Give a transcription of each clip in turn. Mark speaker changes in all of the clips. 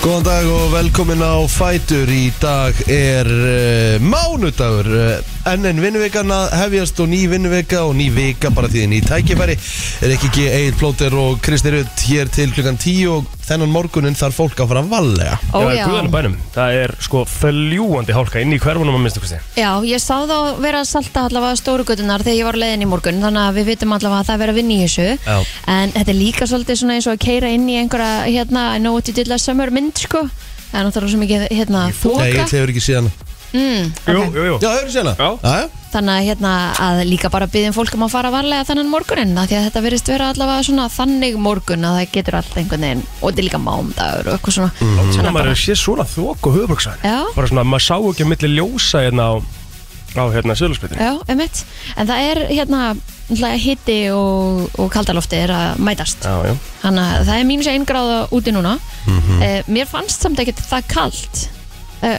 Speaker 1: Góðan dag og velkomin á Fætur Í dag er uh, mánudagur uh, Enn en vinnuvikan að hefjast og ný vinnuvika og ný vika bara því ný tækifæri Er ekki ekki Egil Plóter og Kristi Rutt hér til klukkan 10 og þennan morgunin þarf fólk að fara að valega
Speaker 2: Ó,
Speaker 3: Já,
Speaker 2: já.
Speaker 3: guðanum bænum, það er sko fljúandi hálka inn í hverfunum að minnstu kosti
Speaker 2: Já, ég sá þá vera að salta allavega stórugutunar þegar ég var leiðin í morgun þannig að við vitum allavega að það er verið að vinna í þessu
Speaker 3: Já.
Speaker 2: en þetta er líka svolítið svona eins og að keira inn í einhverja hérna, I know what you did last summer mynd sko, það er náttúrulega svo mikið hérna,
Speaker 1: Nei,
Speaker 2: þóka
Speaker 1: Egil hefur ekki síðan
Speaker 2: mm,
Speaker 3: Jú,
Speaker 2: ok.
Speaker 3: jú, jú
Speaker 1: Já, hefur síðan
Speaker 3: Já.
Speaker 1: já
Speaker 2: þannig að, hérna, að líka bara byggðum fólk um að fara varlega þannig morgunin af því að þetta verist vera allavega svona þannig morgun að það getur allt einhvern veginn og þetta er líka mándagur og eitthvað svona, mm.
Speaker 3: Svona maður er séð svona þók og höfubruksar
Speaker 2: Já.
Speaker 3: Bara svona, maður sá ekki á milli ljósa hérna á, á hérna söðlöspitinu
Speaker 2: Já, einmitt. En það er hérna náttúrulega hitti og, og kaldalofti er að mætast.
Speaker 3: Já, já
Speaker 2: Þannig að það er mínus einn gráða úti núna.
Speaker 3: Mhm.
Speaker 2: eh, mér fannst samt ekkert það kalt. Eh,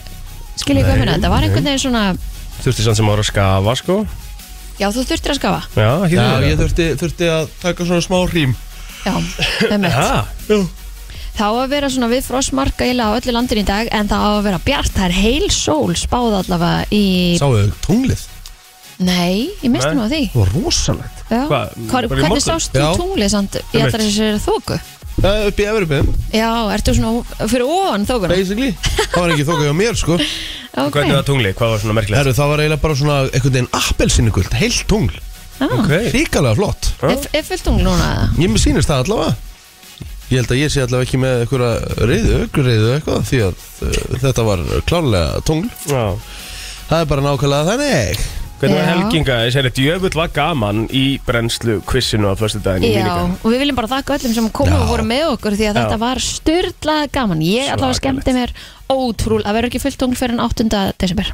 Speaker 2: skil ég hvað
Speaker 3: Nei,
Speaker 2: minna, þetta var einhvern veginn svona,
Speaker 3: Þurfti samt sem ára að skafa, sko
Speaker 2: já þú þurftir að skafa.
Speaker 3: Já,
Speaker 1: Já,
Speaker 3: hérna
Speaker 1: ég þurfti, þurfti að taka svona smá rím
Speaker 2: Já, einmitt.
Speaker 3: Já,
Speaker 2: Það á að vera svona við frostmarka eiginlega á öllu landinu í dag en það á að vera bjart, það er heil sól spáð allavega í...
Speaker 1: Sáuðu tunglið?
Speaker 2: Nei, ég misti
Speaker 3: Nei.
Speaker 2: nú að því.
Speaker 1: Það var rosalegt
Speaker 2: Já.
Speaker 3: Hvað,
Speaker 2: Hvar,
Speaker 3: bara í
Speaker 2: hvernig
Speaker 3: morgun?
Speaker 2: sást
Speaker 1: Já.
Speaker 2: þú tunglið samt í
Speaker 3: Einmitt.
Speaker 2: allra þessari þóku?
Speaker 1: Það upp í Evropið,
Speaker 2: Já, ertu svona fyrir ofan þókuna?
Speaker 1: basically Það var ekki þokað hjá mér, sko
Speaker 2: Ok,
Speaker 3: hvernig var tungli, hvað var svona merkilegt?
Speaker 1: Herru, það var eiginlega bara svona einhvern veginn appelsinugult, heilt tungl
Speaker 2: ah,
Speaker 3: Ok,
Speaker 1: Ríkalega flott
Speaker 3: Já.
Speaker 2: er, er fullt tungl núna eða?
Speaker 1: Ég með sýnist það allavega Ég held að ég sé allavega ekki með einhverja reyðu, aukur reyðu eitthvað Því að uh, þetta var klárlega tungl
Speaker 3: já
Speaker 1: Það er bara nákvæmlega þannig
Speaker 3: Hvernig var
Speaker 2: Já.
Speaker 3: helginga, ég segir þetta jöfull var gaman í brennslu kvissinu á förstu daginn í
Speaker 2: Já,
Speaker 3: Minigan.
Speaker 2: og við viljum bara þakka öllum sem komu
Speaker 1: Já.
Speaker 2: og voru með okkur því að
Speaker 3: Já.
Speaker 2: þetta var styrlað gaman Ég allavega
Speaker 3: Svakalegt.
Speaker 2: skemmti mér ótrúl að vera ekki fullt tungl fyrir en 8. desember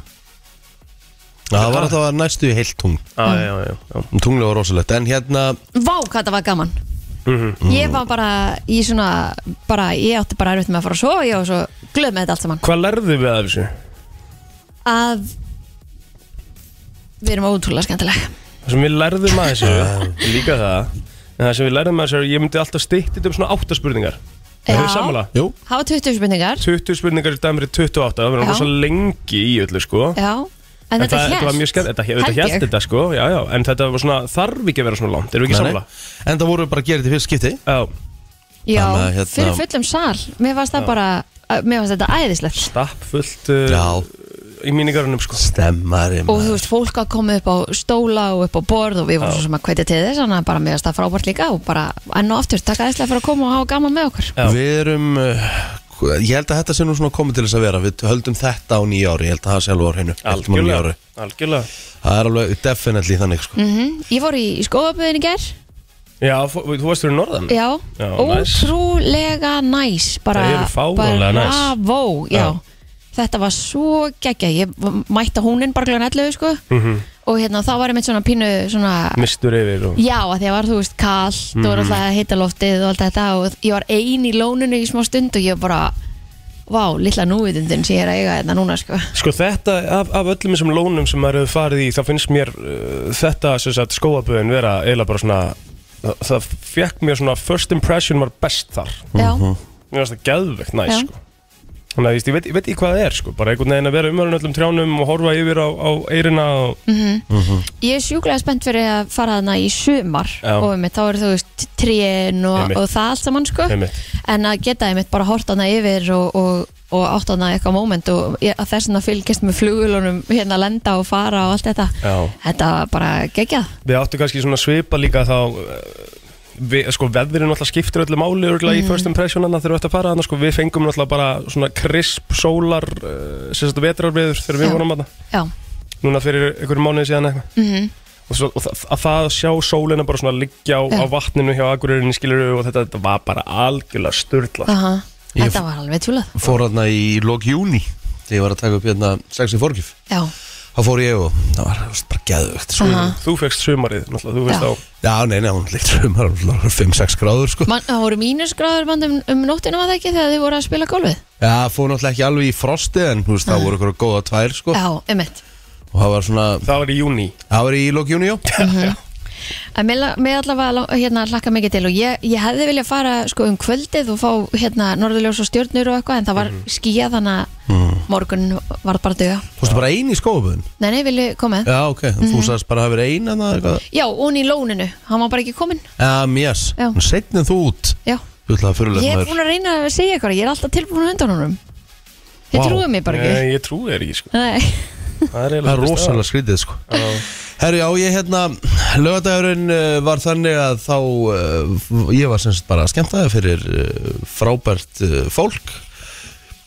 Speaker 1: Það var alltaf næstu í heilt tungl
Speaker 3: Já, Ah, já, já, já.
Speaker 1: Tungli var rosalegt En hérna,
Speaker 2: Vá, hvað þetta var gaman
Speaker 3: Mhm.
Speaker 2: Ég var bara í svona bara, ég átti bara erfitt með að fara að sofa ég var svo glöð með þetta allt saman
Speaker 3: Hvað lærðu við af þessu?
Speaker 2: að við erum ótrúlega skemmtilega
Speaker 3: Það sem við lærðum að þessu Líka það En það sem við lærðum að þessu er að Ég myndi alltaf stýtti um svona 8 spurningar Það er
Speaker 2: Já.
Speaker 3: sammála
Speaker 1: jú,
Speaker 2: Hafa 20 spurningar
Speaker 3: 20 spurningar í dæmri 28 Það
Speaker 2: Já.
Speaker 3: verður rosa lengi í öllu sko
Speaker 2: Já, en,
Speaker 3: En
Speaker 2: þetta
Speaker 3: það, þetta var mjög
Speaker 2: hérst
Speaker 3: skemmt, þetta, þetta
Speaker 2: Held ég.
Speaker 3: hérst þetta sko, já, já, en þetta var svona, þarf ekki að vera svona langt, erum við ekki
Speaker 1: nei, nei.
Speaker 3: samla?
Speaker 1: En það voru bara að gera þetta í fyrst skipti
Speaker 3: Já,
Speaker 2: Já,
Speaker 1: Þannig að, hérna-
Speaker 2: fyrir fullum sal Mér fannst það bara, að- mér fannst þetta æðislegt
Speaker 3: stapp fullt uh, í mínigarunum sko.
Speaker 1: stemmari
Speaker 2: Og þú veist, fólk að koma upp á stóla og upp á borð og við vorum svo sem að kveita til þess þannig að bara mér fannst það frábært líka og bara enn og aftur, takk æðislega fyrir að koma og hafa gaman með okkur
Speaker 3: Já.
Speaker 1: Við erum, uh, ég held að þetta sé nú svona komið til þess að vera Við höldum þetta á nýja ári, ég held að það sé alveg á hreinu Höldum á nýja ári.
Speaker 3: Algjörlega, algjörlega.
Speaker 1: Það er alveg definitely þannig sko.
Speaker 3: Mhm.
Speaker 2: mm Ég fór í, í skóðaböðin í ger
Speaker 3: Já, fó- þú varst fyrir norðan?
Speaker 2: Já,
Speaker 3: Já, næs.
Speaker 2: ótrúlega næs bara,
Speaker 3: Það eru fáránlega næs.
Speaker 2: Bravo, já. Þetta var svo geggja, ég mætti húninn bara glan 11 sko
Speaker 3: Mhm.
Speaker 2: og hérna þá var ég mitt svona pínu svona
Speaker 3: Mistur yfir og...
Speaker 2: Já, að því að var, þú veist, kallt
Speaker 3: Mhm.
Speaker 2: og alltaf hittaloftið og allt þetta og ég var ein í lóninu í smá stund og ég bara, vá, lilla núvitundin sem ég er að eiga þetta núna, sko.
Speaker 3: Sko þetta, af, af öllum þessum lónum sem maður hefur farið í, þá finnst mér uh, þetta sem sagt, skóaböðin vera eiginlega bara svona, það, það fekk mér svona first impression var best þar
Speaker 2: Já,
Speaker 3: mér finnst það geðvegt næs
Speaker 2: Já.
Speaker 3: sko. þannig að þú veist, ég veit, ég veit ekki hvað það er sko. bara einhvern veginn að vera umhörðin öllum trjánum og horfa yfir á, á eyrina og...
Speaker 2: Mm. ég er sjúklega spennt fyrir að fara þarna í sumar
Speaker 3: Já.
Speaker 2: og einmitt, þá eru þú veist, trén og,
Speaker 3: Einmitt.
Speaker 2: og það allt saman, sko.
Speaker 3: Einmitt.
Speaker 2: En að geta einmitt bara hort hana yfir og, og, og átt hana eitthvað moment og ég- að þess að fylgjast með flugulunum hérna að lenda og fara og allt þetta.
Speaker 3: Já.
Speaker 2: Þetta var bara geggjað.
Speaker 3: við áttu kannski svona svipa líka þá eh, við, sko veðurinn alltaf skiptir öllu máli mm. í first impressionana þegar við ættum að fara þannig sko við fengum alltaf bara svona krisp sólar, uh, sem sagt vetrarviður þegar við
Speaker 2: Já.
Speaker 3: vorum að það
Speaker 2: Já, Mhm.
Speaker 3: núna fyrir einhverjum mánuði síðan eitthvað og, svo, og það, að það að sjá sólina bara svona liggja á,
Speaker 2: Já.
Speaker 3: á vatninu hjá Akureyrinni skilur og þetta, þetta var bara algjörlega styrla
Speaker 2: aha.
Speaker 1: Ég-
Speaker 2: Þetta var alveg tjúlað.
Speaker 1: Fór hérna í lok júni Þegar ég var að taka upp hérna sexi forgif
Speaker 2: Já,
Speaker 1: Þá fór ég og það var þú veist, bara geðvögt sko.
Speaker 2: aha.
Speaker 3: Mm. þú fegst sumarið, náttúrulega, þú veist
Speaker 2: Já.
Speaker 3: á
Speaker 1: Já, nei, nei, hún um, líkt sumar 5-6 gráður sko
Speaker 2: Man, það voru mínusgráður band um, um nóttina var það ekki þegar þið voru að spila gólfið?
Speaker 1: Já, fór náttúrulega ekki alveg í frosti En þú veist, það voru ykkur góða tvær sko
Speaker 2: Já, emitt.
Speaker 1: Og það var svona,
Speaker 3: það var í júni
Speaker 1: það var í lok júni, já
Speaker 2: En mér, la- mér allavega lang- hérna, hlakka mikið til og ég, ég hefði viljað fara sko, um kvöldið og fá hérna, norðurljós og stjörnur og eitthvað en það var
Speaker 3: Mhm.
Speaker 2: skýjað þannig að morgun var bara döga.
Speaker 1: Þú veist bara ein í skóaböðun?
Speaker 2: Nei, nei, vilju komið?
Speaker 1: Já, ok, þú sagðist bara að hafa verið ein að það eitthvað
Speaker 2: Mhm. Já, og hún í lóninu, hann var bara ekki kominn.
Speaker 1: Um, yes,
Speaker 2: Já.
Speaker 1: hún setnið þú út
Speaker 2: Já,
Speaker 1: Þú ætlaði að fyrirlega
Speaker 2: ég er búin að reyna að segja eitthvað, ég er alltaf tilbúin að undan honum.
Speaker 1: Vá.
Speaker 2: Þið wow. trúið mér bara ekki.
Speaker 3: Nei, ég trúi þér ekki sko.
Speaker 2: Nei.
Speaker 3: Það er,
Speaker 1: Það er
Speaker 3: eiginlega
Speaker 1: rosalega skrítið sko Herru, já, ég hérna Laugardagurinn uh, var þannig að þá uh, Ég var sem sagt bara að skemmta það fyrir uh, frábært uh, fólk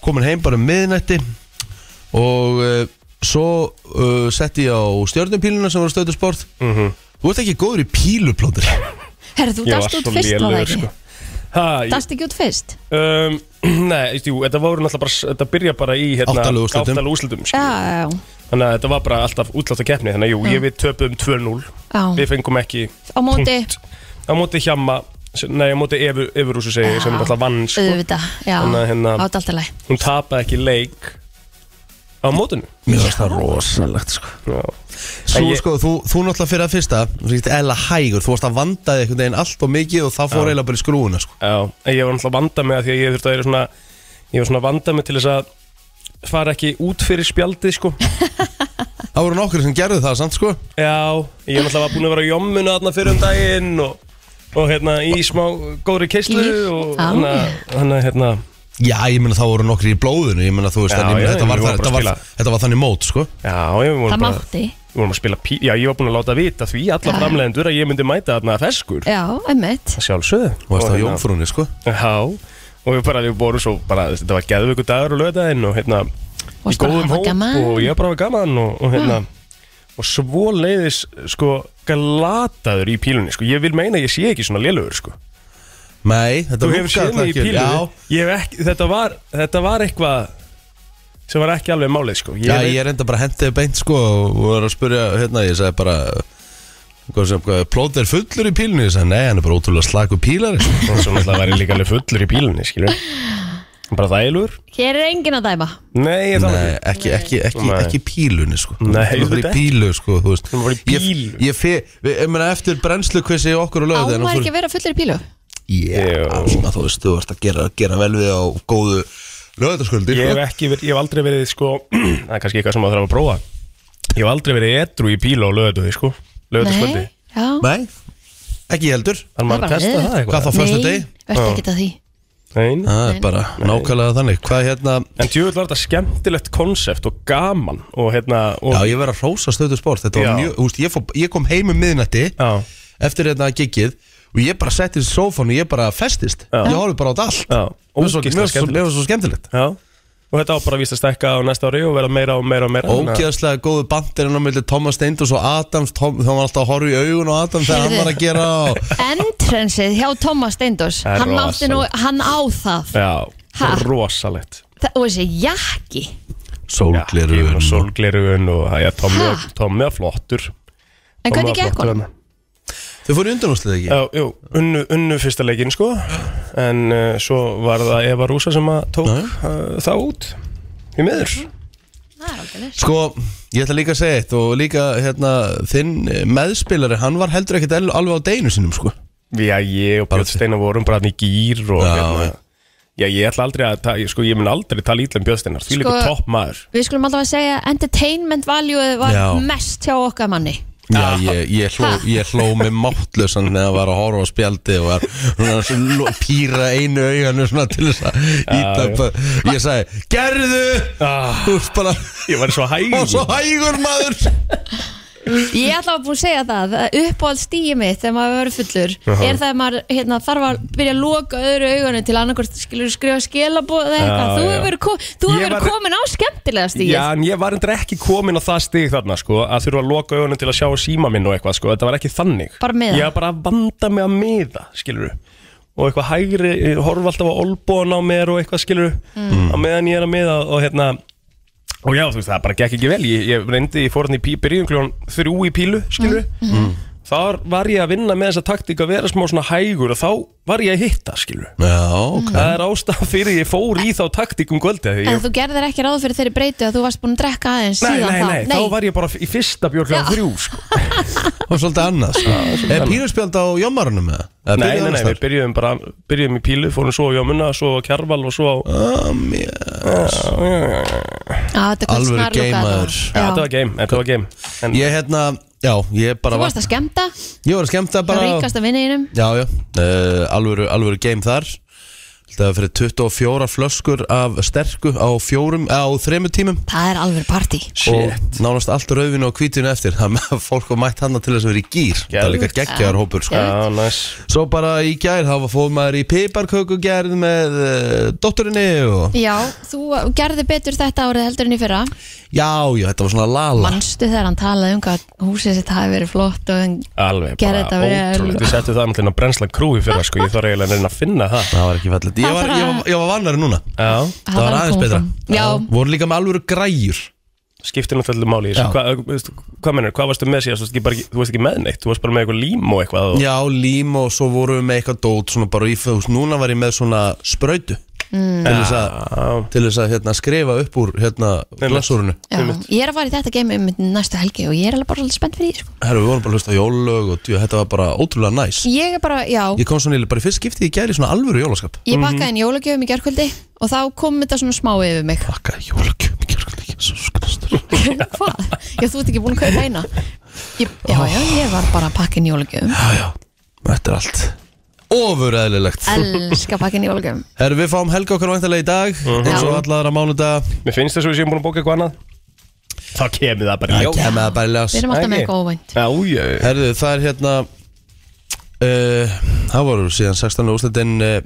Speaker 1: Komin heim bara um miðnætti Og uh, svo uh, setti ég á stjörnupíluna sem var stöðu sport
Speaker 3: Mhm.
Speaker 1: Þú ert ekki góður í píluplótur
Speaker 2: Herru, þú
Speaker 3: Ég var
Speaker 2: dast út
Speaker 3: svo
Speaker 2: fyrst var það
Speaker 3: lélegur
Speaker 2: ekki.
Speaker 3: sko. Ha, ég-
Speaker 2: Dast ekki út fyrst?
Speaker 3: um, Nei, veist, jú, þetta voru náttúrulega bara Þetta byrja bara í hérna,
Speaker 1: Áttalega úrslitum.
Speaker 3: áttalega úrslitum,
Speaker 2: Já,
Speaker 3: skilur.
Speaker 2: já, já.
Speaker 3: Þannig að þetta var bara alltaf útláta keppni Þannig að jú, ég við töpum 2-0
Speaker 2: Já.
Speaker 3: Við fengum ekki
Speaker 2: Á móti,
Speaker 3: punkt. Á móti hjamma Nei, á móti Evu, Evurúsu segi ég, sem er alltaf vann sko.
Speaker 2: auðvitað, já,
Speaker 3: Þannig að hérna-
Speaker 2: átt alltaf leið.
Speaker 3: Hún tapaði ekki leik Á mótinu
Speaker 1: Mér finnst það rosalegt sko
Speaker 3: Já. En
Speaker 1: Svo
Speaker 3: ég-
Speaker 1: sko, þú, þú náttúrulega fyrir að fyrsta Þú veist, eða hægur, þú varst að vandaði einhvern veginn allt og mikið Og það fór eiginlega bara í skrúuna sko
Speaker 3: Já, en ég var náttúrulega að vanda mig að því að ég þurfti að vera svona Ég var svona að vanda mig til þess að fara ekki út fyrir spjaldið sko
Speaker 1: Það voru nokkur sem gerðu það, samt sko
Speaker 3: Já, ég er náttúrulega búin að vera á jommuna þarna fyrir um daginn og, og hérna í smá góðri keislu
Speaker 2: Í-
Speaker 3: og
Speaker 2: Já.
Speaker 3: hérna, hérna, hérna
Speaker 1: Já, ég meina það voru nokkri í blóðinu Ég meina þú veist,
Speaker 3: Já,
Speaker 1: en ég meina
Speaker 3: já,
Speaker 1: þetta,
Speaker 3: já,
Speaker 1: var,
Speaker 3: ég
Speaker 1: það,
Speaker 3: var bara
Speaker 1: þetta,
Speaker 3: að
Speaker 1: var, þetta var þannig mót, sko
Speaker 3: Já, ég var
Speaker 2: Það
Speaker 3: bara
Speaker 2: mátti.
Speaker 3: Við vorum að spila pí Já, ég var búin að láta vita því alla
Speaker 2: Já.
Speaker 3: framlegendur að ég myndi mæta þarna feskur
Speaker 2: Já, einmitt.
Speaker 3: Sjálfsögðu
Speaker 1: Þú varst á jómfrúni, sko
Speaker 3: Já, og við bara, við vorum svo bara, þú veist, þetta var geðvöku dagur og lögðaðinn og hérna
Speaker 2: Varst
Speaker 3: í
Speaker 2: bara að
Speaker 3: góðum
Speaker 2: hafa
Speaker 3: hóp
Speaker 2: gaman.
Speaker 3: og ég var bara að hafa gaman og, og hérna og svo leiðis sko galataður í pílunni sko, ég vil meina að ég sé ekki svona lélugur sko
Speaker 1: Nei, þetta
Speaker 3: Þú hefur séð
Speaker 1: lúkkaði
Speaker 3: mig í
Speaker 1: ekki-
Speaker 3: pílu
Speaker 1: Já,
Speaker 3: Ég hef ekki, þetta var, þetta var eitthvað sem var ekki alveg málið sko
Speaker 1: já,
Speaker 3: veit-
Speaker 1: ég er enda bara hendið beint, sko Og var að spurja, hérna, ég sagði bara Hvað sem, hvað, plóð er fullur í pílunni Ég sagði, nei, hann er bara ótrúlega slaku pílar sko.
Speaker 3: og svo náttúrulega var ég líka alveg fullur í pílunni skilur bara þægilegur
Speaker 2: Hér er enginn að dæma.
Speaker 3: Nei, ég þannig
Speaker 1: Nei, ekki, ekki, ekki,
Speaker 3: Nei.
Speaker 1: ekki pílunni sko Þú ert
Speaker 3: Nei,
Speaker 1: bara í
Speaker 3: auðvitað
Speaker 1: pílu sko Þú veist
Speaker 3: Þú ert bara í pílu.
Speaker 1: Ég, ég fe- við- ég meina eftir brennslu hversi okkur og
Speaker 2: Á
Speaker 1: lögðu
Speaker 2: maður ekki að vera fullur í pílu?
Speaker 1: Já,
Speaker 3: Jú.
Speaker 1: svona, þú veist, þú ert að gera, gera vel við á góðu sko. lögðarsköldi
Speaker 3: Ég hef ekki, verið- ég hef aldrei verið sko það er kannski eitthvað sem maður þarf að prófa Ég hef aldrei verið edru í pílu á lögðu sko lögðu skvöldi
Speaker 2: Nei, já.
Speaker 1: Nei, ekki heldur
Speaker 3: Þannig maður
Speaker 2: Það
Speaker 3: að
Speaker 2: er bara
Speaker 3: testa
Speaker 2: leðilegt.
Speaker 3: það
Speaker 1: Hvað
Speaker 3: eitthvað
Speaker 1: þá fyrstu deg?
Speaker 2: verður ekki að því.
Speaker 3: Nein.
Speaker 1: Það er bara nákvæmlega þannig Hvað hérna,
Speaker 3: En tjóðvill var þetta skemmtilegt konsept og gaman og hérna og,
Speaker 1: já ég verð að hrósa stöðu sport Þetta var
Speaker 3: Já.
Speaker 1: mjög, þú veist, ég, fó- ég kom heim um miðnætti
Speaker 3: já,
Speaker 1: Eftir hérna giggið Og ég bara settist í sófan og ég bara festist
Speaker 3: Já.
Speaker 1: Ég horfði bara á þetta allt
Speaker 3: já,
Speaker 1: Mér var svo-
Speaker 3: ógeðslega
Speaker 1: mér var svo- mér
Speaker 3: skemmtilegt
Speaker 1: var svo skemmtilegt
Speaker 3: Já, og þetta á bara að vísa að stekka á næsta ári og vera meira og meira og meira
Speaker 1: Ógeðslega góðu bandirinn á milli Thomas Steindus og Adams Tom, þá var alltaf að horfa í augun og Adam þegar hann var að gera og...
Speaker 2: Entrensið hjá Thomas Steindors,
Speaker 3: Það er
Speaker 2: hann
Speaker 3: rosalegt.
Speaker 2: mátti nú, hann á það.
Speaker 3: Já,
Speaker 2: Ha?
Speaker 3: rosalegt
Speaker 2: Það- Og þessi jakki.
Speaker 1: Sólglerugun
Speaker 3: og Sólglerun og já, Tommi,
Speaker 2: Ha?
Speaker 3: Tommi var flottur
Speaker 2: En
Speaker 3: Tommi var
Speaker 2: hvernig gekk
Speaker 3: flottur
Speaker 2: honum?
Speaker 3: þarna.
Speaker 1: Þau fóru í undanúslið ekki?
Speaker 3: Já, jú, unnu, unnu fyrsta leikin sko En uh, svo var það Eva Rúsa sem að tók
Speaker 1: Nei.
Speaker 3: uh, það út Í miður
Speaker 2: Það er aldrei leys.
Speaker 1: Sko, ég ætla líka að segja eitt og líka hérna, þinn eh, meðspilari hann var heldur ekkert el- alveg á deinu sinum sko.
Speaker 3: Já, ég og
Speaker 1: Bara
Speaker 3: Björn Steinar vorum bara hann í gýr og
Speaker 1: Já,
Speaker 3: hérna Já, ég ætla aldrei að, ta- sko, ég mun aldrei tala ítla um Björn Steinar Því líka
Speaker 2: Sko-
Speaker 3: topp maður
Speaker 2: Við skulum alltaf að segja entertainment value var
Speaker 1: Já.
Speaker 2: mest hjá okkar manni.
Speaker 3: Ah.
Speaker 1: Já, ég, ég, hló, ég hló mig máttlösan þegar að var að horfa á spjaldi og var svona að lo- píra einu auganu svona til þess að íta
Speaker 3: já.
Speaker 1: upp Ég sagði, gerðu!
Speaker 3: ah,
Speaker 1: Þú veist bara,
Speaker 3: Ég var svo hæg
Speaker 1: og svo hægur maður
Speaker 2: Ég ætla að búin að segja það að uppáhald stíði mitt þegar maður verður fullur er það að maður hérna, þarf að byrja að loka öðru augunum til annarkvort skilur skrifa skilabóð eða eitthvað þú
Speaker 3: Já, já.
Speaker 2: hefur verið, ko þú
Speaker 3: Ég
Speaker 2: hefur verið
Speaker 3: var-
Speaker 2: komin á skemmtilega stíð
Speaker 3: Já, en ég var endur ekki komin á það stig þarna sko, að þurfa að loka augunum til að sjá síma minn og eitthvað sko, þetta var ekki þannig
Speaker 2: Bara miða.
Speaker 3: Ég var bara að vanda mig að miða, skilur og eitthvað hægri, ég horfa alltaf á olbóan á mér og eitthvað skilur
Speaker 2: Mm.
Speaker 3: á meðan ég er að miða og hérna og já, þú veist, það bara gekk ekki vel ég, ég reyndi, ég fór hann í pí- byrjun kljón þrjú í pílu, skilur
Speaker 2: Mm.
Speaker 3: þar var ég að vinna með þessa taktík að vera smá svona hægur og þá var ég að hitta, skilur
Speaker 1: Já,
Speaker 2: Mm.
Speaker 1: ok
Speaker 3: Það er ástæðan fyrir ég fór í þá taktík um kvöldi því ég
Speaker 2: en þú gerðir ekki ráð fyrir þeirri breytu að þú varst búin að drekka aðeins
Speaker 3: Nei,
Speaker 2: síðan
Speaker 3: nei,
Speaker 2: þá
Speaker 3: nei, þá var ég bara í fyrsta björglega
Speaker 2: Já.
Speaker 3: þrjú sko.
Speaker 1: og svolítið annað sko. Er píluspjald á jommarunum eða? Eða
Speaker 3: Ah, Nei,
Speaker 1: byrjaði
Speaker 3: nei, nei,
Speaker 1: annars
Speaker 3: við
Speaker 1: þar?
Speaker 3: byrjuðum bara Byrjuðum í pílu, fórum svo á Jómuna Svo á Kjarval og svo á
Speaker 1: Ah, mér-
Speaker 2: Já, þetta er
Speaker 1: Alvöru
Speaker 2: kvöld snarlúka
Speaker 1: game,
Speaker 2: allavega.
Speaker 1: maður.
Speaker 3: Já, þetta var game, þetta var game En
Speaker 1: Ég hérna, já, ég bara
Speaker 2: Þú varst að skemmta,
Speaker 1: Ég var að skemmta
Speaker 2: það
Speaker 1: bara
Speaker 2: ríkast að vinna einum
Speaker 1: Já, já, uh, alvöru, alvöru game þar Það var fyrir 24 flöskur af sterku á fjórum, eh, á þremur tímum
Speaker 2: Það er alveg partí
Speaker 1: og nánast allt rauðinu og hvítinu eftir þannig að fólk var mætt hana til þess að vera í gýr það er líka
Speaker 3: Geðveikt.
Speaker 1: geggjaðar hópur sko.
Speaker 3: Já, næs
Speaker 1: svo bara í gær þá var fóð maður í piparkökugerð með uh, dótturinni og
Speaker 2: Já, þú gerði betur þetta árið heldur en í fyrra
Speaker 1: já, já, þetta var svona lala
Speaker 2: Manstu þegar hann talaði um hvað húsið sitt hafi verið flott og en
Speaker 3: Alveg,
Speaker 2: Gerði þetta
Speaker 3: bara
Speaker 2: vel.
Speaker 3: ótrúlegt Við settum það náttúrulega brensla krúi fyrir sko Ég þarf eiginlega að reyna að finna það
Speaker 1: það var ekki fallið ég var, ég var, ég var vannari núna
Speaker 3: Já,
Speaker 1: það var
Speaker 2: að
Speaker 1: aðeins
Speaker 2: koma
Speaker 1: betra
Speaker 2: fram. Já,
Speaker 1: voru líka með alvöru græjur
Speaker 3: skiptir náttúrulega máli í þessu
Speaker 1: Já.
Speaker 3: Hva, eh, veistu, Hvað mennur, hvað varstu með síðast, þú varst ekki, bara ekki- þú varst ekki með neitt Þú varst bara með eitthvað lím og eitthvað og,
Speaker 1: já, lím og svo voru við með eitthvað dót svona bara í fjóðs núna var ég með svona spröytu
Speaker 2: Mm.
Speaker 1: til þess að
Speaker 3: Já,
Speaker 1: til þess að hérna, skrifa upp úr hérna,
Speaker 3: Einmitt.
Speaker 1: glasurinu
Speaker 2: já, ég er að fara í þetta game um næstu helgi og ég er alveg bara svolítið spennt fyrir því sko.
Speaker 1: Herru, við vorum bara að hlusta á jólög og djú, þetta var bara ótrúlega næs
Speaker 2: Ég er bara, já,
Speaker 1: Ég kom svona í- bara í fyrst skiptið í gæri svona alvöru jólaskap
Speaker 3: Mhm.
Speaker 2: ég pakkaði inn jólagjöfum í gerkvöldi og þá kom þetta svona smá yfir mig
Speaker 1: Bakka jólagjöfum í gæri Jesus Kristur
Speaker 2: Hvað? Já, þú ert ekki búin að kaupa eina ég, Já, já, ég var bara að pakka inn jólagjöfum
Speaker 1: Já, já, þetta er allt Ofur eðlilegt
Speaker 2: Elska að pakka inn jólagjöfum
Speaker 1: Herru, við fáum helga okkar væntalega í dag eins og
Speaker 2: Já.
Speaker 1: allara mánudag
Speaker 3: mér finnst þess að við séum búin að bóka eitthvað annað Þá kemur það bara í
Speaker 1: Það
Speaker 3: ljós.
Speaker 1: kemur það bara í ljós
Speaker 2: Við erum alltaf með
Speaker 3: Ekki.
Speaker 2: eitthvað óvænt
Speaker 3: Já, já, já.
Speaker 1: Herru, það er hérna uh, Það voru síðan 16. úrslitin uh,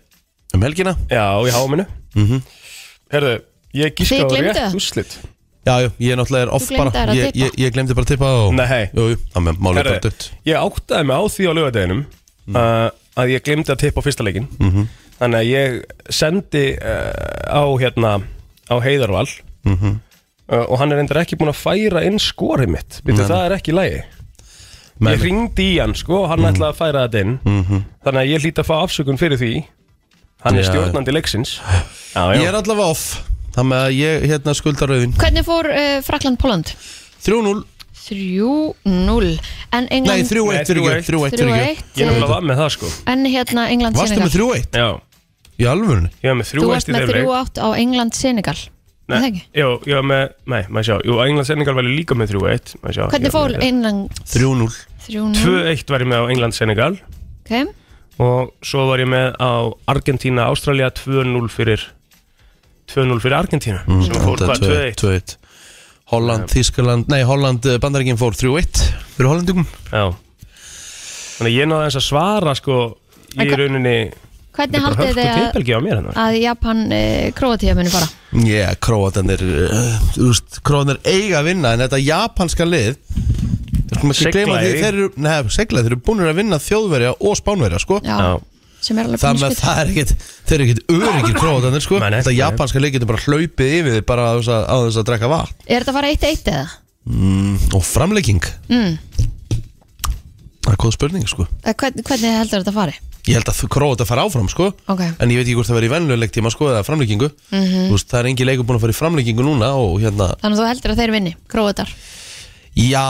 Speaker 1: um helgina
Speaker 3: já, í háminu
Speaker 1: Mhm.
Speaker 3: Herðu, ég
Speaker 2: Þið
Speaker 3: gíska á
Speaker 2: gleymduð
Speaker 3: rétt
Speaker 2: það?
Speaker 3: úslit
Speaker 1: Já, já, ég náttúrulega er off
Speaker 2: gleymdir
Speaker 1: bara
Speaker 2: að
Speaker 1: Ég,
Speaker 2: tippa.
Speaker 1: ég, ég glemdi bara að tippa og
Speaker 3: Nei.
Speaker 1: Jú, jú, það með málið bara dutt
Speaker 3: ég áttaði mig á því á lögadeginum
Speaker 1: Mhm.
Speaker 3: uh, að ég glemdi að tippa á fyrsta leikin þannig að ég sendi uh, á hérna á Heiðarval
Speaker 1: Mhm.
Speaker 3: uh, og hann er endur ekki búin að færa inn skorið mitt Býtu, það er ekki í lagi
Speaker 1: Nei, nei.
Speaker 3: ég
Speaker 1: Mhm.
Speaker 3: ringdi í hann sko og hann ætlaði að færa þetta inn þannig að ég hlýt að fá afsökun fyrir því hann er
Speaker 1: Já.
Speaker 3: stjórnandi leiksins já, já.
Speaker 1: Ég er allavega off Þannig að ég hérna skulda rauðin
Speaker 2: Hvernig fór uh, Frakland-Póland?
Speaker 1: 3-0
Speaker 2: 3-0 En
Speaker 1: Nei, 3-1
Speaker 2: England
Speaker 1: fyrir
Speaker 3: Nei,
Speaker 1: ekki 3-1 fyrir
Speaker 2: 3-1
Speaker 1: ekki
Speaker 3: ég nefnilega var með það sko
Speaker 2: En hérna England
Speaker 1: Varstu með
Speaker 2: Senegal
Speaker 1: 3-1?
Speaker 3: já,
Speaker 1: Í alvörunni?
Speaker 3: ég var með þrjú
Speaker 2: Þú
Speaker 3: eitt
Speaker 2: varst
Speaker 3: í
Speaker 2: með
Speaker 3: þeim leik.
Speaker 2: 3-8 á England Senegal Er það
Speaker 3: Nei,
Speaker 2: ekki?
Speaker 3: jú, ég var með, nei, maður sjá, jú, England Senegal var ég líka með 3-1 maður sjá,
Speaker 2: Hvernig
Speaker 3: ég var
Speaker 2: fór
Speaker 3: með-
Speaker 2: England
Speaker 1: 3-0
Speaker 2: 3-0
Speaker 3: 2-1 var ég með á England Senegal
Speaker 2: okay.
Speaker 3: og svo var ég með á Argentína Ástralja 2-0 fyrir 2-0 fyrir Argentína sem fór
Speaker 1: Mm, Þetta
Speaker 3: hvað,
Speaker 1: er
Speaker 3: 2-1
Speaker 1: 2-1 2-1 Holland, Þískaland Nei, Holland, Bandaríkinn fór 3-1 Fyrir Hollandingum
Speaker 3: Já. þannig að ég náði eins að svara sko í
Speaker 2: En hva-
Speaker 3: rauninni þetta
Speaker 2: Hvernig
Speaker 3: er bara
Speaker 2: haldið
Speaker 3: hörku
Speaker 2: þið að,
Speaker 3: teipelgi á mér hennar
Speaker 2: að Japan uh, Kroatia muni fara?
Speaker 1: Já, króatanir uh, Þú veist, króatanir eiga að vinna En þetta japanska lið Þú skulum ekki
Speaker 3: Segla
Speaker 1: gleyma því
Speaker 3: í.
Speaker 1: Þeir eru, neða, segla Þeir eru búinir að vinna þjóðverja og spánverja, sko
Speaker 2: Já,
Speaker 3: Já.
Speaker 2: sem er alveg
Speaker 1: Það með það er ekkit, þeir eru ekkit öryggir króatanir sko
Speaker 3: Nei, nei,
Speaker 1: Þetta
Speaker 3: nei.
Speaker 1: japanska lið getur bara hlaupið yfir þig bara á þess að, á þess að drekka vatn
Speaker 2: Er þetta að fara 1-1 eða?
Speaker 1: Og framlegging
Speaker 2: Mm.
Speaker 1: Það er góð spurning sko
Speaker 2: Eh, Hvernig, hvernig heldur þetta að fari?
Speaker 1: Ég held að Króata fara áfram sko
Speaker 2: Ok.
Speaker 1: En ég veit ekki hvort það verið í vennuleg tíma sko Eða framleggingu Þú veist, Það er engin leikur búin að fara í framleggingu núna Og hérna
Speaker 2: Þannig að þú heldur að þeir vinni, Kroatar
Speaker 1: Já,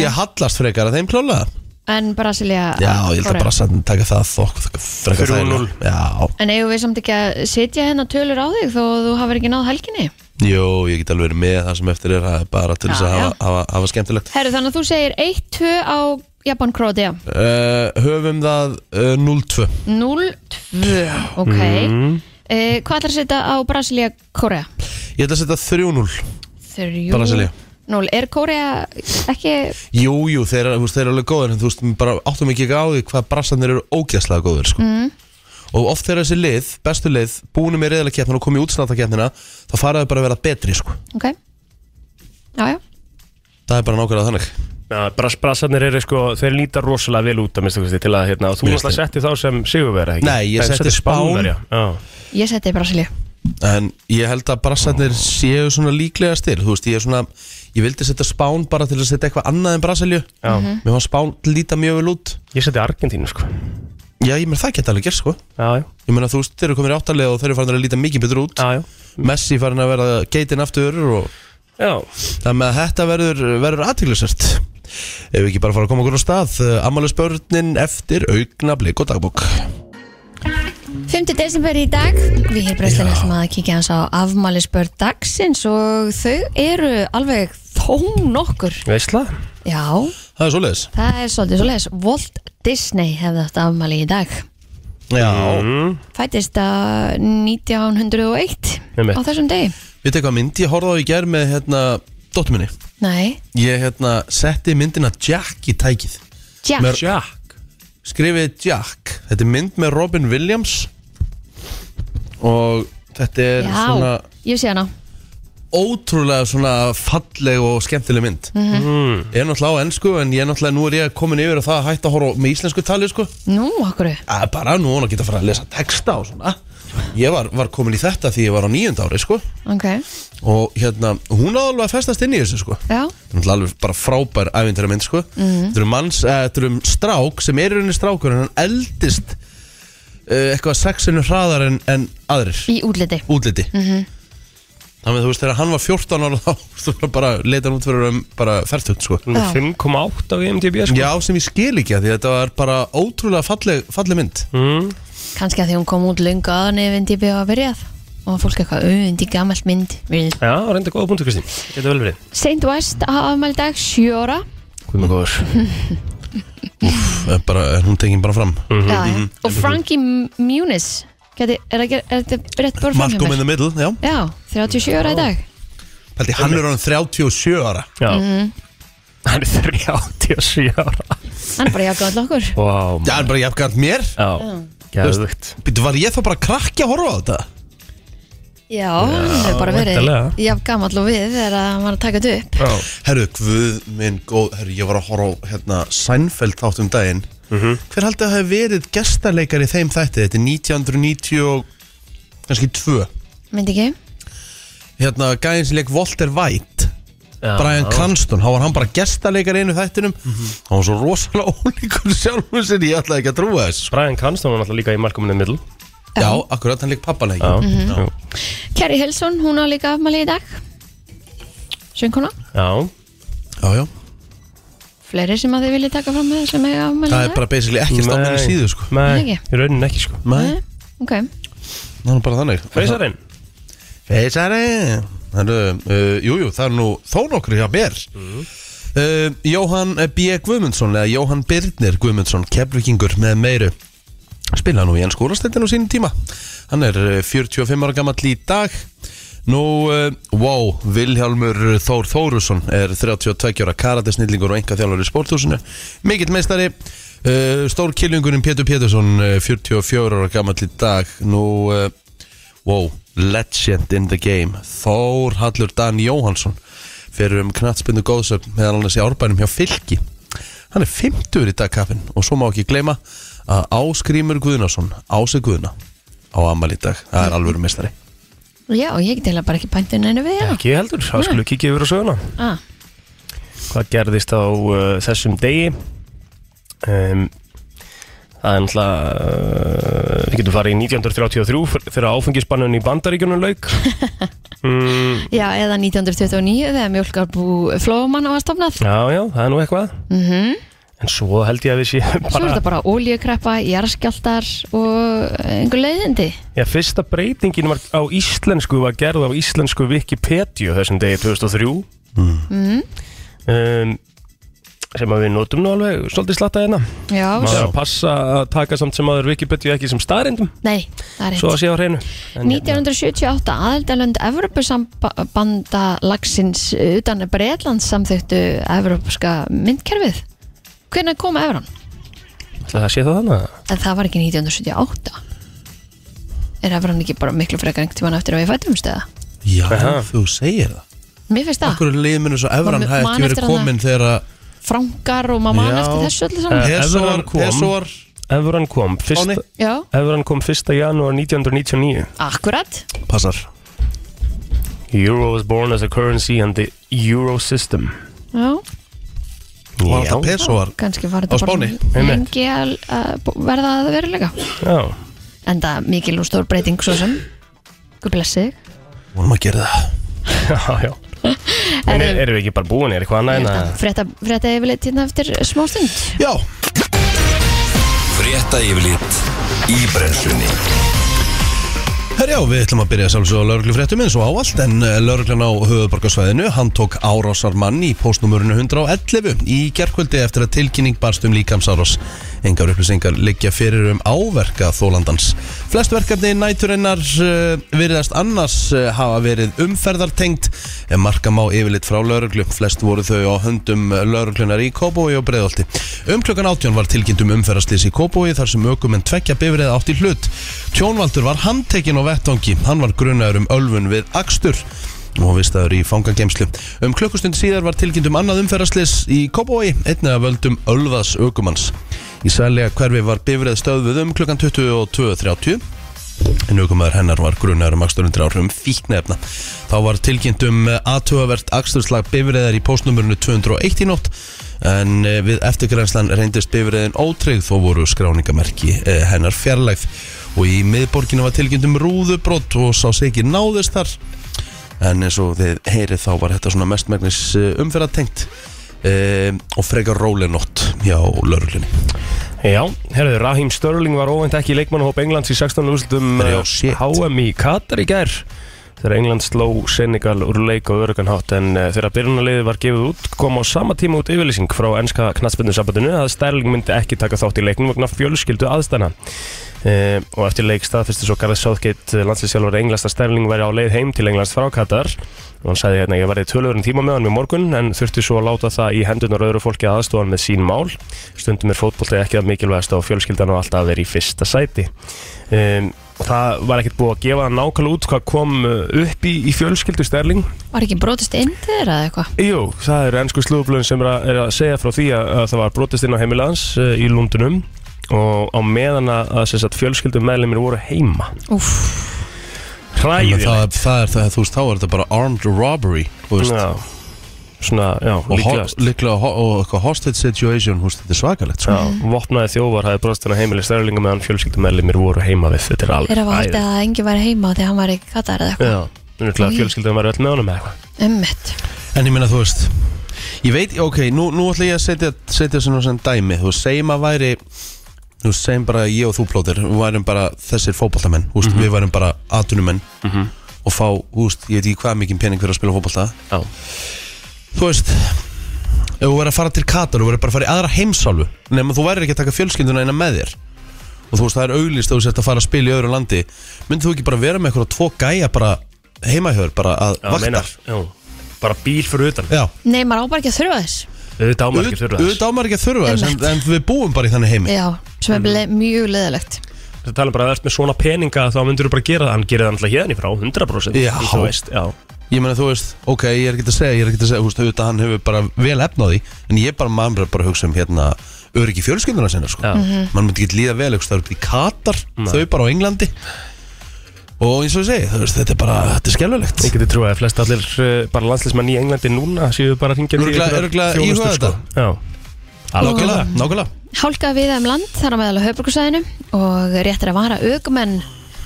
Speaker 1: ég hallast frekar að þeim klálega
Speaker 2: En Brasilia
Speaker 1: Já, ég held að bara að taka það þokk þokk- Frekar
Speaker 3: 3-0.
Speaker 1: þægilega. Já,
Speaker 2: En eigum við samt ekki að setja hérna tölur á þig þó að þú hafur ekki náð helginni?
Speaker 1: jú, ég get alveg verið með það sem eftir er það er Bara til þess
Speaker 2: Já,
Speaker 1: að
Speaker 2: já.
Speaker 1: hafa, hafa, hafa skemmtilegt
Speaker 2: Herru, þannig að þú segir 1-2 á Japan Kroatia
Speaker 1: uh, Höfum það uh, 0-2
Speaker 2: 0-2, ok
Speaker 1: Mhm.
Speaker 2: eh, Hvað ætlar að setja á Brasilia Korea?
Speaker 1: Ég ætla að setja 3-0
Speaker 2: 3
Speaker 1: Brasilía.
Speaker 2: 0, er Korea ekki
Speaker 1: Jú, jú, þeir, eru- þú veist, þeir eru alveg góðir en þú veist, bara áttum ekki á því hvað brassanir eru ógæslega góðir sko.
Speaker 2: Mm.
Speaker 1: og oft þegar þessi lið, bestu lið búinu með reyðarleikkeppnina og komið í útsnáttakkeppnina þá fara þau bara að vera betri sko.
Speaker 2: ok Já, já,
Speaker 1: það er bara nákvæmlega þannig
Speaker 3: Já, brass, brassarnir eru sko, þeir líta rosalega vel út að minnstu kosti til að hérna, og þú
Speaker 1: Mér
Speaker 3: náttúrulega setti þá sem sigurverja ekki?
Speaker 1: Nei, ég
Speaker 3: þú
Speaker 1: setti
Speaker 3: settir
Speaker 1: Spán.
Speaker 3: Spánverja, Já,
Speaker 2: ég seti Brasilia
Speaker 1: en ég held að brassanir séu svona líklega styr þú veist, ég er svona, ég vildi setja spán bara til að setja eitthvað annað en brassalju
Speaker 3: já.
Speaker 2: Mhm.
Speaker 1: mér var spán líta mjög vel út
Speaker 3: Ég setti Argentínu sko
Speaker 1: já, ég meina það geta alveg gert sko
Speaker 3: Já, já,
Speaker 1: ég meina þú veist, þeir eru komin í áttalega og þeir eru farin að líta mikið betur út
Speaker 3: já, já.
Speaker 1: Messi farin að vera geitin aftur og
Speaker 3: já.
Speaker 1: Þannig að þetta verður, verður aðtiklisert Ef við ekki bara fara að koma okkur á stað Amalusbörnin eftir augnablik og dagbók
Speaker 2: 5. desember í dag Við hér breyslinn ætlum að kíkja hans á afmælisbörn dagsins og þau eru alveg þó nokkur
Speaker 3: Veistla?
Speaker 2: Já,
Speaker 1: Það er svoleiðis
Speaker 2: það er svolítið svoleiðis Walt Disney hefði þetta afmæli í dag
Speaker 1: Já
Speaker 3: Mm.
Speaker 2: Fættist að 1901
Speaker 3: Einmitt.
Speaker 2: á þessum degi
Speaker 1: Við tekum að myndi ég horfði á í gær með hérna Dóttu minni
Speaker 2: Nei,
Speaker 1: Ég hérna setti myndina Jack í tækið
Speaker 2: Jack
Speaker 1: Mér-
Speaker 3: Jack
Speaker 1: Skrifið Jack Þetta er mynd með Robin Williams Og þetta er
Speaker 2: Já,
Speaker 1: svona
Speaker 2: ég sé hana
Speaker 1: ótrúlega svona falleg og skemmtileg mynd Mm. Ég er náttúrulega á ennsku en ég er náttúrulega nú er ég komin yfir og það að hætta að horfa á- með íslensku tali sko
Speaker 2: Nú, okkur
Speaker 1: að bara nú hún að geta að fara að lesa texta og svona Ég var, var komin í þetta því ég var á nýjönda ári sko
Speaker 2: Ok,
Speaker 1: og hérna hún á alveg að festast inn í þessu sko
Speaker 2: já,
Speaker 1: Náttúrulega alveg bara frábær æfintæra mynd sko Þetta er um manns, eh, þetta er um strák sem er í rauninni strákur en hann eldist uh, eitthvað sexinu hraðar en, en aðrir
Speaker 2: í útliti
Speaker 1: útliti Þannig að þú veist þegar hann var 14 ára þá þú var bara leita hann út fyrir um bara fertugt sko
Speaker 3: Hún
Speaker 2: Já.
Speaker 3: er 5,8 á IMDb sko.
Speaker 1: Já sem ég skil ekki að því að þetta var bara ótrúlega falleg, falleg mynd
Speaker 3: mm.
Speaker 2: Kannski að því hún kom út löngu aðan ef indi byrja að byrjað og fólk eitthvað auðvindi gamalt mynd við.
Speaker 3: Já, reynda góða punktu Kristín Geta vel verið
Speaker 2: Saint West á afmæli í dag, 7 ára
Speaker 3: Hvað með góður
Speaker 1: Eh, bara, eh, Hún tekið bara fram
Speaker 2: já,
Speaker 1: Mhm.
Speaker 2: já. og Frankie M- Muniz Geti, er, er, er þetta rétt bór fram hjá
Speaker 1: Malcolm in
Speaker 2: mér?
Speaker 1: the Middle, já
Speaker 2: Já, 37 ára í dag
Speaker 1: Paldi, Hann er hann 37 ára
Speaker 3: Já
Speaker 2: Mhm.
Speaker 3: Hann er 37 ára
Speaker 2: Hann er bara jakka all okkur
Speaker 3: Vá
Speaker 1: Já, hann er bara jafnkvæmt mér
Speaker 3: Já, gæðvögt
Speaker 1: Býtu, var ég þá bara krakki að horfa á þetta?
Speaker 2: Já, hann hefur bara verið
Speaker 3: væntanlega.
Speaker 2: jafn gamall og við þegar hann var að taka þetta upp
Speaker 3: Já
Speaker 1: Herru, guð minn góð Herru, ég var að horfa á hérna Seinfeld þátt um daginn
Speaker 3: Mhm.
Speaker 1: Hver haldið að hafi verið gestaleikar í þeim þætti? Þetta er 1990 og kannski 2
Speaker 2: Myndi ekki?
Speaker 1: hérna gæðin sem leik Walter White
Speaker 3: Já.
Speaker 1: Brian Cranston, þá var hann bara gestaleikar í einu þættinum
Speaker 3: Mhm.
Speaker 1: hann var svo rosalega ólíkur sjálfum sinni, ég ætlaði ekki að trúa þess
Speaker 3: Brian Cranston var náttúrulega líka í Malcolm in the Middle
Speaker 1: já, akkurat hann leik pappaleiki
Speaker 3: Já,
Speaker 2: Mhm.
Speaker 3: já,
Speaker 2: Kerry Hilson, hún á líka afmæli í dag Sjöngkona
Speaker 3: já.
Speaker 1: já, já,
Speaker 2: Fleiri sem að þið viljið taka fram með sem eiga afmæli
Speaker 1: það
Speaker 2: í
Speaker 1: er
Speaker 2: dag
Speaker 1: bara basically ekki stofnum í
Speaker 3: Mhm. Nei,
Speaker 1: síðu sko
Speaker 3: Nei,
Speaker 2: Ekki?
Speaker 3: í rauninni ekki sko
Speaker 1: Nei,
Speaker 2: Ok,
Speaker 1: það er bara þannig
Speaker 3: Feysarinn
Speaker 1: Feysari Herru, uh, Jú, jú, það er nú þó nokkur hjá mér uh, Jóhann B. Guðmundsson eða Jóhann Birnir Guðmundsson Keflvíkingur með meiru spila nú í ennsku úrvarsdeildinni á sínum tíma hann er eh, 45 ára gamall í dag Nú, uh, wow, Vilhjálmur Þór Þórusson er 32 ára karatisnillingur og enga þjálfur í sporthúsinu Mikill meistari uh, Stór killingurinn Pétur Pétursson uh, 44 ára gamall í dag Nú, uh, wow, legend in the game Þór Hallur Dan Jóhansson fyrir um knatsbyndu góðsöfn meðan hann sé árbænum hjá Fylki Hann er 50 í dag kaffin og svo má ekki gleyma að Áskrímur Guðnason Ási Guðna á amal í dag það er alvöru meistari
Speaker 2: já, ég get heila bara ekki pæntin einu við hérna
Speaker 3: Ekki heldur, þá skulum við kíkja yfir á söguna
Speaker 2: ah,
Speaker 3: Hvað gerðist á uh, þessum degi um, Það er náttúrulega uh, Við getum farið í 1933 fyr- Fyrir áfengisbannun í bandaríkjunum lauk mm,
Speaker 2: Já, eða 1929 þegar mjölkarbú Flóamanna var stofnað
Speaker 3: Já, já, það er nú eitthvað
Speaker 2: mm
Speaker 3: En svo held ég að við séum
Speaker 2: Svo er
Speaker 3: bara
Speaker 2: þetta bara ólíukreppa, jarðskjaldar og einhver leiðindi
Speaker 3: Já, fyrsta breytingin var á íslensku var gerð á íslensku Wikipedia þessum degi 2003
Speaker 2: Mhm.
Speaker 3: um, sem að við notum nú alveg svolítið slatta hérna
Speaker 2: Já, svo,
Speaker 3: maður er að passa að taka samt sem aður Wikipedia ekki sem starindum
Speaker 2: nei, það er
Speaker 3: svo að
Speaker 2: rétt
Speaker 3: sé á hreinu En hérna,
Speaker 2: 1978 aðildalönd Evropasambanda lagsins utan Breitlands samþyktu Evropska myndkerfið Hvernig kom Evran?
Speaker 3: ætli Það sé það þannig að-
Speaker 2: En það var ekki 1978 Er Evran ekki bara miklu frekar einhvern tímann eftir að við fættumst eða?
Speaker 1: Já,
Speaker 3: Aha.
Speaker 1: þú segir það
Speaker 2: Mér finnst það,
Speaker 1: Akkur er liðminu svo
Speaker 2: Man-
Speaker 1: Evran hafði
Speaker 2: man
Speaker 1: ekki verið
Speaker 2: eftir hann
Speaker 1: komin þegar að
Speaker 2: frangar og
Speaker 1: Já.
Speaker 2: maður mann eftir þessu öllu saman
Speaker 3: Eh.
Speaker 1: Hesoar
Speaker 3: Evran kom.
Speaker 1: Hesoar
Speaker 3: Evran kom
Speaker 1: Áni.
Speaker 3: fyrst,
Speaker 2: Já,
Speaker 3: Evran kom 1. janúar 1999
Speaker 2: akkurat
Speaker 1: Passar
Speaker 3: Euro was born as a currency in the Euro system
Speaker 2: Já,
Speaker 1: Var þetta Pesoar
Speaker 2: kannski var
Speaker 1: Á
Speaker 2: þetta
Speaker 1: Spáni.
Speaker 2: bara
Speaker 3: Einmitt.
Speaker 2: lengi að að bú- eh, verða að veruleika
Speaker 3: Já,
Speaker 2: En það mikil og stór breyting svo sem Guð blessi þig.
Speaker 1: Vonum að gera það
Speaker 3: já, já En er,
Speaker 2: Herðu,
Speaker 3: erum við ekki bara búin, er eitthvað annað hérna? en að
Speaker 2: eh, hérna, Frétta, frétta yfirleitt hérna eftir smástund
Speaker 1: Já,
Speaker 4: Frétta yfirlit í brennslunni
Speaker 1: herjá, við ætlum að byrja sjálfsög á lauruglufréttum eins og áallt en lauruglan á höfuðborgarsvæðinu, hann tók árásarmann í postnumurinu 111 í gerkvöldi eftir að tilkynning barst um líkamsárás. Engar upplýsingar liggja fyrir um áverka þólandans. Flest verkefni næturinnar uh, virðast annars uh, hafa verið umferðartengt en marka má yfirleitt frá lauruglu. Flest voru þau á höndum lauruglunar um, eh, í Kóbói og Breiðolti. Um klokkan 18 var tilkynnt um umferðarslýs í Kóbói þar sem ökumenn tvekja bifrið átt í hlut. Tjónvaldur var handtekinn á vettvangi. Hann var grunaður um ölfun við akstur og vistaður í fangagemslu. Um klukkustund síðar var tilkynnt um annað umferðarslis í Kópói, einnig að völdum Ölvaðs aukumanns. Í sælja hverfi var bifrið stöðuð um klukkan 22.30 en aukumæður hennar var grunar um aksturundir áhrifum fíknefna. Þá var tilkynnt um aðtugavert aksturslag bifriðar í postnumurinu 201 í nótt en eh, við eftirgrænslan reyndist bifriðin ótreyð þó voru skráningamerki eh, hennar fjarlægð og í miðborginu var tilkynnt um rúðubrott og sá sig ekki náðist þar en eins og þið heyrið þá var þetta svona mestmægnis umferðatengt um, og frekar rólinótt hjá lauruglunni
Speaker 3: Já, herruðu, Raheem Störling var óvænt ekki í leikmannahóp Englands í 16. úrslutum
Speaker 1: Já,
Speaker 3: eh,
Speaker 1: shit.
Speaker 3: HM í Katar í gær þegar England sló Senegal úr leik og öruganhátt en eh, þegar byrjunarliðið var gefið út kom á sama tíma út yfirlýsing frá ennska knatsbyrnursambandinu að Sterling myndi ekki taka þátt í leiknum vegna fjölskyldu aðstæna e, og eftir leik staðfyrstu svo Gareth Southgate landslýsjálfur Englands að Sterling væri á leið heim til Englands frá Katar og hann sagði hérna ég verði tölurinn tíma með hann með morgun en þurfti svo að láta það í hendunar öðru fólki að aðstofa hann með sín mál stundum er fótbolti ekki að mikilvægast og fjölskyldan og alltaf er í fyrsta sæti um, það var ekkert búið að gefa nákvæmlega út hvað kom uh, upp í, í fjölskyldu Sterling
Speaker 2: Var ekki brotist inn til þeirra eða eitthvað?
Speaker 3: Jú, það eru ennsku slúðblöðin sem er að, er að segja frá því að, að það var brotist inn á heimilaðans uh, í Lundunum og á meðan að, að sem sagt, fjölskyldum meðlemir voru heima
Speaker 2: Úf,
Speaker 1: það,
Speaker 3: Hræðilegt
Speaker 1: það, það er það, þú veist, þá er þetta bara armed robbery þú veist,
Speaker 3: Já, svona, já,
Speaker 1: og ho-
Speaker 3: líklegast
Speaker 1: líklega ho- og eitthvað hostage situation, þú veist, þetta er svakalegt sko.
Speaker 3: Já, vopnaði þjófar hafði brotist inn á heimili Sterlinga meðan fjölskyldumeðlimir voru heima við Þetta er alveg
Speaker 2: þeirra var haldið að enginn væri heima þegar hann var ekki katar eða eitthvað
Speaker 3: Já, njöglega
Speaker 2: Í.
Speaker 3: fjölskyldum var öll með honum eða eitthvað
Speaker 2: Ummitt
Speaker 1: en ég minna, þú veist ég veit, ok, nú, nú ætla ég að setja setja svona sem dæmi, þú veist, segjum að væri þú veist, segjum bara að ég og þú plótir við værum bara þessir fótboltamenn þú veist, við værum bara atunumenn og fá, þú veist, ég veit ekki hvað mikið pening fyrir að spila fótbolta
Speaker 3: Já,
Speaker 1: þú veist ef þú verður að fara til Katar þú verður bara að fara í aðra heimsálfu nema þú verður ekki að taka fjölskylduna eina með þér og þú veist það er auglýst að þú sért að fara að spila í öðru landi myndir þú ekki bara vera með eitthvað tvo gæja bara heimahjör bara að
Speaker 3: já
Speaker 1: vakta
Speaker 3: meinar Já, bara bíl fyrir utan
Speaker 1: já
Speaker 2: Nei, maður á bara ekki að þurfa þess
Speaker 3: Auðvitað ámæður ekki fyrir
Speaker 1: auðvitað ámar ekki að þurfa þess en,
Speaker 2: Einmitt.
Speaker 1: en við búum bara í þannig heimi
Speaker 2: Já, sem er le mjög leðilegt
Speaker 3: þess Það tala um bara að það ert með svona peninga þá myndur þú bara gera það Hann gerir það alltaf hérna í frá, 100%
Speaker 1: Já.
Speaker 3: Þú veist, já
Speaker 1: ég meina þú veist ok ég er ekki að segja ég er ekki að segja þú veist auðvitað hann hefur bara vel efnaði en ég er bara maður er bara að hugsa um hérna öryggi fjölskylduna sinna sko
Speaker 3: Já.
Speaker 1: mann myndi ekki líða vel eitthvað upp í Katar þau bara á Englandi og eins og ég segi þú veist þetta er bara þetta er skelvilegt
Speaker 3: Ég geti trúið að flest allir uh, bara landslismenn í Englandi núna séu bara hringjandi í
Speaker 1: Örugglega-
Speaker 3: einhverjar
Speaker 1: örugglega
Speaker 3: þjónustur,
Speaker 1: íhuga
Speaker 3: sko. Já
Speaker 1: nákvæmlega nákvæmlega
Speaker 2: Hálka við um land þar á meðal á höfbrukusæðinu og rétt er að vara aukumenn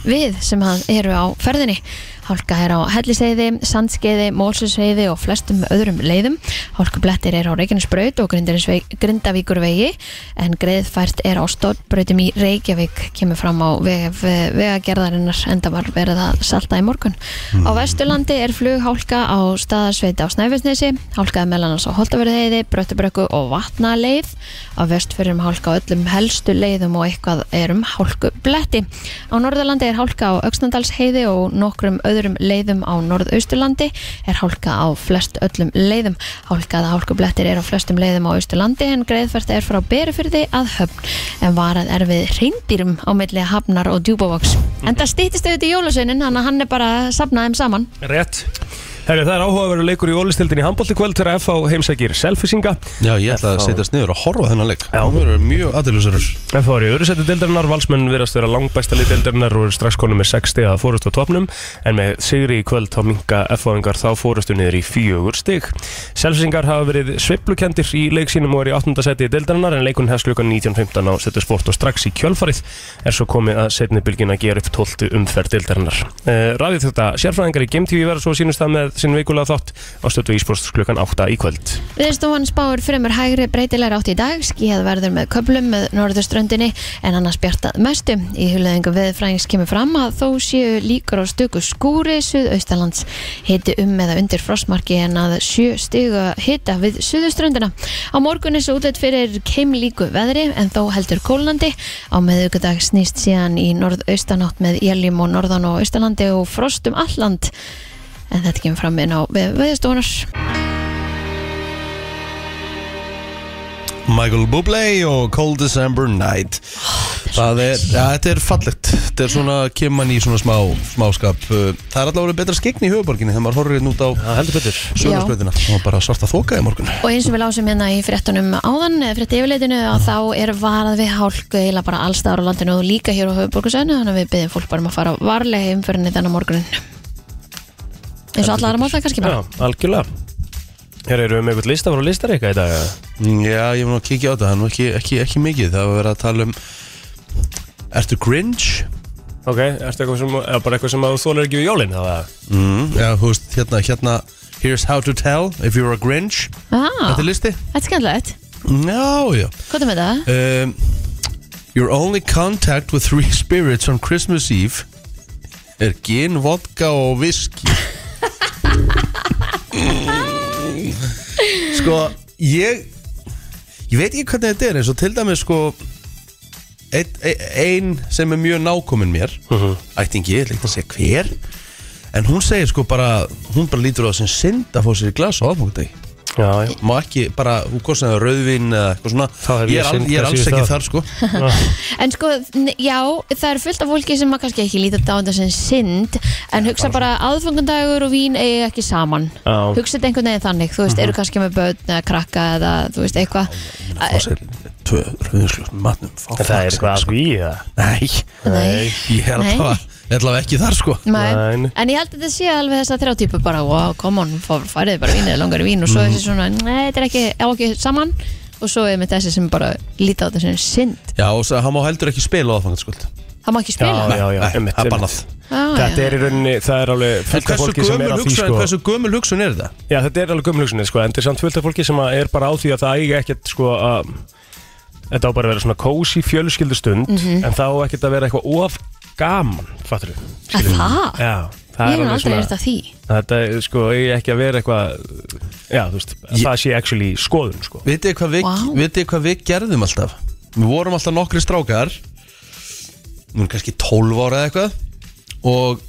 Speaker 2: við sem að eru á ferðinni. Hálka er á helliseiði, sandskeiði, mólsuseiði og flestum öðrum leiðum. Hálkublettir er á Reykjanesbraut og Grindavínsveg- Grindavíkurvegi en greiðfært er á stóttbrautum í Reykjavík kemur fram á vef, eh, vegagerðarinnar enda var verið að salta í morgun. Á Vesturlandi er flughálka á staðarsveiti á Snæfellsnesi, hálkaði meðlanans á Holtavörðheiði, Bröttubrekku og Vatnaleið. Á vestfyrirum hálka á öllum helstu leiðum og eitthvað er um hálku bletti. Á Norðurlandi er hálka á Öxnandalsheiði og nokkrum öðrum leiðum á Norðausturlandi er hálka á flest öllum leiðum. Hálkaða hálkublettir er á flestum leiðum á Austurlandi en greiðfært er frá Berufyrði að höfn en varað er við reyndýrum á milli hafnar og djúbavoks. En það stýttist auðvitað í jólasveinin, hann að hann er bara að safna þeim saman.
Speaker 3: Rétt Herri, það er áhugaverður leikur í ólistildin í handbólti kvöld þegar FH heimsækir selfisinga
Speaker 1: já ég ætla að
Speaker 3: Þá-
Speaker 1: setjast niður og horfa á þennan leik
Speaker 3: Já.
Speaker 1: það verður mjög aðilusurur
Speaker 3: FH er í öðru seti deildarinnar, valsmenn virðast vera langbæsta lið deildarinnar og eru strax konum með 6 stiga að fórustu á topnum en með sigri í kvöld þá minga FH-ingar þá fórustu niður í fjögur stig. Selfisingar hafa verið sveiplukendir í leik sínum og eru í 8. seti deildarinnar en leikun hefst klukkan 19.15 á setu sport og strax í kjölfarið er svo komið að Eh, setni bylgin að gera upp 12. umferð deildarinnar. Uh, Ræðið þetta sérfræðingar í Game TV verða svo sínust það með með sinn veikulega þátt á stötu íspúrst klukkan 8 í kvöld
Speaker 2: Viðstofan spáir fremur hægri breytilegar átt í dag, skíðað verður með köplum með norðurströndinni en annars bjartað mestu. Í hulöðingu veðfræðings kemur fram að þó séu líkur á stöku skúri suðaustalands hiti um eða undir frostmarki en að sjö stiga hita við suðuströndina. Á morgun er svo útleitt fyrir keimlíku veðri en þó heldur kólnandi. Á meðugudag snýst síðan í norðaustanátt með éljum og norðan og austalandi og frost um alland en þetta kemur fram inn á veðstofunar.
Speaker 1: Michael Bublé og Cold December Night Það er, ja, þetta er fallegt Þetta er svona, kemur mann í svona smá smáskap Uh, Það er allavega betra skegn í höfuborginni þegar maður horfir hérna út á
Speaker 3: Það heldur betur
Speaker 1: sögurspröðina og bara svarta þoka í morgun
Speaker 2: Og eins og við lásum hérna í fréttunum áðan, eða frétt yfirleitinu, að þá er varað við hálku eila bara allstaðar á landinu og líka hér á höfuborgarsöðinu, þannig að við byggjum fólk bara um að fara varlega í umfyrinni þennan morgunin. Eins og alla aðra móta kannski bara.
Speaker 3: Já, algjörlega Hér eru um við með eitthvað lista, voru listar eitthvað í dag eða?
Speaker 1: Mm, Já, ég mun að kíkja á þetta, það er nú ekki, ekki, ekki mikið Það var verið að tala um Ertu Grinch?
Speaker 3: Ok, ertu eitthvað sem, eða bara eitthvað sem að þú þólar ekki við jólinn þá eða?
Speaker 1: Mm, já, þú veist, hérna, hérna Here's how to tell if you're a Grinch
Speaker 2: Ah,
Speaker 1: Þetta er listi
Speaker 2: þetta er skemmtilegt.
Speaker 1: Já, já
Speaker 2: Hvað er með það?
Speaker 1: um, Your only contact with three spirits on Christmas Eve er gin, vodka og whisky Sko, ég ég veit ekki hvernig þetta er eins og til dæmis sko ein, ein sem er mjög nákomin mér ættingi, ég líkt að segja hver en hún segir sko bara hún bara lítur á það sem synd að fá sér í glas á aðfókdegi
Speaker 3: Já, já
Speaker 1: má ekki bara, hún kostið það rauðvin eða eitthvað svona,
Speaker 3: Það er
Speaker 1: ég er,
Speaker 3: ég
Speaker 1: al, ég
Speaker 3: synd
Speaker 1: er
Speaker 3: hvað
Speaker 1: alls
Speaker 3: síðust
Speaker 1: ekki
Speaker 3: það.
Speaker 1: þar sko
Speaker 2: En sko, n- já, það er fullt af fólki sem að kannski ekki líta þetta á þetta sem synd en hugsa bara aðfangandagur og vín eigi ekki saman.
Speaker 3: Já.
Speaker 2: Hugsa þetta einhvern veginn þannig, þú veist, eru kannski með börn eða krakka eða þú veist, eitthvað.
Speaker 1: fá sér tvö rauðinslust með matnum fá
Speaker 3: En það er eitthvað að skvíi það
Speaker 1: nei,
Speaker 2: Nei.
Speaker 1: ég er
Speaker 2: Nei.
Speaker 1: allavega, ég er allavega ekki þar sko
Speaker 2: Nei.
Speaker 3: Nei.
Speaker 2: En ég held að þetta sé alveg þess að þrjá típu bara, wow, come on, fá- færið bara vín eða langar í vín og svo
Speaker 3: Mhm.
Speaker 2: þessi svona, nei, þetta er ekki, á ekki saman og svo er með þessi sem bara líta á þetta sem synd.
Speaker 1: já, og svo, hann má heldur ekki spila á aðfanganskvöld
Speaker 2: Það má ekki spila.
Speaker 3: Já, já, já,
Speaker 1: nei,
Speaker 3: einmitt,
Speaker 1: það er
Speaker 3: einmitt.
Speaker 1: bannað
Speaker 2: Já,
Speaker 3: Þetta er í rauninni, það er alveg
Speaker 1: en
Speaker 3: fullt af
Speaker 1: hversu
Speaker 3: fólki sem er á
Speaker 1: gömul,
Speaker 3: því
Speaker 1: hugsun,
Speaker 3: sko
Speaker 1: hversu gömul hugsun er þetta?
Speaker 3: Já, þetta er alveg gömlugsunni sko, en þetta er samt fullt af fólki sem að er bara á því að það eiga ekkert sko að Þetta á bara að vera svona kósi fjölskyldustund
Speaker 2: Mhm.
Speaker 3: En þá á ekkert að vera eitthvað of gaman, fattur við
Speaker 2: Að það?
Speaker 3: Já, það
Speaker 2: Ég hef
Speaker 3: er alveg
Speaker 2: aldrei
Speaker 3: svona
Speaker 2: eftir því.
Speaker 3: Þetta er sko, eigi ekki að vera eitthvað Já, þú veist,
Speaker 1: Ég-
Speaker 3: það sé actually skoðun sko
Speaker 1: vitið þið hvað, við-
Speaker 2: Vá.
Speaker 1: vitið þið hvað við gerðum alltaf? við vorum alltaf nokkri strákar nú er kannski 12 ára eða eitthvað og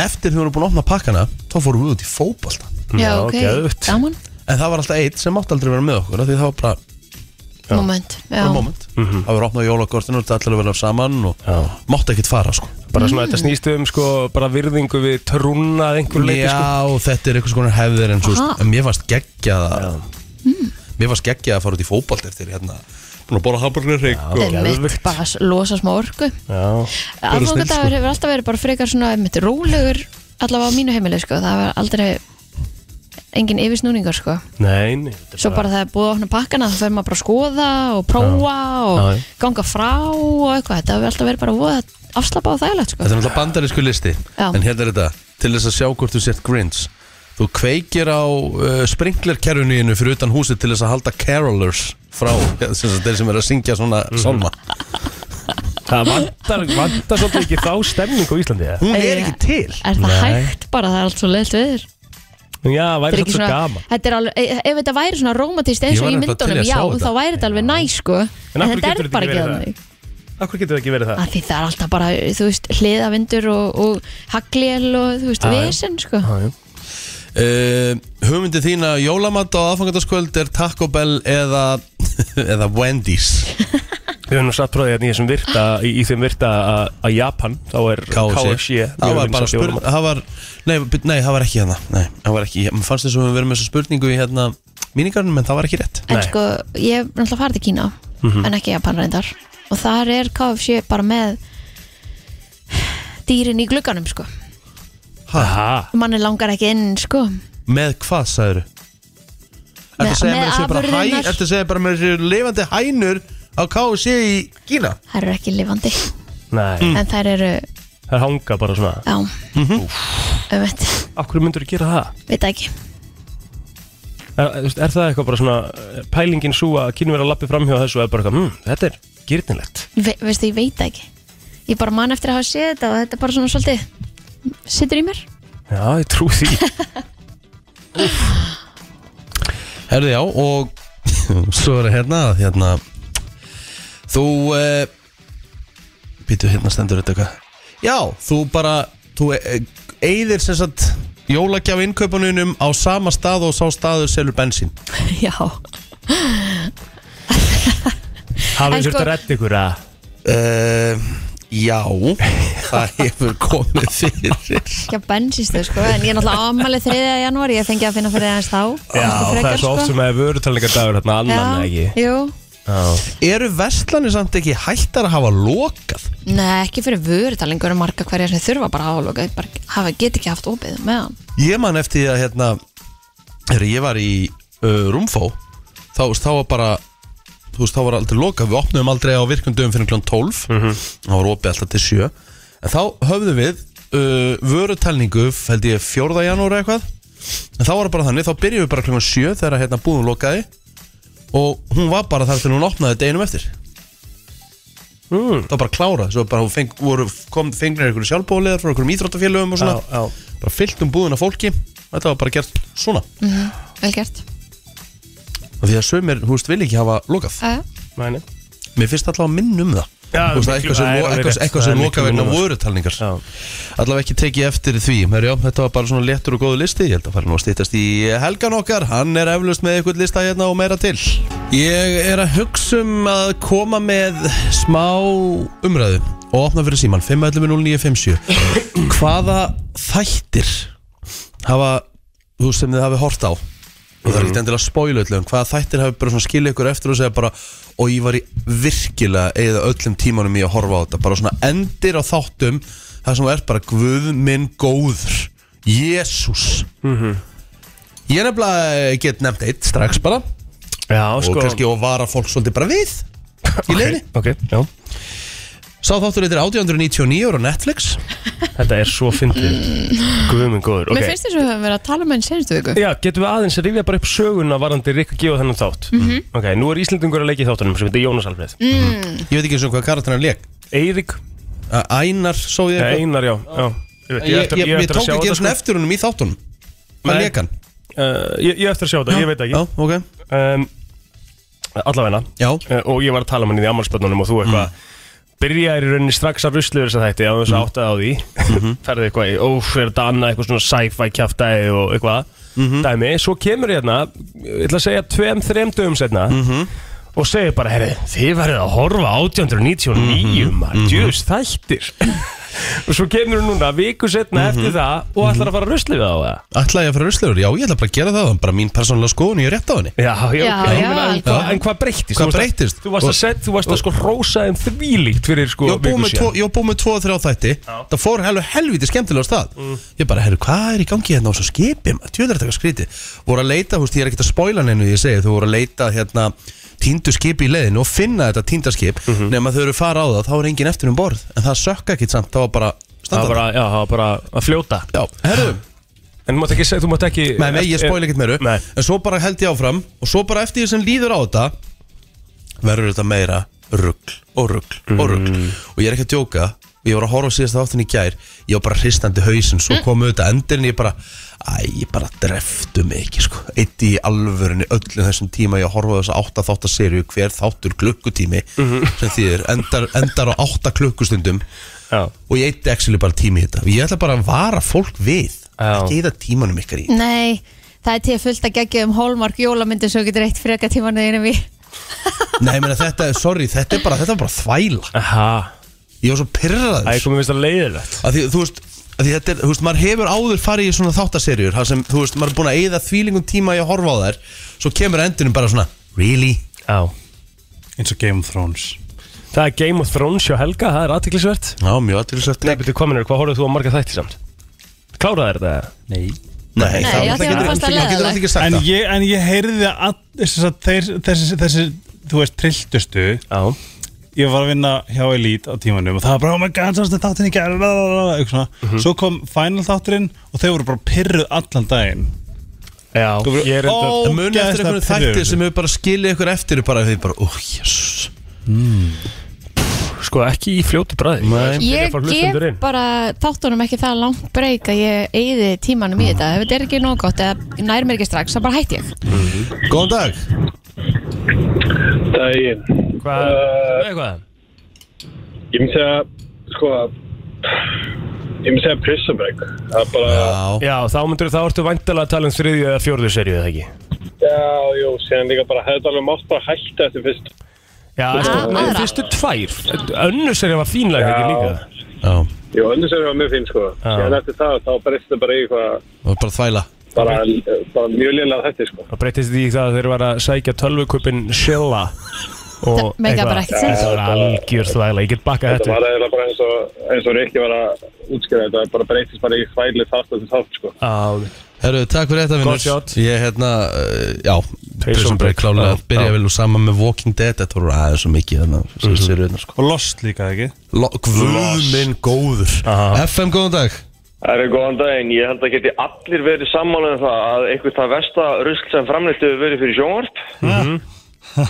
Speaker 1: eftir því við vorum búin að opna pakkana þá fórum við út í fótbolta
Speaker 2: Já,
Speaker 3: Já,
Speaker 2: ok,
Speaker 3: geðveikt.
Speaker 2: gaman,
Speaker 1: En það var alltaf eitt sem mátti aldrei vera með okkur af Því það var bara
Speaker 2: moment. Já,
Speaker 1: bara moment Það var opnað jólakortinu og þetta allir að vera saman og
Speaker 3: Mhm. Já.
Speaker 1: mátti ekkert fara sko
Speaker 3: Bara svona, þetta snýst um sko, bara virðingu við trúnað einhver leiti sko
Speaker 1: Já, þetta er einhvers konar hefðir en svo
Speaker 2: Aha. Mm.
Speaker 1: en Mér fannst geggjað að Mér fannst geggjað að fara út í fótbolt eftir hérna Búin að bóla hamburger reik og
Speaker 2: þetta er mitt,
Speaker 3: geðveikt.
Speaker 2: bara s- losa smá orku.
Speaker 3: Já, sko.
Speaker 2: Aðfangadagur hefur alltaf verið bara frekar svona mitt rólegur, allavega á mínu heimili, sko, það var aldrei engin yfirsnúningar, sko.
Speaker 3: nei, nei þetta er
Speaker 2: Svo bara það er búið að opna pakkana þá fyrir maður bara að skoða og prófa og
Speaker 3: Já, já.
Speaker 2: ganga frá og eitthvað þetta hefur alltaf verið bara voða afslapað og þægilegt sko.
Speaker 1: Þetta er náttúrulega bandarísku listi
Speaker 2: Já.
Speaker 1: En hérna er þetta Til þess að sjá hvort þú sért grins Þú kveikir á uh, sprinklerkerfuníinu fyrir utan húsi til þess að halda carolers frá sem sagt, þeir sem er að syngja svona
Speaker 3: Mhm.
Speaker 1: sálma
Speaker 3: Það vantar, vantar svolítið ekki þá stemning á Íslandi eða?
Speaker 1: Hún er
Speaker 2: Eiginlega-
Speaker 1: ekki til
Speaker 2: Er það
Speaker 3: Nei.
Speaker 2: hægt bara það er allt svo leiðt viður
Speaker 3: Já,
Speaker 2: Þetta er
Speaker 3: væri þetta
Speaker 2: ekki
Speaker 3: svo
Speaker 2: svona,
Speaker 3: gaman
Speaker 2: þetta er alveg, e- ef þetta væri svona romantist
Speaker 1: Ég
Speaker 2: eins
Speaker 1: var
Speaker 2: og í
Speaker 1: nefnilega til í
Speaker 2: myndunum
Speaker 1: að
Speaker 2: já,
Speaker 1: sjá þetta.
Speaker 2: þá væri þetta alveg næ sko
Speaker 3: En
Speaker 2: en
Speaker 3: af hverju
Speaker 2: þetta
Speaker 3: getur
Speaker 2: er
Speaker 3: þetta
Speaker 2: bara
Speaker 3: ekki
Speaker 2: ekki
Speaker 3: verið
Speaker 2: þannig
Speaker 3: Akkur getur það ekki verið það?
Speaker 2: Af því það er alltaf bara, þú veist, hliðavindur og, og haglél og, þú veist,
Speaker 3: Já, já.
Speaker 2: vesen sko
Speaker 3: Já, já.
Speaker 1: Uh, hugmyndið þín að jólamat á aðfangandaskvöld er Taco Bell eða, eða Wendy's
Speaker 3: Við höfum nú satt frá því hérna í þessum virta í, í þeim virta að- að Japan þá er KFC mjög
Speaker 1: Það var bara
Speaker 3: vinsælt í
Speaker 1: spurning
Speaker 3: jólamat.
Speaker 1: það var, nei, byrju, nei, það var ekki hérna Nei, það var ekki Mér fannst þess að við verðum með þessa spurningu í hérna mínikarnum en það var ekki rétt
Speaker 2: En
Speaker 3: Nei. Mhm.
Speaker 2: sko, ég hef náttúrulega farið til Kína en ekki Japan reyndar og þar er KFC bara með dýrin í glugganum sko
Speaker 1: ha,
Speaker 3: Aha,
Speaker 2: manni langar ekki inn sko
Speaker 1: Með hvað, sagður? Ertu
Speaker 2: Með-
Speaker 1: að segja
Speaker 2: með
Speaker 1: mér að séu bara hæ
Speaker 2: afurðirnar.
Speaker 1: Ertu að segja bara mér að séu lifandi hænur á KFC í Kína?
Speaker 2: það eru ekki lifandi
Speaker 3: nei,
Speaker 2: en þær eru,
Speaker 3: það hanga bara svona
Speaker 2: já um veit,
Speaker 3: Af hverju myndur þú gera það?
Speaker 2: veit það ekki
Speaker 3: Er, þú veist, er það eitthvað bara svona er pælingin svo að kynum vera að lappi framhjá þessu og er bara eitthvað, hm, þetta er gyrnilegt
Speaker 2: Ve veistu, ég veit það ekki ég bara man eftir að hafa séð þetta og þetta bara svona svolítið sittur í mér
Speaker 3: Já, ég trú því
Speaker 1: Herði já og svo er það hérna að hérna þú uh, býtu hérna stendur þetta eitthvað já þú bara þú eigðir sem sagt jólagjáf innkaupunum á sama stað og sá staður selur bensín
Speaker 2: já, En
Speaker 3: Hafið
Speaker 2: sko-
Speaker 3: þurft að redda ykkur að
Speaker 1: uh, já það hefur komið fyrir
Speaker 2: ekki að bensistu sko en ég er náttúrulega ámalið 3. janúar ég fengi að finna fyrir aðeins þá sko.
Speaker 3: Já, það er svo oft sem að vörutalningar dagur hérna annan eða
Speaker 2: Já,
Speaker 3: ekki
Speaker 2: jú,
Speaker 3: Já,
Speaker 1: eru verslanir samt ekki hættar að hafa lokað
Speaker 2: Nei, ekki fyrir vörutalingur og marga hverja sem þurfa bara að áloka bara hafa, get ekki haft opið með hann
Speaker 1: Ég man eftir því að hérna Þegar ég var í uh, Rúmfó þá, þú veist, þá var bara Þú veist, þá var aldrei lokað Við opnum aldrei á virkundum fyrir kl. 12 Það var opið alltaf til 7 En þá höfðum við uh, Vörutalningu, held ég 4. janúar eitthvað En þá var það bara þannig Þá byrjuðum við bara kl. 7 þegar hérna búðum lokaði Og hún var bara þar til hún opnaði deginum eftir
Speaker 3: Mm.
Speaker 1: Það var bara klárað Svo bara hún feng, voru, kom, fengnir einhverju sjálfbóliðar Frá einhverjum íþróttafélögum og svona
Speaker 3: já, já
Speaker 1: bara fyllt um búðuna fólki þetta var bara gert svona mm.
Speaker 2: Vel gert
Speaker 1: því að sömur, þú veist, vil ekki hafa lokað
Speaker 2: uh,
Speaker 3: Mæni
Speaker 1: mér finnst allavega minn um það
Speaker 3: Já,
Speaker 1: Þú veist, það er
Speaker 3: miklu-
Speaker 1: eitthvað sem,
Speaker 3: það er
Speaker 1: lo-
Speaker 3: alveg
Speaker 1: eitthvað,
Speaker 3: rétt.
Speaker 1: eitthvað
Speaker 3: Það er
Speaker 1: sem
Speaker 3: miklu
Speaker 1: lokað vegna
Speaker 3: minna.
Speaker 1: vorutalningar
Speaker 3: Já.
Speaker 1: allavega ekki tekið eftir því Herjá, þetta var bara svona léttur og góðu listi ég held að fara nú að stýttast í helgan okkar hann er eflust með eitthvað lista hérna og meira til ég er að hugsa um að koma með smá umræðu og opna fyrir síman 5.11.09.57 hvaða þættir hafa, þú veist, sem þið hafi hort á og það er
Speaker 3: Mhm.
Speaker 1: ekkert endilega að spóila öllum hvaða þættir hafi bara svona skilja ykkur eftir og segja bara og ég var í virkilega eða öllum tímanum í að horfa á þetta bara svona endir á þáttum það sem þú ert bara guð minn góður Jésús
Speaker 3: Mhm.
Speaker 1: ég er nefnilega get nefnt eitt strax bara
Speaker 3: Já,
Speaker 1: og
Speaker 3: sko
Speaker 1: kannski og vara fólk svolítið bara við í leiðinni
Speaker 3: Ok, já
Speaker 1: sá þáttur þetta er 1899 á Netflix
Speaker 3: Þetta er svo fyndið Guðum en
Speaker 2: Mér
Speaker 3: góður Ok
Speaker 2: finnst þess að við höfum verið að tala um henni senstu viku
Speaker 3: Já, getum við aðeins að rifja bara upp söguna varandi Rikka G og þennan þátt
Speaker 2: Mhm.
Speaker 3: Ok, nú er Íslendingur að leiki þáttunum sem heitir Jónas Alfreð mm.
Speaker 1: ég veit ekki eins og hvað karakterna leik
Speaker 3: Eirík,
Speaker 1: Ænar, svo ég
Speaker 3: ja,
Speaker 1: eitthvað
Speaker 3: Einar, já, já. Ég, veit,
Speaker 1: Ég, ég,
Speaker 3: eftir-
Speaker 1: ég,
Speaker 3: eftir að
Speaker 1: tók
Speaker 3: sjá
Speaker 1: ekki
Speaker 3: þetta, sko.
Speaker 1: eins og eftir húnum í þáttunum Hvað
Speaker 3: Nei.
Speaker 1: leik hann?
Speaker 3: Uh, ég, ég eftir að sjá þetta, ég veit það
Speaker 1: Já,
Speaker 3: ekki
Speaker 1: ok
Speaker 3: um, Allavegna
Speaker 1: Já,
Speaker 3: uh, Og ég var að tala um hann í því ammalspöldunum Og þú eitthvað Byrjaðir í rauninni strax að ruslu þess að þætti Á þess að áttaði á því Ferði eitthvað í Óf, er þetta annað eitthvað svona sci-fi kjaftaði Og eitthvað Dæmi, svo kemur ég hérna Ég ætla að segja tveim, þreim dögum setna Og segir bara, herri, þið verðið að horfa á 1899, maður, djús, þættir Og svo kemur hún núna, viku setna eftir það Og ætlar að fara að rusli við á það
Speaker 1: ætla ég að fara ruslur? Já, ég ætla bara að gera það Það er bara mín persónulega skoðun, ég er rétt á henni
Speaker 3: Já, já,
Speaker 2: Já,
Speaker 3: ok, ég
Speaker 2: já,
Speaker 3: meina, en,
Speaker 2: algjörlega.
Speaker 3: hva, en hvað
Speaker 1: Hvað
Speaker 3: breyttist? Þú varst að-
Speaker 1: breyttist?
Speaker 3: Þú varst að, set, þú varst að sko rósa þeim þvílíkt fyrir sko
Speaker 1: Ég var búið
Speaker 3: viku
Speaker 1: með
Speaker 3: síðan.
Speaker 1: tvo- ég var búið með tvo og þrjá þætti Það fór helvi, helviti skemmtilega á stað
Speaker 3: Mm.
Speaker 1: Ég bara, herru, hvað er í gangi hérna á þessu skipi? Tjóður þetta eitthvað skríti Voru að leita, þú veist, ég er ekkert að spoila neinu því ég segi Þú voru að leita hérna týndu skipi í leiðinu og finna þetta týnda skip mm
Speaker 3: Mhm.
Speaker 1: -hmm. Nefn að þau eru fara á það, þá er engin eftir um borð En það sökka ekkit samt, það var bara
Speaker 3: Það var
Speaker 1: standað
Speaker 3: bara, já, það var bara að fljóta
Speaker 1: Já, herru,
Speaker 3: En þú mátt ekki, segja- þú mátt ekki Eh,
Speaker 1: Nei, nei, ég spoil ekkert meiru
Speaker 3: Nei.
Speaker 1: En svo bara held ég áfram Og svo bara eftir því sem líður á þetta Verður þetta meira rugl og rugl og rugl
Speaker 3: Mm.
Speaker 1: Og ég er ekki að djóka Ég var að horfa á síðast þáttin í gær Ég var bara hristandi hausinn
Speaker 3: Mm.
Speaker 1: Svo komu þetta endurinn Ég bara, æ, ég bara dreftu mig ekki sko. Eitt í alvörunni öllum þessum tíma Ég horfa á þessa átta þáttaserju Hver þáttur klukkutími
Speaker 3: Mhm.
Speaker 1: Sem þýðir endar, endar á átta klukkustundum
Speaker 3: Já,
Speaker 1: Og ég eitti actually bara tími í þetta Ég ætla bara að vara fólk við
Speaker 3: Já.
Speaker 1: Ekki eða tímanum ykkar í
Speaker 2: Nei, það er til fullt að gegja um hólmark jólamyndu svo getur eitt freka tímanuðinum í
Speaker 1: Nei, meni, þetta, er- sorry, þetta er bara, þetta er bara þvæla
Speaker 3: aha
Speaker 1: Ég var svo
Speaker 3: Æ,
Speaker 1: pyrraður
Speaker 3: komið finnst að leiðilegt
Speaker 1: að því, þú veist, að því þetta er, þú veist, maður hefur áður farið í svona þáttaserjur þar sem, þú veist, maður er búin að eyða þvílingum tíma í að horfa á þær Svo kemur endurinn bara svona, really?
Speaker 3: Já
Speaker 5: eins og Game of Thrones
Speaker 3: Það er Game of Thrones hjá Helga, það er aðtiklisvert
Speaker 1: Já, mjög aðtilsvægt
Speaker 3: Nei, betur, hvað minnur, hvað horfðu þú á marga þætti samt? Kláraði þér þetta?
Speaker 5: Nei
Speaker 1: Nei,
Speaker 2: Nei,
Speaker 1: það
Speaker 2: já, því að
Speaker 1: getur
Speaker 2: fannst það
Speaker 1: maður getur
Speaker 2: leiðinlegt.
Speaker 1: alltaf ekki sagt
Speaker 5: En
Speaker 1: það
Speaker 5: ég, en ég heyrði að þess að þeir, þessi, þessi, þú veist, trilltustu
Speaker 3: Já
Speaker 5: ég var að vinna hjá Elite á tímanum og það var bara, oh my god, það er þáttin í gerð eitthvað svona, svo kom final þátturinn og þeir voru bara pyrruð allan daginn
Speaker 3: Já,
Speaker 5: voru-
Speaker 3: ég er enda
Speaker 5: Ó,
Speaker 1: Það muni eftir
Speaker 5: Ógeðslega
Speaker 1: einhvern þætti
Speaker 5: pirrandi.
Speaker 1: sem við bara skilja ykkur eftir bara því bara, óh, jæsus
Speaker 3: Sko ekki í fljótu bræði
Speaker 2: Ég gef bara þáttunum ekki það langt breyk að ég eyði tímanum í þetta ef þetta er ekki nóg gott eða nær mér ekki strax þá bara hætti ég
Speaker 1: Góðan dag,
Speaker 6: Daginn.
Speaker 3: Hvað?
Speaker 6: Uh,
Speaker 3: Eitthvað?
Speaker 6: ég myndi segja, sko, ég myndi segja Prissabæk. Það er bara,
Speaker 1: já,
Speaker 3: Já, þá myndur þá ertu væntalega að tala um þriðju eða fjórðu serju eða ekki
Speaker 6: já, jú, síðan líka bara, hefði þetta alveg mátt bara hætta eftir fyrst.
Speaker 3: Já,
Speaker 2: Ah,
Speaker 3: sko,
Speaker 2: aðra.
Speaker 3: fyrstu tvær Önnu serja var fínlega ekki líka
Speaker 1: já,
Speaker 6: Jú, önnur sem var mjög fín, sko. Síðan eftir það, þá breyst þetta bara í eitthvað,
Speaker 1: það var bara að þvæla
Speaker 6: bara, bara mjög lélega þetta, sko.
Speaker 3: Það breytist því það að þeir var að sækja tölvukupin Shilla
Speaker 2: Það meikar bara ekkert sens.
Speaker 3: Það var algjör þvægla, ég get bakkað
Speaker 6: Þetta
Speaker 3: þetta
Speaker 6: var eiginlega bara eins og, eins og Rikki var að útskýra þetta, bara breytist bara í þvæli þátt eftir þátt, sko.
Speaker 3: Já,
Speaker 1: Herru, takk fyrir þetta
Speaker 3: Gott shot.
Speaker 1: vinnur Ég hérna, uh, já,
Speaker 3: Prison
Speaker 1: Prison Break
Speaker 3: Break,
Speaker 1: klálega
Speaker 3: já, já. Mhm.
Speaker 1: Byrja vel og sama með Walking Dead Þetta voru aðeins svo mikið þannig að sér reyna sko
Speaker 5: og lost líka, ekki?
Speaker 1: Lo- Guð minn góður
Speaker 3: Aha.
Speaker 1: FM, góðan dag
Speaker 7: Það eru góðan daginn, ég held að geti allir verið sammála um það að eitthvað það versta rusl sem framleitt hefur verið fyrir sjónvarp
Speaker 1: Mhm.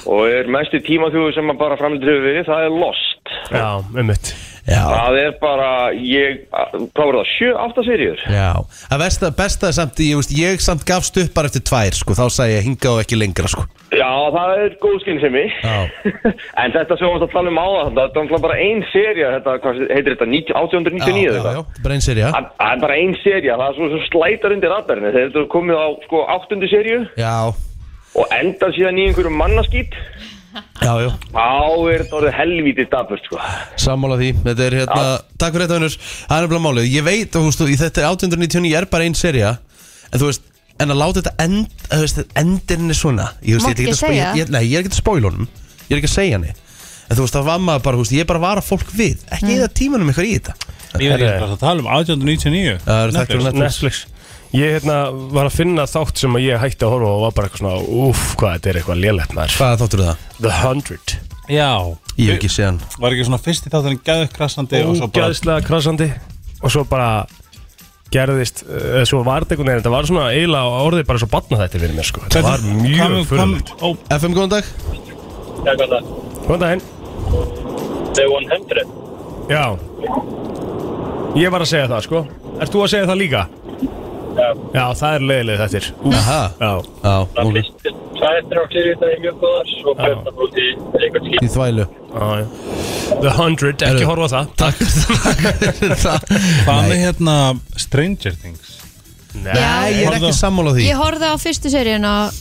Speaker 7: og er mesti tímaþjóðu sem að bara framleitt hefur verið, það er Lost.
Speaker 3: já, ummitt
Speaker 1: Já,
Speaker 7: Það er bara, ég, hvað voru það, sjö, átta seriur?
Speaker 1: já Það besta, besta er samt, ég, veist, ég samt gafst upp bara eftir tvær sko Þá sagði ég hinga og ekki lengra sko
Speaker 7: Já, það er góð skynsemi,
Speaker 1: Já.
Speaker 7: en þetta sem við varst að tala um á það, þetta er náttúrulega bara ein serja, þetta, hvað heitir þetta, 19- 1899 eða
Speaker 1: já,
Speaker 7: eitthvað?
Speaker 1: já, brennserja
Speaker 7: Það það er bara ein serja, það er svo, svo slætar undir radarinu, þeir eru komið á sko áttundu serju
Speaker 1: Já,
Speaker 7: og endar síðan í einhverjum mannaskýt
Speaker 1: já, já,
Speaker 7: Þá er þetta orðið helvítið dapur sko
Speaker 1: sammála því Þetta er hérna, takk fyrir þetta vinnur Það er nefnilega málið, ég veit, þú veist, þú, í þetta 899 er bara einn serja En þú veist, en að láta þetta end, að þú veist, endirinn er svona Ég veist, ég
Speaker 2: Mátt
Speaker 1: ætla
Speaker 2: ekki
Speaker 1: að spo-
Speaker 2: segja?
Speaker 1: ég- ég- Nei, ég er ekki að spóila honum Ég er ekki að segja henni En þú veist, það var maður bara, þú veist, ég er bara að vara fólk við Ekki mm. eða tímanum ykkur í þetta
Speaker 5: Ég er ekki bara að tala um 1899
Speaker 1: Það eru þættir á Netflix.
Speaker 3: Netflix Ég hérna var að finna þátt sem að ég hætti að horfa á og var bara eitthvað svona Úf, hvað þetta er eitthvað lélegt maður
Speaker 1: Hvað þáttur það?
Speaker 3: The Hundred
Speaker 5: Já,
Speaker 1: Ég hef ekki séð hann
Speaker 5: var ekki svona fyrst í þáttunum gæðukrasandi og svo bara
Speaker 3: Ógæðslega krasandi Og svo bara gerðist uh, Svo var þetta einhvern veginn, þetta var svona eiginlega á orðið bara svo batna þetta fyrir mér sko Þetta var mjög fyrirlegt
Speaker 5: Ó,
Speaker 1: FM, góðan dag
Speaker 6: Já, hvað það?
Speaker 3: Góðan daginn
Speaker 6: The 100.
Speaker 3: Já Ég var að segja það sko Ert þú að segja það líka?
Speaker 6: Já.
Speaker 3: Já, það er leiðileg þetta er
Speaker 1: Aha.
Speaker 3: Já
Speaker 1: Já,
Speaker 6: Það
Speaker 1: ok.
Speaker 6: fyrst, það eftir á sér í þetta er mjög góðar, svo
Speaker 3: Já.
Speaker 6: björnum út í eitthvað skil.
Speaker 1: Í þvælu
Speaker 3: Já, já. The Hundred, ekki
Speaker 1: Herru,
Speaker 3: horfa á það
Speaker 1: Takk fyrir það
Speaker 5: hvað með hérna Stranger Things?
Speaker 2: Já,
Speaker 1: Nei, ég er
Speaker 5: Horfðu.
Speaker 1: ekki sammála því
Speaker 2: Ég horfði á fyrstu seríun og,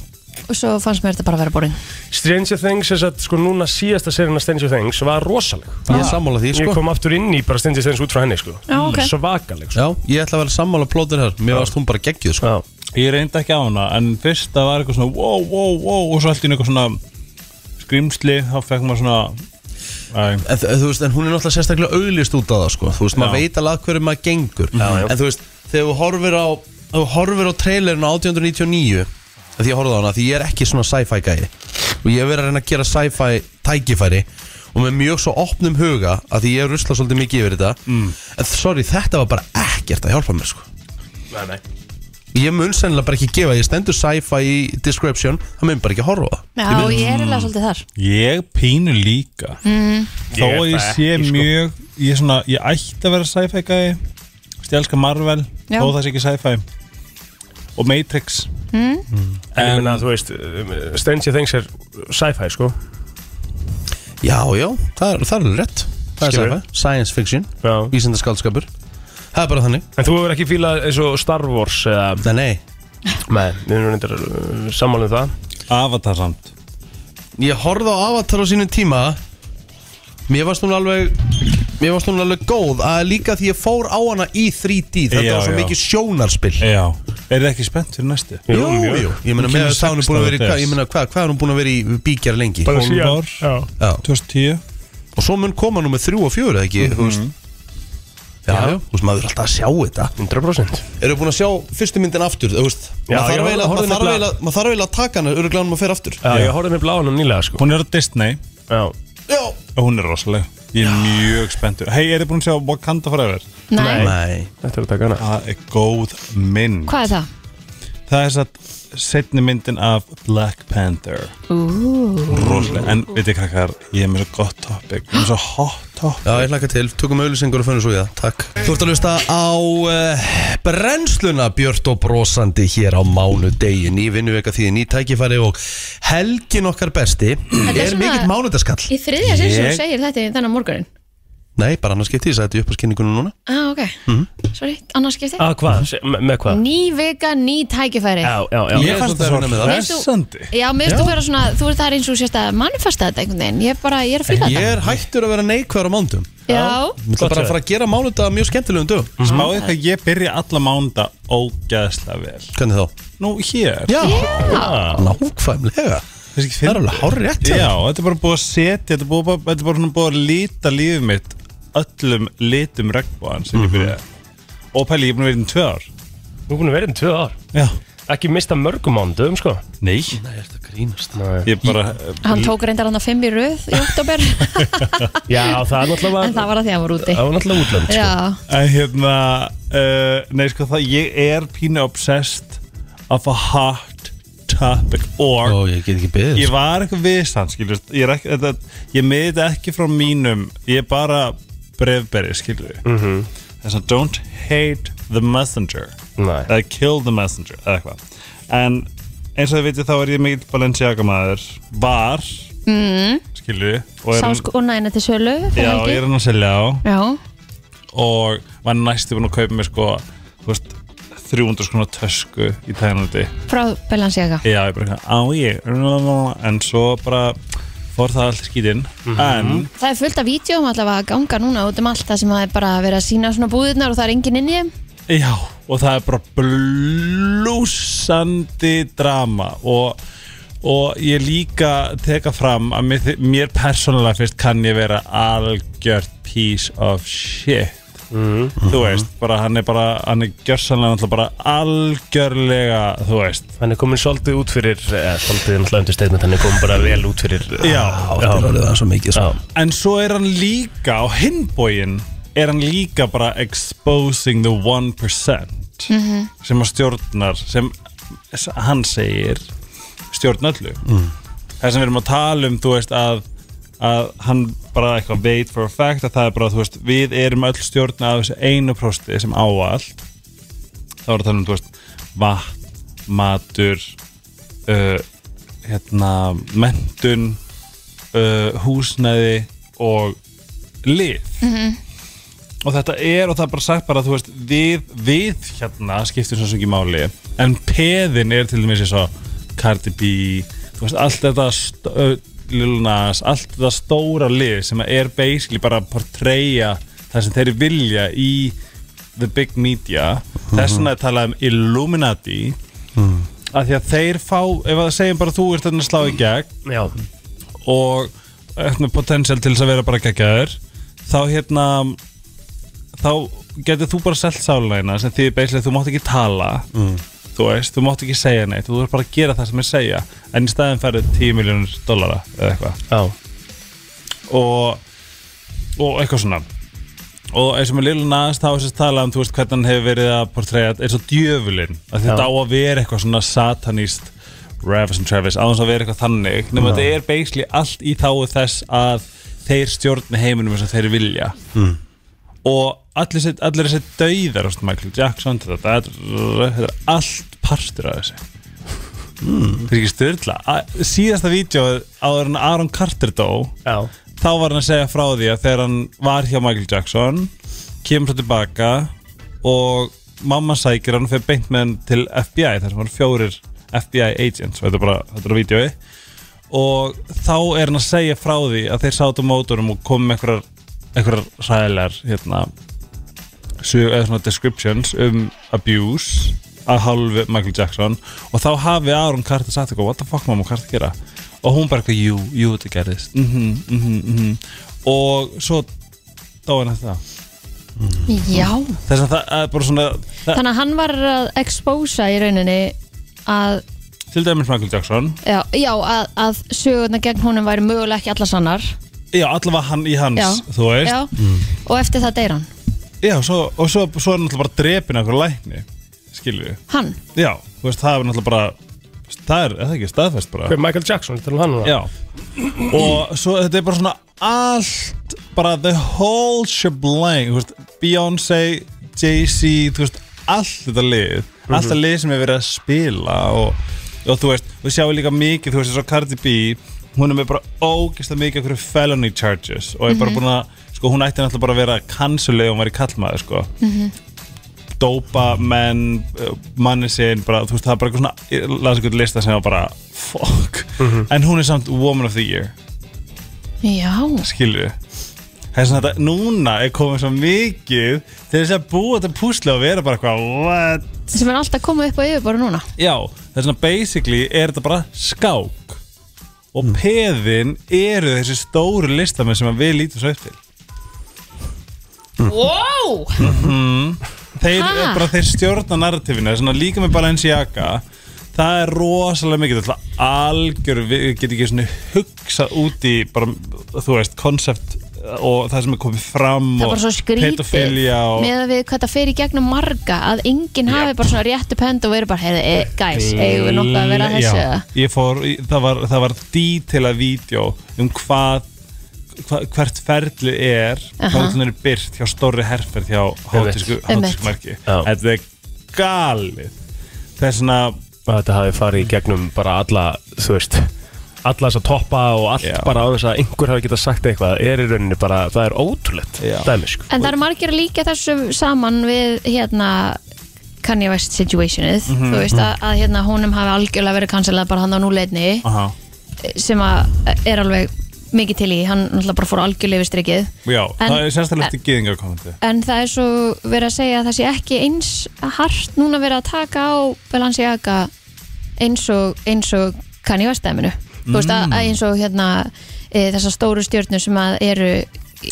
Speaker 2: og svo fannst mér þetta bara að vera boring
Speaker 3: Stranger Things, þess að sko núna síðasta serina Stranger Things var rosaleg
Speaker 1: Ég er sammála því,
Speaker 3: Ég
Speaker 1: sko
Speaker 3: kom aftur inn í bara Stranger Things út frá henni sko
Speaker 2: Já, ok.
Speaker 3: Svakaleg sko
Speaker 1: Já, ég ætla að vera sammála plótur hér Mér varst hún bara geggjuð, sko
Speaker 3: Já,
Speaker 5: Ég reyndi ekki á hana, en fyrst það var eitthvað svona wow, wow, wow, og svo allt í einu eitthvað svona skrimsli, þá fekk maður svona Æ,
Speaker 1: En, þ- þú veist, en hún er náttúrulega sérstaklega auglist út á það, sko Þú veist, maður
Speaker 5: Já.
Speaker 1: veit alveg að hverju maður gengur
Speaker 3: Já, já.
Speaker 1: En þú veist, þegar þú horfir á Þú horfir á trailerin á 1899 af Því ég horfði á hana, því ég er ekki svona sci-fi gæi Og ég hef verið að reyna að gera sci-fi tækifæri Og með mjög svo opnum huga að Því ég rusla svolítið mikið yfir þetta mm. En sorry, þetta var bara ekkert að hjálpa mér, sko
Speaker 3: nei, nei
Speaker 1: Ég mun sennilega bara ekki gefa, ég stendur sci-fi í description, það mun bara ekki horfa á það.
Speaker 2: Já, ég er eiginlega svolítið þar
Speaker 5: ég pínu líka þó
Speaker 3: Ég er
Speaker 5: að ég
Speaker 3: það
Speaker 5: sé
Speaker 3: ekki, sko.
Speaker 5: mjög ég, er svona, ég ætti að vera sci-fi gæi Þú veist, ég elska Marvel,
Speaker 2: Já.
Speaker 5: þó það sé ekki sci-fi og Matrix
Speaker 3: En ég meina, þú veist, um, Stranger Things er sci-fi sko
Speaker 1: Já, já, það er, það er alveg rétt. Það er
Speaker 3: Skilurðu?
Speaker 1: sci-fi, science fiction,
Speaker 3: Já.
Speaker 1: vísindaskaldskapur. Það er bara þannig.
Speaker 3: En þú hefur ekki fílað eins og Star Wars
Speaker 1: Nei,
Speaker 3: eða
Speaker 1: nei,
Speaker 3: Nei, við erum reyndar uh, sammála um það
Speaker 5: Avatar samt
Speaker 1: ég horfði á Avatar á sínum tíma, mér varst hún alveg, mér varst hún alveg góð, að líka því ég fór á hana í 3D, þetta
Speaker 5: Já,
Speaker 1: var svo
Speaker 5: já.
Speaker 1: mikið sjónarspill.
Speaker 5: Já, er það ekki spennt fyrir næstu?
Speaker 1: Jú,
Speaker 3: mjög.
Speaker 1: jú, ég meina
Speaker 5: Hún
Speaker 1: með
Speaker 5: kemur
Speaker 1: þess að hún er búin að vera, í-
Speaker 5: 16.
Speaker 1: hvað- ég meina hvað, hvað er hún búin að vera í bíkjar lengi?
Speaker 3: Bara
Speaker 5: 12
Speaker 3: síðan-
Speaker 5: ár.
Speaker 3: Já,
Speaker 1: Já.
Speaker 5: 2010
Speaker 1: og svo mun koma nú með þrjú og fjögur eða ekki, þú veist Já, já, þú veist, maður er alltaf að sjá þetta
Speaker 3: 100%
Speaker 1: Eru búin að sjá fyrstu myndin aftur, þú veist
Speaker 3: Já,
Speaker 1: Maður
Speaker 3: ég
Speaker 1: þarf eiginlega- maður
Speaker 3: horfði
Speaker 1: þarf
Speaker 3: nefnilega-
Speaker 1: eiginlega- maður þarf eiginlega að taka hana, öruglega hann maður fer aftur
Speaker 3: Já, ég horfði nefnilega á hann nýlega sko
Speaker 5: Hún er á Disney
Speaker 3: Já,
Speaker 1: Já
Speaker 5: og hún er rosaleg Ég er mjög spenntur Hei, er þið búin að sjá Wakanda Forever?
Speaker 2: Nei,
Speaker 1: Nei
Speaker 3: Þetta er að taka hana
Speaker 5: Það er góð mynd
Speaker 2: hvað er það?
Speaker 5: Það er satt setni myndin af Black Panther Rosaleg En veit ég krakkar, ég er með svo gott topic Ég er með svo hot topic
Speaker 1: Já, ég hlakka til, tökum auðlýsingur og fönnum svo í það, takk Þú ert að hlusta á uh, brennsluna Björt og brosandi hér á mánudegin í vinnuveka því ný tækifæri og helgin okkar besti
Speaker 2: er
Speaker 1: er
Speaker 2: svona-
Speaker 1: mikill mánudaskall
Speaker 2: Í þriðja sinn sem
Speaker 5: Ég-
Speaker 2: þú segir þetta í þennan morgunin
Speaker 1: Nei, bara annars skipti, ég sagði þetta upp á skynningunum núna
Speaker 2: Ah, ok, sorry, annars skipti
Speaker 3: Að hvað? Se- me- Með hvað?
Speaker 2: Ný vika, ný tækifæri
Speaker 3: Ah. Já, já, já
Speaker 1: Ég- er svolítið
Speaker 5: fannst
Speaker 1: að
Speaker 5: það
Speaker 1: vinna með
Speaker 5: svo
Speaker 1: það.
Speaker 5: hressandi
Speaker 2: Já, mér finnst þú vera svona, þú ert það er eins og sérst að manifesta þetta einhvern veginn, ég er bara, ég er að fýla
Speaker 1: Ég
Speaker 2: þetta
Speaker 1: er hættur að vera neikvæður á mánudum
Speaker 2: Já,
Speaker 1: Ég ætla bara
Speaker 3: Gott sagði.
Speaker 1: að fara að gera mánudag mjög skemmtilegum dögum
Speaker 5: Smáði hvað ég byrja alla mánda ógæðslega vel
Speaker 1: Hvernig þá?
Speaker 5: Nú, hér
Speaker 1: Já,
Speaker 2: já,
Speaker 1: nákvæmlega
Speaker 5: Þessi ekki
Speaker 1: Það er
Speaker 5: fyndið.
Speaker 1: alveg hárrétt hjá
Speaker 5: Já, þetta er bara búið að setja Þetta er búið, bara- þetta er bara svona búið að líta lífið mitt Öllum litum regnbóðan sem
Speaker 1: Mhm.
Speaker 5: ég byrjaði Og pæli, ég er búin að vera í tvö ár
Speaker 3: Þú er búin að vera um tvö ár
Speaker 5: Já
Speaker 3: Ekki mista mörgum mándum, sko
Speaker 5: Nei
Speaker 1: Nei, þetta grínast
Speaker 3: Nei.
Speaker 5: Ég bara
Speaker 2: hann tók reyndar hann að fimm í röð í oktober
Speaker 3: Já, það er náttúrulega
Speaker 2: En það var að því að hann var úti
Speaker 3: Það var náttúrulega útlönd, sko
Speaker 2: Já,
Speaker 5: að, hérna, uh, Nei, sko það Ég er pínu obsessed Of a hot topic Or
Speaker 1: Ó, ég get ekki beðið sko.
Speaker 5: Ég var eitthvað vissan, skilur Ég, er ekki, þetta, ég meði þetta ekki frá mínum Ég er bara brefberi, skilur mm -hmm. Þess að don't hate the messenger
Speaker 3: Nei.
Speaker 5: Eða kill the messenger, eða eitthvað En eins og þið vitið þá er ég mikill Balenciaga maður Var, mm. skilur og er-
Speaker 2: Mhm. sá sko næna til sölu fyrir
Speaker 5: Já,
Speaker 2: helgi.
Speaker 5: ég er hann að selja á
Speaker 2: Já,
Speaker 5: Og var næstu búin að kaupa mér sko Þú veist 300 skona tösku í tæðanandi
Speaker 2: frá Balenciaga
Speaker 5: Já, ég bara eitthvað, á ég En svo bara fór það allt skýtin En,
Speaker 2: Það er fullt af vídjóum allavega að ganga núna út um allt það sem það er bara að vera að sína svona búðirnar og það er enginn inn í þeim
Speaker 5: já, og það er bara blúsandi drama og, og ég líka teka fram að mér, þi- mér persónulega fyrst kann ég vera algjört piece of shit Þú veist, bara hann er bara hann er gjörsanlega náttúrulega bara algjörlega, þú veist
Speaker 3: Hann er komin svolítið út fyrir eh, Svolítið náttúrulega undir statement Hann er komin bara vel út fyrir eh,
Speaker 5: Já,
Speaker 1: Það er orðið það svo mikið sko.
Speaker 3: Já.
Speaker 5: En svo er hann líka á hinbógin er hann líka bara exposing the 1% sem að stjórnar sem s- hann segir stjórn öllu það sem við erum að tala um þú veist að að hann bara eitthvað veit for a fact að það er bara þú veist við erum öll stjórna af þessu einu prosti sem á allt þá er það um þú veist vatn, matur uh, hérna mentun uh, húsnæði og lið og þetta er og það er bara sagt bara þú veist, við, við hérna skiptum svo sem ekki máli en peðin er til dæmis eins og Cardi B þú veist, allt þetta st- ö, Lil Nas, allt þetta stóra lið sem er basically bara að portreyja það sem þeir vilja í the big media þess vegna er talað um Illuminati af því að þeir fá ef að segjum bara þú ert þarna að slá í gegn
Speaker 3: Já,
Speaker 5: og hérna, potensial til þess að vera bara geggjaður þá hérna þá getur þú bara selt sálulegina sem því beislega þú mátt ekki tala þú veist, þú mátt ekki segja neitt þú verður bara að gera það sem ég segja en í staðin færðu 10 miljónur dollara eða eitthvað
Speaker 3: já
Speaker 5: og, og eitthvað svona og eins og með Lil Nas þá er þess að tala um þú veist hvernig hann hefur verið að portræja eins og djöfulinn að þetta á að vera eitthvað svona sataníst Ravis and Travis á þess að vera eitthvað þannig nema þetta er basically allt í þáu þess að þeir stjórna heiminum eins og þeir vilja mm. og allir, þessi- allir þessi dauðar þú veist, Michael Jackson þetta, þetta, þetta er allt partur af þessu mm. þetta er ekki styrla síðasta vídeo áður en Aaron Carter dó
Speaker 3: Já,
Speaker 5: þá var hann að segja frá því að þegar hann var hjá Michael Jackson kemur svo tilbaka og mamma sækir hann og fer beint með hann til FBI þar sem var fjórir FBI agents og þetta er bara, þetta er á vídeoi og þá er hann að segja frá því að þeir sátu á mótorum og komu með einhverjar, einhverjar ræðilegar hérna, sög, eða svona descriptions um abuse að hálfu Michael Jackson og þá hafi Aaron Carter sagt eitthvað what the fuck mamma, hvað er að gera og hún bara eitthvað, jú, jú, þetta gerðist mhm, mhm, mhm og svo dó hann eftir það
Speaker 2: Já,
Speaker 5: þess að það er bara svona það,
Speaker 2: þannig að hann var að expósa í rauninni að,
Speaker 5: til dæmis Michael Jackson
Speaker 2: já, já að, að sögurnar gegn honum væri mögulega ekki allar sannar
Speaker 5: Já, allavega hann í hans,
Speaker 2: já,
Speaker 5: þú veist Mm.
Speaker 2: já. og eftir það deyr hann
Speaker 5: Já, svo, og svo, svo er náttúrulega bara drepin af einhver lækni, skilur við
Speaker 2: hann,
Speaker 5: Já, þú veist, það er náttúrulega bara Það er, er það ekki staðfest bara
Speaker 3: Hver Michael Jackson, þetta er hann núna
Speaker 5: Já Og svo þetta er bara svona allt Bara the whole sheblang Þú veist, Beyoncé, Jay-Z Þú veist, allt þetta lið Allt það lið sem er verið að spila Og, og þú veist, við sjáum líka mikið Þú veist, svo Cardi B Hún er með bara ógeðslega mikið af hverju felony charges Og er bara búin að Sko, hún ætti náttúrulega bara að vera canceleg og hún væri kallmaður, sko dópa menn uh, manni sinn, bara, þú veist, það er bara eitthvað svona, ég las eitthvað lista sem var bara fuck, en hún er samt woman of the year,
Speaker 2: já
Speaker 5: skilju það er svona þetta, núna er komið svo mikið til þess að búa þetta púsli og vera bara eitthvað, what
Speaker 2: sem er alltaf komið upp á yfirbóru núna
Speaker 5: já, það er svona basically, er þetta bara skák og peðin eru þessi stóru listamenn sem að við lítum svo upp til Mm.
Speaker 2: wow,
Speaker 5: þeir, eh,
Speaker 2: Ha?
Speaker 5: bara þeir stjórna narratífinu svona, líka með Balenciaga það er rosalega mikið það er algjör, við getum ekki svona hugsað út í bara, þú veist, koncept eh, og það sem er komið fram
Speaker 2: það er
Speaker 5: og
Speaker 2: bara svo skrítið
Speaker 5: pedofilía og,
Speaker 2: með að við hvað það fer í gegnum marga að enginn hafi bara svona réttu pend og verið bara, heyrðu, e, guys, eigum við nokkuð að vera að þessu
Speaker 5: Já,
Speaker 2: eða?
Speaker 5: ég fór, í- það var, það var dítila vídeo um hvað hva, hvert ferli er
Speaker 2: Aha.
Speaker 5: hvað hún er byrt hjá stórri herferð hjá hátísku
Speaker 2: Einmitt.
Speaker 5: hátískumarki
Speaker 3: Já.
Speaker 5: þetta er galið það er svona
Speaker 3: að þetta hafi farið í gegnum bara alla, þú veist alla þess að toppa og allt
Speaker 5: Já.
Speaker 3: bara á þess að einhver hafi getað sagt eitthvað er í rauninni bara, það er ótrúlegt
Speaker 5: Já.
Speaker 3: dæmi sko
Speaker 2: En það eru margir að líka þessu saman við hérna Kanye West situationið,
Speaker 5: Mhm.
Speaker 2: þú veist að, að hérna honum hafi algjörlega verið kansalað bara hann á núleitni
Speaker 5: aha
Speaker 2: sem að er alveg mikið til í, hann náttúrulega bara fór algjörlega við strikið
Speaker 5: Já,
Speaker 2: En-
Speaker 5: það er sérstaklega eftir gyðingarkomendi
Speaker 2: en það er svo verið að segja að það sé ekki eins hart núna verið að taka á Balenciaga eins og, eins og Kanye West dæminu, þú veist að,
Speaker 5: Mm.
Speaker 2: að eins og hérna e, þessar stóru stjórnur sem að eru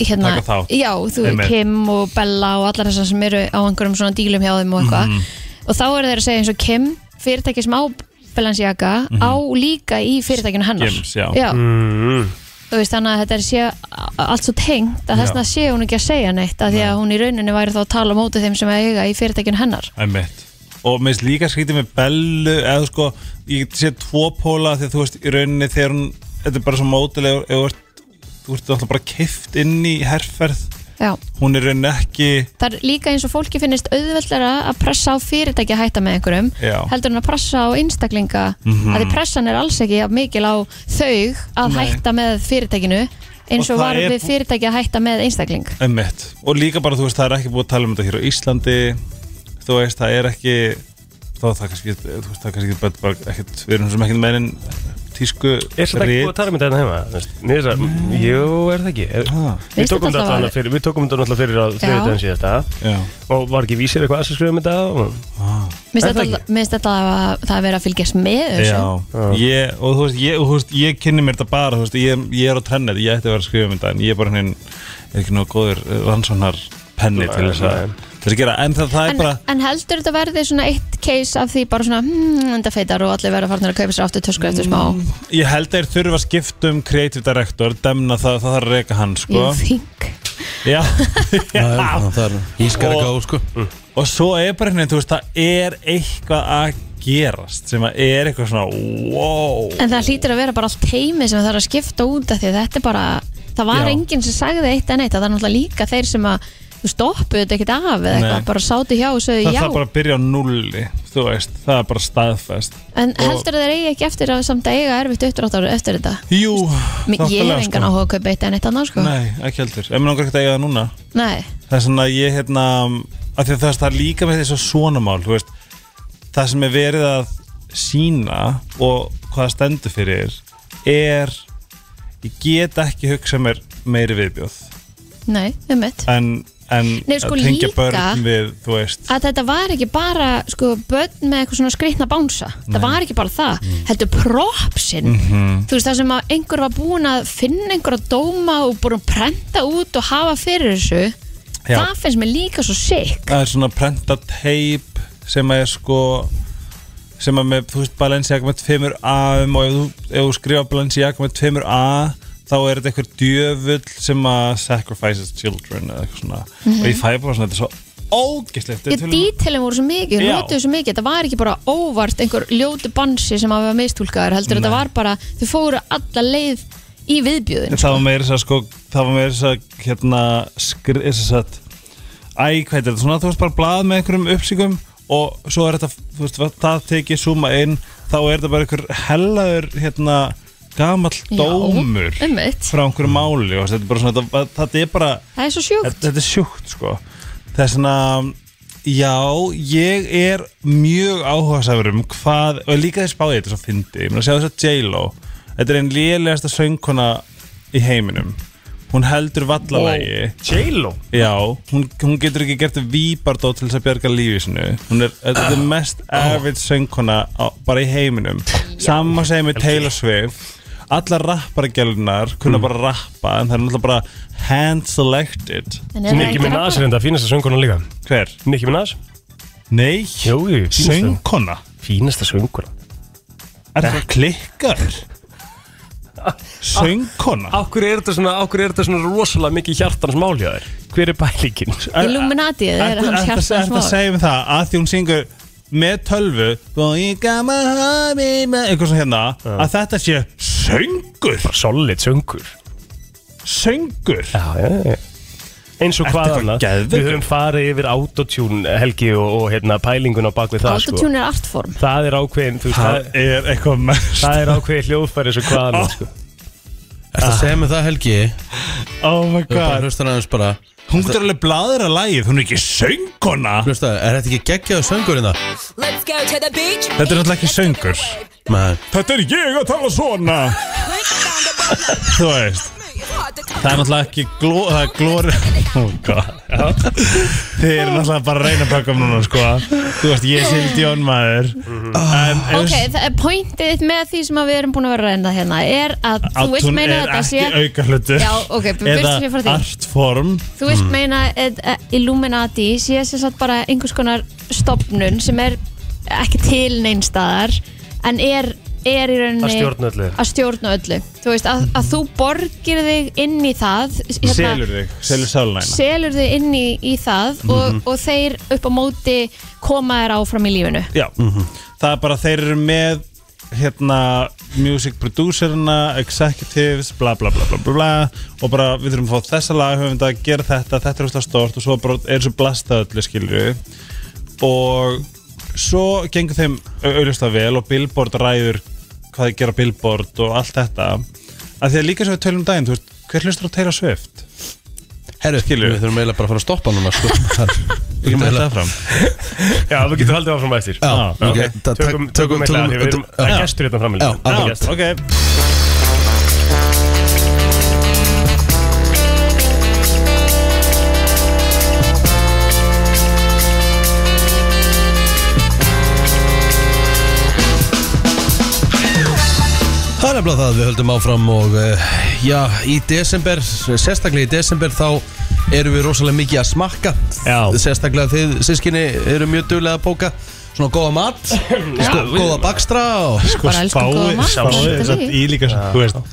Speaker 2: hérna,
Speaker 5: Taka þátt.
Speaker 2: já, þú
Speaker 5: Einmitt.
Speaker 2: Kim og Bella og allar þessar sem eru á einhverjum svona dílum hjá þeim og eitthvað
Speaker 5: Mhm.
Speaker 2: og þá eru þeir að segja eins og Kim fyrirtæki sem á Balenciaga
Speaker 5: Mhm.
Speaker 2: á líka í fyrirtækinu hennar
Speaker 5: Skims, já. Mm-hmm.
Speaker 2: þú veist þannig að þetta er sé a- allt svo tengt að þessna sé hún ekki að segja neitt að því að hún í rauninni væri þá að tala á móti þeim sem eiga í fyrirtækinu hennar
Speaker 5: Æmitt Og mér finnst líka skrítið með Bellu eða sko, ég get séð tvo póla þegar þú veist, í rauninni þegar hún þetta er bara svo mótilegur þú ert, þú ert alltaf bara kift inn í herferð
Speaker 2: já.
Speaker 5: hún er í rauninni ekki
Speaker 2: það er líka eins og fólki finnist auðveldara að pressa á fyrirtæki að hætta með einhverjum
Speaker 5: Já. Mhm.
Speaker 2: heldur en að pressa á einstaklinga að því pressan er alls ekki jafn mikil á þau að
Speaker 5: Nei.
Speaker 2: hætta með fyrirtækinu eins
Speaker 5: Og
Speaker 2: og,
Speaker 5: það
Speaker 2: var
Speaker 5: er
Speaker 2: við
Speaker 5: bú-
Speaker 2: fyrirtæki að hætta með einstakling
Speaker 5: Æmitt Og líka bara, þú veist, það er ekki búið að tala um þetta hér á Íslandi þú veist, það er ekki þá er það kannski, þú veist, það er kannski bara, bara ekkit, við erum sem ekkert meirinn tísku
Speaker 3: Er þetta ekki búið að tala um þetta hérna heima? þú veist? Mér finnst það- Jú, er það ekki? Er-
Speaker 5: Ha,
Speaker 2: Veist
Speaker 3: Við
Speaker 2: þetta
Speaker 3: tókum þetta
Speaker 2: alltaf
Speaker 3: náttúrulega
Speaker 2: að-
Speaker 3: fyrir, við tókum þetta náttúrulega fyrir á þriðdöðin síðasta
Speaker 5: já,
Speaker 3: og var ekki vísir eitthvað að skrifa um þetta og
Speaker 2: Mér
Speaker 3: Er það
Speaker 2: finnst þetta að það að vera að fylgjast með þessu
Speaker 5: Já, ég, og þú veist, ég, og þú veist, ég kynni mér þetta bara, þú veist, ég, ég er á trennið, ég ætti að vera að skrifa um þetta, en ég er bara henni, er ekki nóg góður rannsónar penni til þess að, til þess að gera, en það, það
Speaker 2: en,
Speaker 5: er bara,
Speaker 2: en heldur þetta verði svona eitt case af því bara svona hmm, enda feitar og allir verða farnir að kaupa sér aftur tösku eftir smá
Speaker 5: Mm, ég held að þeir þurfa að skipta um creative director, demna það, það þarf að reka hann, sko,
Speaker 2: ég þing
Speaker 5: já, já, Mm.
Speaker 1: Það er ískar ekki á sko
Speaker 5: og svo er bara henni, þú veist, það er eitthvað að gerast, sem að er eitthvað svona, wow,
Speaker 2: en það hlýtur að vera bara allt heimi sem það er að skipta út af því að þetta er bara það var
Speaker 5: Já.
Speaker 2: enginn sem sagði eitt en eitt að það er náttúrulega líka þeir sem að þú stoppuðu þetta ekkert af eða
Speaker 5: Nei.
Speaker 2: eitthvað, bara sátu hjá og sögðu
Speaker 5: það
Speaker 2: já
Speaker 5: þarf bara að byrja á nulli, þú veist, það er bara staðfest.
Speaker 2: en
Speaker 5: og-
Speaker 2: heldur þeir eigi ekki eftir að samt að eiga erfitt uppdrátt ára eftir þetta
Speaker 5: Jú,
Speaker 2: Mér- ég
Speaker 5: þokkalega,
Speaker 2: hef engan
Speaker 5: sko.
Speaker 2: áhuga að kaupa eitt en eitt annars sko
Speaker 5: Nei, ekki heldur. Ef mér langar ekkert að eiga það núna
Speaker 2: Nei.
Speaker 5: Það er svona að ég hérna að því að það er líka með þess að svona mál þú veist, Það sem er verið að sína og hvað það stendur fyrir er ég get ekki hugsað mér meiri viðbjóð
Speaker 2: Nei, um mitt
Speaker 5: en, en
Speaker 2: Nei, sko,
Speaker 5: að tengja
Speaker 2: líka-
Speaker 5: börn við þú veist
Speaker 2: að þetta var ekki bara sko, börn með eitthvað svona skritna bánsa það var ekki bara það,
Speaker 5: Mm.
Speaker 2: heldur propsin
Speaker 5: Mhm.
Speaker 2: þú veist það sem að einhver var búin að finna einhverja dóma og búin að prenta út og hafa fyrir þessu
Speaker 5: Já.
Speaker 2: það finnst mér líka svo sick
Speaker 5: það er svona prenta teip sem að er sko sem að með, þú veist, Balenciaga með 2A um og ef þú, ef þú skrifa Balenciaga með 2A þá er þetta einhver djöfull sem að sacrifices children eða eitthvað svona og ég fæ bara svona, þetta er svo ógislegt
Speaker 2: Ég dítilum voru svo mikið,
Speaker 5: Já.
Speaker 2: notuðu svo mikið Þetta var ekki bara óvart einhver ljótu bansi sem hafa mistúlkaður heldur
Speaker 5: Nei.
Speaker 2: Þetta var bara, þau fóru alla leið í viðbjöðin
Speaker 5: það var meira þess að sko það var meira þess að hérna skri, þess að æ, hvað er þetta, svona þú veist bara blað með einhverjum uppsíkum og svo er þetta, þú veist, það tekið suma inn, þá er þetta bara einhver hellaður, hérna, gamall dómur
Speaker 2: Já, einmitt.
Speaker 5: frá einhverju máli og þetta er bara svona, þetta, þetta er bara
Speaker 2: Það er svo sjúkt
Speaker 5: þetta, þetta er sjúkt sko það er svona já, ég er mjög áhugasafur um hvað og líka þess báði þetta svo fyndi ég meina sjá þess að J-Lo þetta er einn lélegasta söngkona í heiminum hún heldur vallalægi
Speaker 3: J-Lo
Speaker 5: já, hún, hún getur ekki gert víbardó til þess að bjarga lífi sinu hún er, þetta er mest average söngkona á, bara í heiminum sama segir með Taylor Swift allar rapparagelnar kunna bara rappa en það er náttúrulega bara hand selected
Speaker 2: En er það
Speaker 3: Nicki
Speaker 2: ekki
Speaker 3: Minaj er
Speaker 2: rappara?
Speaker 3: enda fínasta sönguna líka
Speaker 5: Hver?
Speaker 3: Nicki Minaj
Speaker 5: Nei,
Speaker 3: Jú, jú, fínasta.
Speaker 5: söngkona
Speaker 3: Fínasta sönguna
Speaker 5: Er það klikkar? Söngkona
Speaker 3: Akkur er þetta svona, akkur er þetta svona rosalega mikið hjartans mál hjá þér Hver er bælingin?
Speaker 2: Illuminati, það er hans
Speaker 5: Er það að
Speaker 2: hjartans mál
Speaker 5: segja um það að því hún syngur með tölvu eitthvað svona hérna að þetta sé söngur
Speaker 3: Solid söngur
Speaker 5: söngur
Speaker 3: Já, já, já Eins og
Speaker 5: Ertu
Speaker 3: hvað
Speaker 5: eitthvað
Speaker 3: annað
Speaker 5: geðveikur?
Speaker 3: Við höfum farið yfir autotune helgi og, og hérna pælingun á bakvið það sko.
Speaker 2: Autotune er artform
Speaker 3: Það er ákveðin, þú veist, það,
Speaker 5: Það er eitthvað mest
Speaker 3: það er ákveðin hljóðfæri eins og hvað annað sko.
Speaker 1: Ertu
Speaker 5: Ah.
Speaker 1: að segja mig það Helgi?
Speaker 5: Oh my
Speaker 1: Þú bara
Speaker 5: god
Speaker 1: hlustar aðeins bara
Speaker 5: Hún getur alveg bladra lagið, hún er ekki söngkona
Speaker 1: Hlustar, er þetta ekki hérna? geggjaðu söngurinn það?
Speaker 8: Let's go to the beach
Speaker 5: Þetta er náttúrulega ekki söngur
Speaker 1: Man,
Speaker 5: Þetta er ég að tala svona Þú veist Það er náttúrulega ekki gló, það er glóri oh God. Þið er náttúrulega bara að reyna að baka um núna sko. Þú veist, ég er sildjón maður En ef-
Speaker 2: Ok, það er pointið þitt með því sem að við erum búin að vera að reynda hérna er að þú vilt
Speaker 5: Átún
Speaker 2: meina
Speaker 5: er
Speaker 2: þetta
Speaker 5: ekki
Speaker 2: sé
Speaker 5: auka hlutur
Speaker 2: Já, ok, við
Speaker 5: Eða
Speaker 2: byrjum frá því.
Speaker 5: artform
Speaker 2: Þú veist
Speaker 5: Mm.
Speaker 2: meina að að Illuminati sé sem sagt bara einhvers konar stopnun sem er ekki til neinstaðar en er, er í rauninni
Speaker 3: Að stjórna öllu.
Speaker 2: að stjórna öllu. Þú veist að, að þú borgir þig inn í það hérna,
Speaker 5: Selur þig, selur sálinæna
Speaker 2: selur þig inn í, í það
Speaker 5: Mhm.
Speaker 2: og, og þeir upp á móti koma þér áfram í lífinu
Speaker 5: Já, það er bara þeir eru með hérna, music producerina executives, bla bla bla bla bla, bla og bara við þurfum að fá þessa lag höfum þetta að gera þetta, þetta er úrslag stort og svo bara er svo blastað öllu skilju og svo gengur þeim auðvitað vel og Billboard ræður hvað þið gera á Billboard og allt þetta af því að líka sem við tölum um daginn, þú veist hver hlustur á Taylor Swift?
Speaker 1: herru,
Speaker 5: Skilur.
Speaker 1: við þurfum eiginlega bara að fara að stoppa núna sko. Það- Við
Speaker 5: Við
Speaker 1: getum
Speaker 5: getum
Speaker 1: eiginlega-
Speaker 5: þetta fram
Speaker 3: Já, við getum haldið áfram eftir
Speaker 1: Já,
Speaker 3: Já,
Speaker 1: ok.
Speaker 3: ok.
Speaker 1: Ta-
Speaker 3: Tökum,
Speaker 1: ta-
Speaker 3: tökum, tökum,
Speaker 1: tökum-
Speaker 3: tökum, tökum Það
Speaker 1: já.
Speaker 3: er gestur hérna frammi
Speaker 1: Já,
Speaker 3: líka. Það er
Speaker 1: já,
Speaker 3: gestur.
Speaker 5: Ok,
Speaker 1: Það er nefnilega það við höldum áfram og uh, já, í desember, sérstaklega í desember þá erum við rosalega mikið að smakka
Speaker 3: Já.
Speaker 1: Sérstaklega þið sískinni eru mjög duglega að bóka Svona góða mat, sko, góða bakstra og
Speaker 5: sko
Speaker 2: Bara elsku góða
Speaker 5: spáði
Speaker 2: mat,
Speaker 5: spáði
Speaker 2: þetta
Speaker 5: þess að
Speaker 2: segi.
Speaker 5: í líka sem, þú veist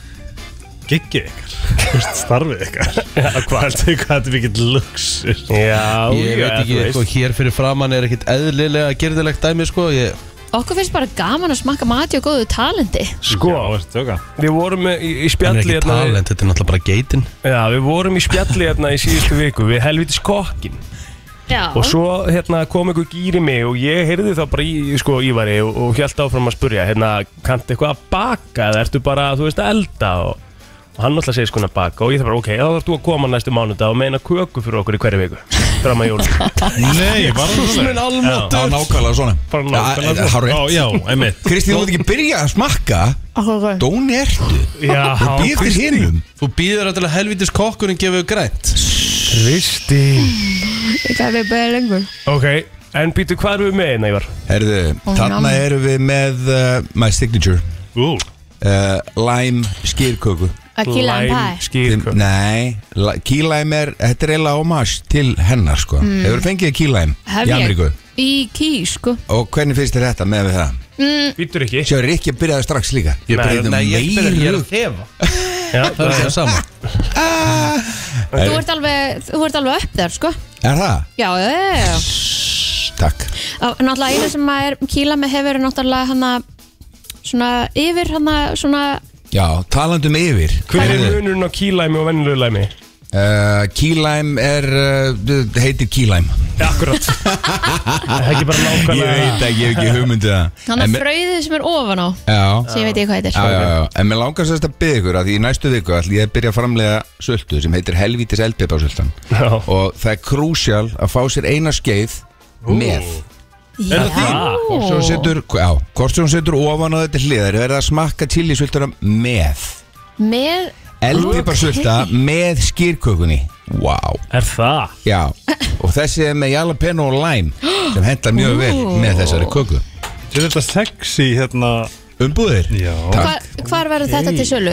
Speaker 5: giggið ykkar, þú veist, starfið ykkar hvað heldur hvað þetta er mikill luxus
Speaker 3: Já,
Speaker 1: Ég veit ekki, sko, hér fyrir framann er ekkit eðlilega gerðilegt dæmi, sko ég,
Speaker 2: Okkur finnst bara gaman að smakka mati og góðu talindi
Speaker 3: Sko,
Speaker 5: Já, veistu, tjóka.
Speaker 3: við vorum með- í, í
Speaker 1: Hann
Speaker 3: spjalli
Speaker 1: er ekki
Speaker 3: hérna-
Speaker 1: talent, þetta er náttúrulega bara geitin
Speaker 3: Já, við vorum í spjalli hérna í síðustu viku Við helvitis kokkin
Speaker 2: Já,
Speaker 3: Og svo hérna, kom einhver gýri mig Og ég heyrði þá bara í, sko, Ívari Og, og held áfram að spurja hérna, Kanntu eitthvað að baka eða ertu bara, þú veist, að elda og, og hann alltaf segir sko að baka Og ég þarf bara, ok, þá þarf þú að koma næstu mánudag Og meina köku fyrir okkur í hverju viku Fram að jólum
Speaker 5: Nei, var það svona
Speaker 1: Minn almáttur.
Speaker 9: Það var nákvæmlega svona
Speaker 3: Bara nákvæmlega sko.
Speaker 9: Já, hárrétt.
Speaker 5: Ó, Já, einmitt
Speaker 9: Kristín, þú veit ekki byrja að smakka
Speaker 2: Akkur-
Speaker 9: Dóni ertu
Speaker 3: Já,
Speaker 9: Býð þér hinnum
Speaker 1: Þú býður alltaf helvitis kokkurinn gefur grænt
Speaker 3: Kristi
Speaker 2: ég gæti beðið lengur
Speaker 3: Ok, en býtu hvað erum við með hérna, Ívar?
Speaker 9: Herðu, þarna erum við með uh, My Signature
Speaker 5: Ú,
Speaker 9: uh, Lime skýrköku
Speaker 2: Að kýla en pæ
Speaker 9: Þeim,
Speaker 3: Skýrköku
Speaker 9: Nei, la- key lime er Þetta er eiginlega homage til hennar sko Hefur fengið key lime
Speaker 2: Mm. Hef
Speaker 9: í
Speaker 2: ég
Speaker 9: Ameríku
Speaker 2: í ký, sko
Speaker 9: Og hvernig finnst þér þetta með við það?
Speaker 3: Býtur ekki
Speaker 9: Sjáur, Rikki byrjaði strax líka
Speaker 1: Ég
Speaker 3: Nei,
Speaker 1: byrjaði
Speaker 9: nei, ég
Speaker 1: meiru
Speaker 9: byrjaði að
Speaker 1: þefa
Speaker 3: Já,
Speaker 1: Það er það sama
Speaker 2: Þú ert alveg, þú ert alveg upp þér, sko
Speaker 9: Er það?
Speaker 2: Já, já, já, já.
Speaker 9: Takk
Speaker 2: Á, Náttúrulega eina sem maður er kýla með hefur er náttúrulega hana svona yfir hana svona
Speaker 9: Já, talandum yfir
Speaker 3: Hver er munurinn á kýlæmi og vennilegu læmi?
Speaker 9: Uh, Keylæm er, uh, heitir Keylæm
Speaker 3: Ja, akkurat Það er ekki bara
Speaker 9: Ég
Speaker 3: nákvæmlega
Speaker 9: veit ekki, ég hef ekki hugmyndið það
Speaker 2: hana
Speaker 9: En mér-
Speaker 2: fröðið sem er ofan á
Speaker 9: Já,
Speaker 2: sem ég veit ekki hvað
Speaker 9: já, já,
Speaker 2: heitir
Speaker 9: já En mér langar sérst að byggja ykkur að því í næstu viku ætlum ég að byrja að framlega söldu sem heitir Helvítis eldpiparsöldan
Speaker 3: Já.
Speaker 9: og það er krúsjál að fá sér eina skeið með
Speaker 2: Já,
Speaker 9: Hvort sem hún setur, já, hvort sem hún setur ofan á þetta hliðar er það að smakka chilisöldanum með
Speaker 2: með
Speaker 9: eldpiparsölda
Speaker 2: Ok.
Speaker 9: með skýrkökunni Vá wow.
Speaker 3: Er það?
Speaker 9: Já, og þessi er með jalapeno og lime sem hendar mjög vel með þessari köku
Speaker 5: Þetta er þetta sexy hérna
Speaker 9: Umbúðir?
Speaker 5: Já.
Speaker 9: Takk
Speaker 2: Hvar, hvar verður þetta til sölu?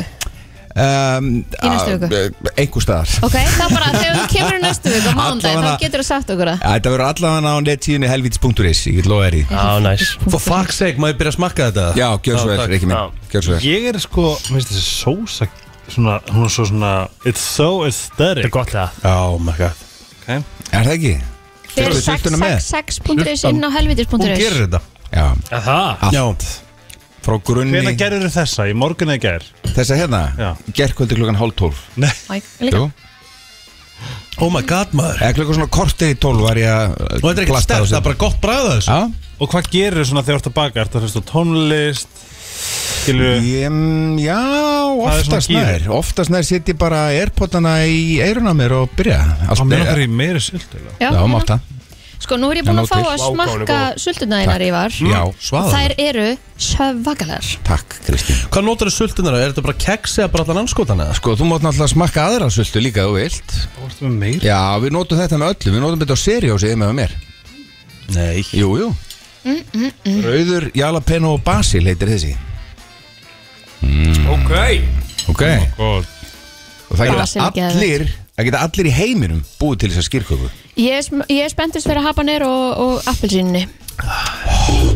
Speaker 9: um,
Speaker 2: Í næstu viku?
Speaker 9: Einhver staðar
Speaker 2: Ok, þá bara þegar þú kemur í næstu viku á mándaginn,
Speaker 9: Allavega-
Speaker 2: þá getur þú sagt okkur það
Speaker 9: Þetta verður allavega á nettíðinu helvítis.is Ég get lofa þér í
Speaker 3: Já, næs
Speaker 1: For Oh, fuck's sake, maður byrja að smakka þetta
Speaker 9: Já, gjör svo vel,
Speaker 1: takk.
Speaker 9: Rikki
Speaker 3: Já.
Speaker 9: minn Gjör svo vel
Speaker 5: Ég er sko, minnst þessi sósa svona, hún er svo svona It's so
Speaker 3: Þetta er
Speaker 5: aesthetic
Speaker 3: gott það
Speaker 1: Oh my god
Speaker 5: okay.
Speaker 9: Er það ekki?
Speaker 2: Þeir
Speaker 9: Fyrir sultuna með?
Speaker 2: 666.is inn á
Speaker 1: Hún
Speaker 2: helvitis.is
Speaker 1: gerir þetta
Speaker 9: Já,
Speaker 3: Er það?
Speaker 9: Allt.
Speaker 1: Já,
Speaker 9: frá grunni
Speaker 5: Hvernig gerir þessa? Í morgun eða ger?
Speaker 9: Þessa hérna
Speaker 5: Já.
Speaker 9: Gerkvöldi klukkan hálf tólf
Speaker 2: Æ, líka.
Speaker 9: Jú.
Speaker 1: oh my god maður
Speaker 9: Eða klukkan svona kortið í tólf var ég að uh,
Speaker 1: Og þetta er ekki
Speaker 9: blasta á
Speaker 1: stert,
Speaker 9: þessu.
Speaker 1: það er bara gott bræða þessu
Speaker 9: Já
Speaker 5: Og hvað gerir svona þegar þú ert að baka? Ertu að hlusta á tónlist? Skilur
Speaker 9: Ég, mm, já,
Speaker 5: er svona
Speaker 9: oftast
Speaker 5: gírið.
Speaker 9: nær Oftast nær sitt ég bara airpodana í eiruna mér og byrja Allt
Speaker 5: Það með
Speaker 9: er-
Speaker 5: okkar í meiri silt eða?
Speaker 2: Já,
Speaker 9: Já,
Speaker 2: hérna.
Speaker 9: mátt það
Speaker 2: Sko, nú er ég búin
Speaker 9: Já,
Speaker 2: að fá
Speaker 9: nóg
Speaker 2: að smakka sultuna þínar
Speaker 9: Takk.
Speaker 2: í var
Speaker 3: Mm.
Speaker 9: Já,
Speaker 1: svaðalegt.
Speaker 2: Þær eru sjöfagalegar
Speaker 9: Takk Kristín
Speaker 1: Hvað notar þið sultunar? Er þetta bara keks eða bara allan anskotan eða?
Speaker 9: Sko, þú mátt náttúrulega smakka aðra sultu líka ef þú vilt
Speaker 5: Þú ert með meiri?
Speaker 9: Já, við notum þetta með öllu, við notum þetta á seriósi með mér
Speaker 1: Nei
Speaker 9: Jú, jú
Speaker 2: Mm,
Speaker 9: Rauður, jalapeno og basil heitir þessi Mm.
Speaker 3: Ok
Speaker 9: Ok
Speaker 5: God.
Speaker 9: Og það
Speaker 2: Basil
Speaker 9: geta
Speaker 2: er geðveikt.
Speaker 9: allir, það geta allir í heiminum búið til þess að skýrköku
Speaker 2: Ég er, sm- ég er spenntist fyrir habanir og, og appelsínni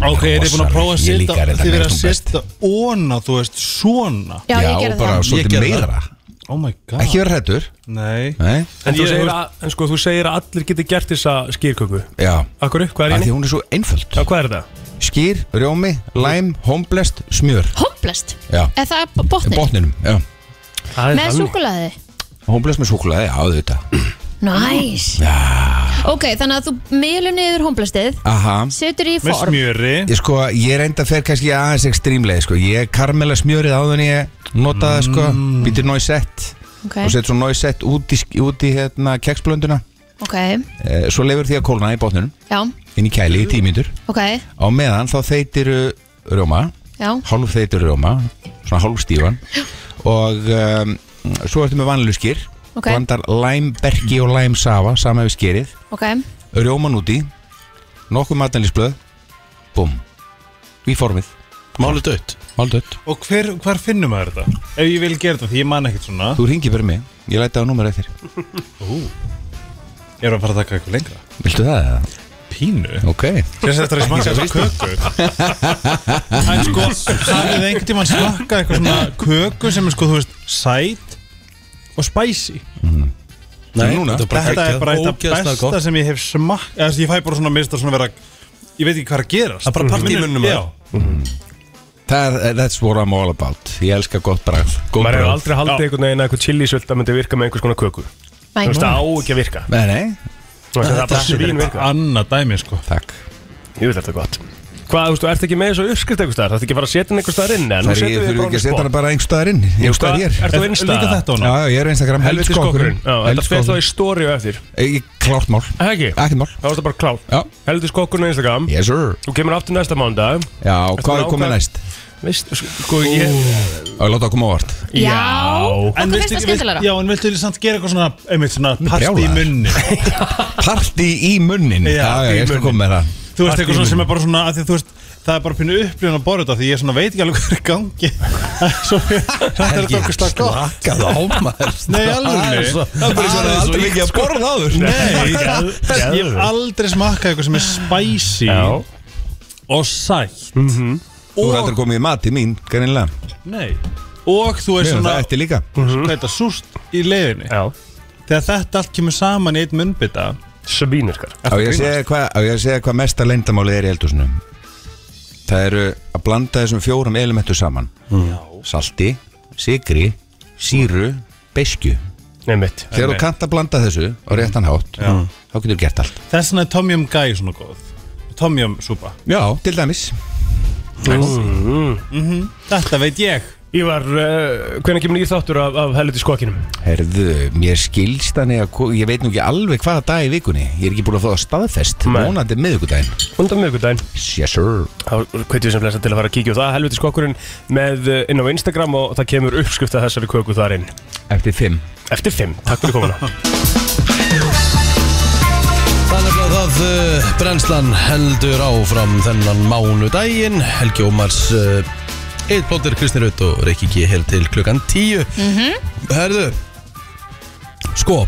Speaker 5: Ok, er þið búin að prófa að
Speaker 9: Ég líka
Speaker 5: setja
Speaker 9: reyndar
Speaker 5: Þið
Speaker 9: mest
Speaker 5: verið að
Speaker 9: hún best.
Speaker 5: setja óna, þú veist, svona
Speaker 2: Já, ég gerði
Speaker 9: og bara
Speaker 2: það
Speaker 1: Ég
Speaker 9: svolítið
Speaker 1: gerði það.
Speaker 9: meira
Speaker 5: Oh my god
Speaker 9: Ekki vera hrættur
Speaker 5: Nei
Speaker 9: Nei,
Speaker 3: En, þú
Speaker 5: Ég-
Speaker 3: segir, að, en sko, þú segir að allir geti gert þessa skýrköku
Speaker 9: já
Speaker 3: Akkur, hvað er
Speaker 9: Af
Speaker 3: henni?
Speaker 9: því hún er svo einföld
Speaker 3: Já, hvað er það?
Speaker 9: Skýr, rjómi, læm, homblest, smjör
Speaker 2: Homblest,
Speaker 9: Já,
Speaker 2: eða það er botnin
Speaker 9: botninum já.
Speaker 3: það er
Speaker 2: Með
Speaker 3: þannig.
Speaker 2: súkulaði
Speaker 9: Homblest með súkulega, já þetta
Speaker 2: Næs Ok, þannig að þú melur niður homblestið
Speaker 9: Aha
Speaker 2: Setur í
Speaker 5: Með
Speaker 2: form
Speaker 5: smjöri
Speaker 9: Ég sko, ég reynda að fer kannski aðeins ekstrímlega sko. Ég karmela smjörið áður en ég nota það sko Býtir noisett
Speaker 2: Ok,
Speaker 9: og setur svo noisett út í, sk- út í hérna, keksblönduna
Speaker 2: ok,
Speaker 9: eh, Svo leifur því að kólna í botninum
Speaker 2: já,
Speaker 9: Inn í kæli í tímyndur
Speaker 2: ok,
Speaker 9: Á meðan þá þeytir
Speaker 5: eh,
Speaker 9: rjóma
Speaker 2: já
Speaker 9: hálf þeytur rjóma svona hálf stífan og um, svo ertu með vanlu skýr
Speaker 2: Ok.
Speaker 9: blandar læmberki og læmsafa sama við skýrið,
Speaker 2: Ok,
Speaker 9: rjóman úti nokkuð matanlísblöð búm, í formið
Speaker 1: Máli dött
Speaker 9: Máldött,
Speaker 5: Og hver, hvar finnum maður þetta? Ef ég vil gera þetta, því ég man ekkert svona
Speaker 9: þú ringir fyrir mig ég læta á númer eftir,
Speaker 5: Ég er að fara að taka eitthvað lengra
Speaker 9: viltu það eða?
Speaker 5: Pínu
Speaker 9: Ok,
Speaker 5: Sér þetta er í smaka þessa köku En sko, hafið einhvern tímann smakað eitthvað svona köku sem er sko, þú veist, sæt og spicy
Speaker 1: Nei,
Speaker 9: Núna?
Speaker 1: þetta er bara
Speaker 5: Þetta er bara eitt af
Speaker 1: ógeðslega
Speaker 5: besta
Speaker 1: gott.
Speaker 5: sem ég hef smakkað Þessi, ég fæ bara svona mist að svona vera Ég veit ekki hvað er að gerast
Speaker 1: Það er bara partí í munnum,
Speaker 5: Já,
Speaker 9: það, er- that's what I'm all about ég elska gott bragð
Speaker 3: Maður hefur
Speaker 9: bragð.
Speaker 3: aldrei haldið einhvern veginn að eitthvað chilisölda myndi virka með einhvers konar köku Þú
Speaker 2: mæn
Speaker 3: veist, það á ekki að virka
Speaker 9: Nei, nei,
Speaker 3: Þú veist, það er bara svín virka
Speaker 5: annað dæmi sko
Speaker 9: takk
Speaker 3: Ég vil þetta gott Hvað, þú veist, þú ert ekki með þessu uppskrift einhvers staðar Það ert ekki að fara að setja hann einhvers staðar inn
Speaker 9: Það er ég þurfi ekki að setja hana bara einhver staðar inn Ég staðar hér
Speaker 3: Er þú innstæða?
Speaker 5: Líka þetta
Speaker 9: Já,
Speaker 5: hona
Speaker 9: já, ég er Instagram
Speaker 3: Helviti skokkurinn Já, Þetta fer þá
Speaker 9: Helvitskokkurinn
Speaker 3: í stóri og eftir
Speaker 9: Ég- Klárt mál,
Speaker 3: Ekki?
Speaker 9: ekkert mál
Speaker 3: Það var þetta bara klár
Speaker 9: Já,
Speaker 3: Helviti skokkurinn á Instagram
Speaker 9: yes sir
Speaker 3: Þú kemur aftur næsta mándag
Speaker 9: Já, hvað er
Speaker 3: búin að
Speaker 9: komið
Speaker 3: ákveða-
Speaker 9: næst?
Speaker 3: Veist, sko, ég
Speaker 9: Og láta okkur móvart
Speaker 2: Já, okkur finnst það skemmtilegra
Speaker 5: Já, en viltu samt gera eitthvað svona einmitt svona past í
Speaker 9: brjálaður.
Speaker 5: munni
Speaker 9: Parti í munnin
Speaker 5: Já,
Speaker 9: Já, já,
Speaker 5: í
Speaker 9: ég skal
Speaker 5: munnin.
Speaker 9: koma með það
Speaker 5: Þú veist, eitthvað svona sem er bara svona að því, þú veist, Það er bara pínu upplifun að borða þetta Því ég svona veit ekki alveg hvað er í gangi Svo þetta er þetta okkur stakk gott
Speaker 1: Slakað á maður
Speaker 5: Nei, í alvörunni.
Speaker 1: Það er bara svona aldrei mikið að borða áður
Speaker 5: Nei,
Speaker 3: geðveikt.
Speaker 5: ég hef aldrei smakkað eitthvað sem er spicy
Speaker 3: Já.
Speaker 5: og sætt
Speaker 9: Þú er aldrei komið í mati mín, greinilega
Speaker 5: Nei, Mhm. og þú
Speaker 9: Mér
Speaker 5: er
Speaker 9: finnst
Speaker 5: svona
Speaker 9: það eftir líka
Speaker 5: hvað þetta súst í leiðinni
Speaker 3: Já,
Speaker 5: þegar þetta allt kemur saman í einn munnbytta
Speaker 3: svínurkar
Speaker 9: Á ég að segja hvað- á ég að segja hvað mesta leyndamálið er í eldhúsinu Það eru að blanda þessum fjórum elementu saman Salti, sigri, síru, beiskju
Speaker 3: Nei mitt
Speaker 9: Þegar þú kannt að blanda þessu á réttan hátt þá getur þú gert allt
Speaker 5: þess vegna er tomjum gæi svona góð tomjum súpa
Speaker 9: Já, til dæmis
Speaker 5: þetta veit ég
Speaker 3: Ívar, uh, hvernig kemur nýr þáttur af, af helviti skokkinum?
Speaker 9: Herðu, mér skilst þannig að ko- ég veit nú ekki alveg hvaða dag í vikunni Ég er ekki búin að fá það staðfest
Speaker 3: Nei.
Speaker 9: Mónandi miðvikudaginn
Speaker 3: Undan miðvikudaginn
Speaker 9: Yes sir
Speaker 3: Þá hvetjum við sem flesta til að fara að kíkja á það Helviti skokkurinn með uh, inn á Instagram og það kemur uppskrifta þessari köku þar inn
Speaker 9: Eftir fimm
Speaker 3: Eftir 5, takk fyrir komuna
Speaker 1: Þannig að það uh, brennslan heldur áfram þennan mánudaginn Helgi Ómars uh, Eitt plóttir Kristi Raut og Reykji G hér til klukkan 10 Herðu Sko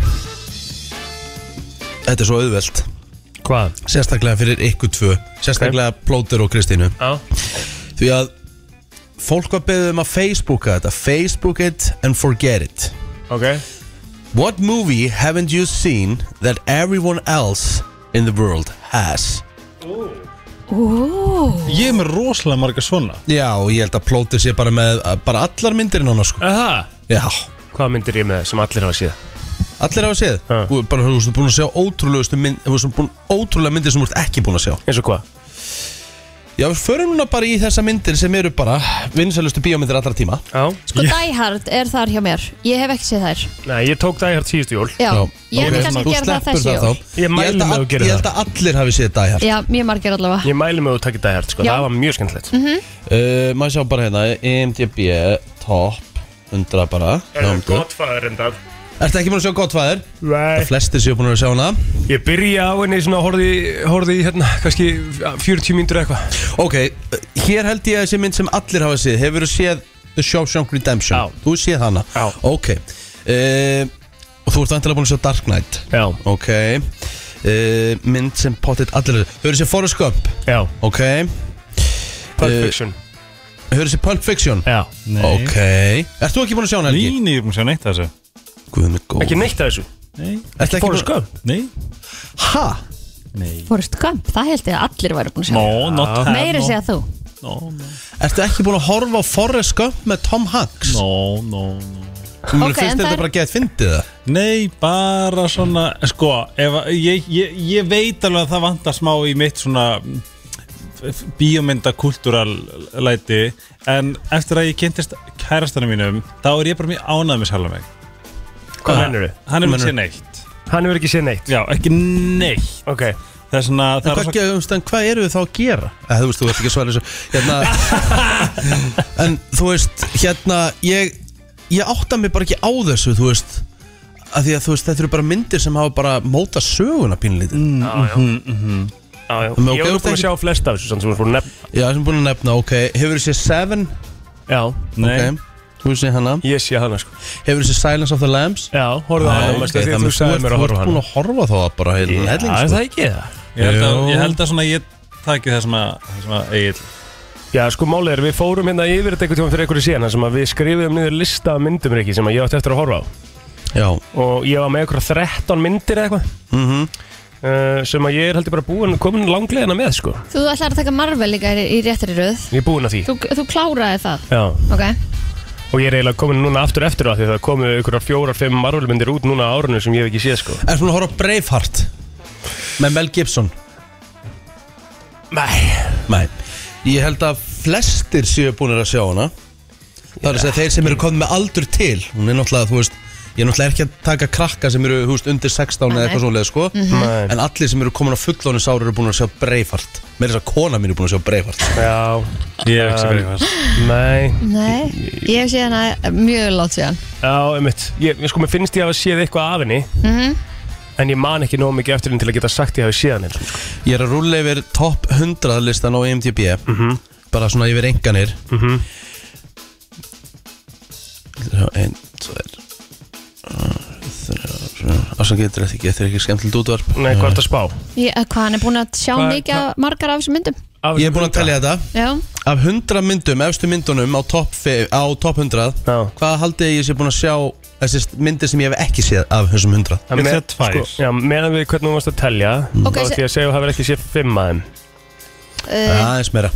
Speaker 1: Þetta er svo auðvelt
Speaker 3: Hvað?
Speaker 1: Sérstaklega fyrir ykkur tvö Sérstaklega plóttir og Kristínu
Speaker 3: Já
Speaker 1: Því að fólk var beðið um að Facebooka þetta Facebook it and forget it
Speaker 3: Ok
Speaker 1: What movie haven't you seen that everyone else in the world has?
Speaker 5: ég er með rosalega marga svona
Speaker 1: Já, og ég held að plótið sé bara með bara allar myndirinn á hana sko
Speaker 3: Aha
Speaker 1: Já,
Speaker 3: Hvað myndir ég með sem allir hafa séð?
Speaker 1: allir hafa séð
Speaker 3: Ha.
Speaker 1: Þú er bara, þú veist, búin að sjá ótrúlegustu mynd Þú veist, búin ótrúlega myndir sem þú ert ekki búin að sjá
Speaker 3: Eins og hvað?
Speaker 1: Já, við förum núna bara í þessa myndir sem eru bara vinsælustu bíómyndir allra tíma
Speaker 3: Já
Speaker 2: Sko Die Hard er þar hjá mér Ég hef ekki séð þær
Speaker 3: Nei, ég tók það í hægt síðustu jól
Speaker 2: Já,
Speaker 1: Já. Ok,
Speaker 2: ég hef kannski
Speaker 1: þú
Speaker 2: að gera það
Speaker 1: sleppur
Speaker 2: þessi jól
Speaker 1: þá.
Speaker 3: Ég mæli
Speaker 1: held að
Speaker 3: með að
Speaker 1: all-
Speaker 3: þú gerir
Speaker 1: Ég held að allir hafi séð Die Hard
Speaker 2: Já, mjög margir allavega
Speaker 3: Ég mæli með að þú takkir það í hægt sko
Speaker 2: Já.
Speaker 3: Það var mjög skemmtilegt
Speaker 1: uh, Maður sjá bara hérna, IMDB, top 100 bara Námdu.
Speaker 3: Godfather enda
Speaker 1: Ertu ekki búin að sjá Godfather?
Speaker 3: Nei
Speaker 1: Það flestir séu búin að sjá hana
Speaker 3: Ég byrja á henni svona horfði, horfði í hérna kannski 40 mínútur eitthvað
Speaker 1: Ok, hér held ég að þessi mynd sem allir hafa séð Hefur þú séð The Shawshank Redemption?
Speaker 3: Já.
Speaker 1: Þú hefur séð hana?
Speaker 3: Já.
Speaker 1: Ok uh, Og þú ert vantilega búin að sjá Dark Knight
Speaker 3: Já,
Speaker 1: Ok uh, Mynd sem potið allir Þú hefur séð Forrest Gump
Speaker 3: já,
Speaker 1: Ok Hefur
Speaker 3: Pulp
Speaker 1: Eh,
Speaker 3: Fiction
Speaker 1: þú séð Pulp Fiction?
Speaker 3: Já,
Speaker 5: Nei.
Speaker 1: Ok Ert þú ekki búin að sjá hana Helgi?
Speaker 5: Líni, ég er búin að sjá neitt af þessu
Speaker 1: Guð mig góð
Speaker 3: ekki neitt af þessu
Speaker 5: Nei,
Speaker 1: Ertu ekki búin að
Speaker 3: Gump
Speaker 5: nei,
Speaker 1: Ha?
Speaker 5: nei
Speaker 2: Forrest Gump, það held ég að allir væri búin að sjá
Speaker 5: No, not that
Speaker 2: Meiri segja þú
Speaker 5: No, no,
Speaker 1: Ertu ekki búin að horfa á Forrest Gump með Tom Hanks?
Speaker 5: no, no, no.
Speaker 1: Mér
Speaker 2: Ok, en
Speaker 1: finnst
Speaker 2: það
Speaker 1: þetta
Speaker 2: er-
Speaker 1: bara að geta fyndið það
Speaker 5: Nei, bara svona Sko, ef, að- ég, ég, ég veit alveg að það vantar smá í mitt svona bíómynda kultúral læti En eftir að ég kynntist kærastanum mínum Þá er ég bara mjög ánægð með sjálf mig
Speaker 3: Hvað mennur þið?
Speaker 5: Hann
Speaker 1: Meinarðu?
Speaker 5: er með sér neitt
Speaker 3: Hann hefur ekki séð neitt
Speaker 5: Já, ekki neitt
Speaker 3: Ok,
Speaker 5: Það er svona, það er
Speaker 1: Hvað,
Speaker 5: svona
Speaker 1: svo... en hvað eru við þá að gera? Eh, Þú veist, þú ert ekki að svara þessu hérna, En þú veist, hérna ég, ég átta mig bara ekki á þessu Þú veist að Því að þú veist, þetta eru bara myndir sem hafa bara móta söguna pínlítið
Speaker 3: já, já Já, já,
Speaker 1: Men ok,
Speaker 3: ég
Speaker 1: þú
Speaker 3: var
Speaker 1: ert
Speaker 3: búin að
Speaker 1: ekki-
Speaker 3: sjá flest af þessu samt sem við fórum nefn
Speaker 1: Já, sem búin að nefna, ok Hefur þessi Seven?
Speaker 3: Já,
Speaker 5: Nei,
Speaker 1: Ok, Þú veist, hana
Speaker 3: ég sé hana sko
Speaker 1: Hefur þessi Silence of the Lambs?
Speaker 3: Já, horfðu á
Speaker 1: Nei,
Speaker 3: hana
Speaker 1: ok,
Speaker 3: mest af því
Speaker 1: það
Speaker 3: að
Speaker 1: með
Speaker 3: Þú sagði mér að horfa á
Speaker 1: búin
Speaker 3: hana
Speaker 1: að horfa þá bara heilin
Speaker 3: Já,
Speaker 1: helling
Speaker 3: er
Speaker 1: sko.
Speaker 3: það ekki það?
Speaker 5: ég held að,
Speaker 1: Jú.
Speaker 5: ég held að svona ég taki það sem að, það sem að Egil
Speaker 3: Já, sko málið er, við fórum hérna yfir þetta einhvern tíma fyrir einhverju síðan þar sem að við skrifum niður lista af myndum Riki sem að ég átti eftir að horfa á
Speaker 1: Já,
Speaker 3: og ég var með einhverja 13 myndir eða eitthvað
Speaker 1: Mhm.
Speaker 3: uh, sem að ég er heldur bara búin, komin langlegina með sko
Speaker 2: Þú ætlar að taka Marvel líka í, í réttri röð
Speaker 3: Ég er búin að því
Speaker 2: Þú, þú kláraði það
Speaker 3: Já,
Speaker 2: Ok,
Speaker 3: og ég er eiginlega komin núna aftur eftir á því það komu einhverjar fjórar, fimm marvölmyndir út núna á árunum sem ég hef ekki séð sko
Speaker 1: er svona að horfa á Braveheart Með Mel Gibson
Speaker 3: Nei
Speaker 1: Nei, ég held að flestir séu búinir að sjá hana Það er að segja þeir sem eru komið með aldur til Hún er náttúrulega, þú veist Ég er náttúrulega ekki að taka krakka sem eru þú veist, undir 16 eða
Speaker 2: Nei.
Speaker 1: eitthvað svoleið sko
Speaker 3: Nei.
Speaker 1: En allir sem eru komin á fullónis ára eru búin að sjá breyfart Meira þess að kona mín er búin að sjá breyfart
Speaker 3: Já,
Speaker 5: Ég hef ekki verið hvað
Speaker 3: nei
Speaker 2: nei Ég hef séð hana mjög látt síðan
Speaker 3: Já, einmitt Ég, ég sko, mér finnst ég að hafa séð eitthvað af henni
Speaker 2: Mhm.
Speaker 3: En ég man ekki nóg mikið eftir henni til að geta sagt ég hafi séð henni sko.
Speaker 1: Ég er að rúlla yfir top 100 listan á E IMDb Bara svona yfir enganir mm -hmm. Einn, tvær Ásan getur þetta ekki, þetta er ekki skemmtilegt útvarp
Speaker 3: Nei, hvað er þetta að spá?
Speaker 2: ég, eh, Hvað hann er búin að sjá
Speaker 3: Hvað-
Speaker 2: mikið af margar af þessum myndum
Speaker 1: Ég er búin að tellja þetta
Speaker 2: Já,
Speaker 1: Af 100 myndum, efstu myndunum á topp fi- á topp 100
Speaker 3: Já.
Speaker 1: Hvað haldið þið ég sé búin að sjá þessi myndir sem ég hef ekki séð af þessum 100?
Speaker 3: Það
Speaker 5: Ég
Speaker 3: með- sko,
Speaker 5: sé tvær.
Speaker 3: já, meðan við hvernig þú varst að telja
Speaker 2: Ok,
Speaker 3: Þá
Speaker 2: se-
Speaker 3: ætti ég að segja að þú hafið ekki séð fimm að þeim
Speaker 2: uh,
Speaker 1: Aðeins meira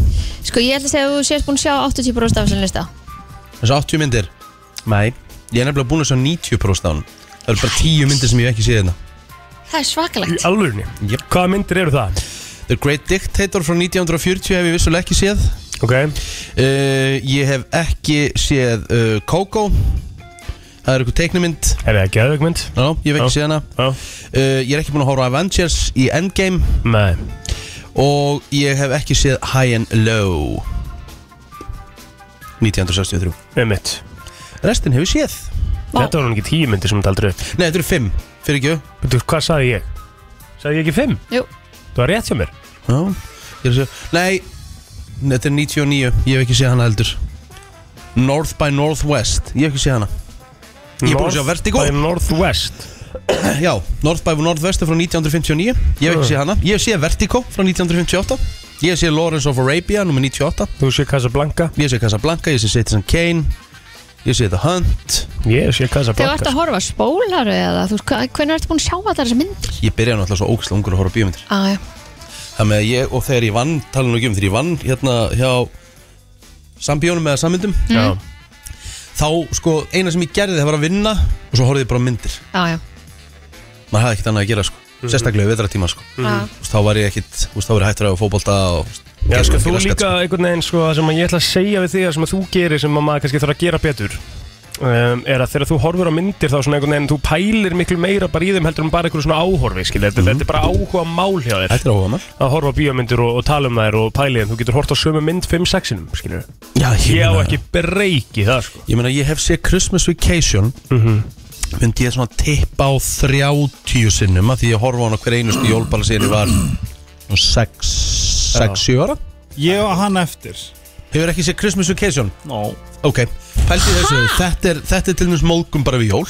Speaker 2: sko ég ætla að segja að þú sést búin að sjá 80% af þessum lista
Speaker 1: Þessi 80 myndir
Speaker 3: Nei
Speaker 1: Ég er nefnilega búin að sjá 90% á hann Það eru bara 10 myndir sem ég hef ekki séð hérna
Speaker 2: Það er
Speaker 3: Í
Speaker 2: svakalegt
Speaker 3: alvörunni?
Speaker 1: Jep.
Speaker 3: Hvaða myndir eru það?
Speaker 1: The Great Dictator frá 1940 hef ég vissulega ekki séð
Speaker 3: Ok,
Speaker 1: uh, Ég hef ekki séð uh, Coco Það er eitthvað teiknumynd
Speaker 3: er það geðvögmynd?
Speaker 1: Já, ég hef ekki
Speaker 3: Já.
Speaker 1: séð hana
Speaker 3: Já
Speaker 1: uh, Ég er ekki búin að horfa á Avengers í Endgame
Speaker 3: Nei
Speaker 1: Og ég hef ekki séð High and Low 1963
Speaker 3: Um mitt
Speaker 1: Restin hefur séð
Speaker 2: Vá.
Speaker 3: Þetta var nú ekki tíu myndir sem þú aldrei upp
Speaker 1: Nei, þetta eru 5, fyrir ekki
Speaker 3: Veitu, hvað sagði ég? Sagði ég ekki fimm?
Speaker 2: Jú.
Speaker 3: Þú var rétt hjá mér
Speaker 1: Já, ég er að segja Nei, þetta er 99, ég hef ekki séð hana heldur North by Northwest, ég hef ekki séð hana Ég er búin að sjá Vertigo.
Speaker 3: Það er Northwest
Speaker 1: Já, North by Northwest er frá 1959 Ég hef ekki séð hana Ég hef séð Vertigo frá 1958 Ég hef séð Lawrence of Arabia, nummer 98
Speaker 3: Þú sé Casablanca
Speaker 1: Ég hef séð Casablanca, ég hef séð Citizen Kane Ég hef séð The Hunt
Speaker 3: Ég
Speaker 2: Þegar þú
Speaker 3: sé
Speaker 2: ert
Speaker 3: Casablanca
Speaker 2: að horfa á spólar eða þú veist, hva- hvenær ertu búin að sjá allar þessar myndir?
Speaker 1: Ég byrjaði náttúrulega svo ógæslega ungur að horfa á bíómyndir
Speaker 2: Á, já.
Speaker 1: Þannig að ég, og þegar ég vann, tala nú ekki um þegar ég vann hérna hjá sambíónum eða sammyndum
Speaker 3: Já
Speaker 2: Mm.
Speaker 1: Þá, sko, eina sem ég gerði það var að vinna og svo horfði ég bara á myndir
Speaker 2: Já, já.
Speaker 1: maður hafði ekkert annað að gera sko
Speaker 3: Mhm.
Speaker 1: sérstaklega vetratíma sko
Speaker 2: Já.
Speaker 1: Þú veist, þá var ég ekkert, þú veist, þá var ég hættur að fókbólta og
Speaker 3: Já,
Speaker 1: gerði
Speaker 3: sko,
Speaker 1: ekki
Speaker 3: þú
Speaker 1: raskat,
Speaker 3: líka einhvern veginn sko, það sem að ég ætla að segja við þig að sem að þú gerir sem að maður kannski þarf að gera betur um, er að þegar þú horfur á myndir þá svona einhvern veginn þú pælir miklu meira bara í þeim heldur en bara einhverju svona áhorfi skil, þetta, þetta er bara áhuga mál hjá þér
Speaker 1: Mhm. Þetta er áhuga maður
Speaker 3: að horfa á bíómyndir og, og tala um þær og pæli þeim þú getur hort á sömu mynd 5-6-inum skilur
Speaker 1: Já,
Speaker 3: ég á
Speaker 1: meina-
Speaker 3: ekki breyki það sko
Speaker 1: Ég meina, ég hef séð Christmas Vacation
Speaker 3: Mhm.
Speaker 1: myndi ég svona tippa á 30 sinnum að því ég horfa á hana hver einustu jólbala síðan ég var 6-7 ára
Speaker 5: Ég og hann eftir
Speaker 1: Hefur ekki séð Christmas Vacation?
Speaker 5: Nó
Speaker 1: Ok, pælti þessu, þetta er, þetta er til dæmis mólgum bara við jól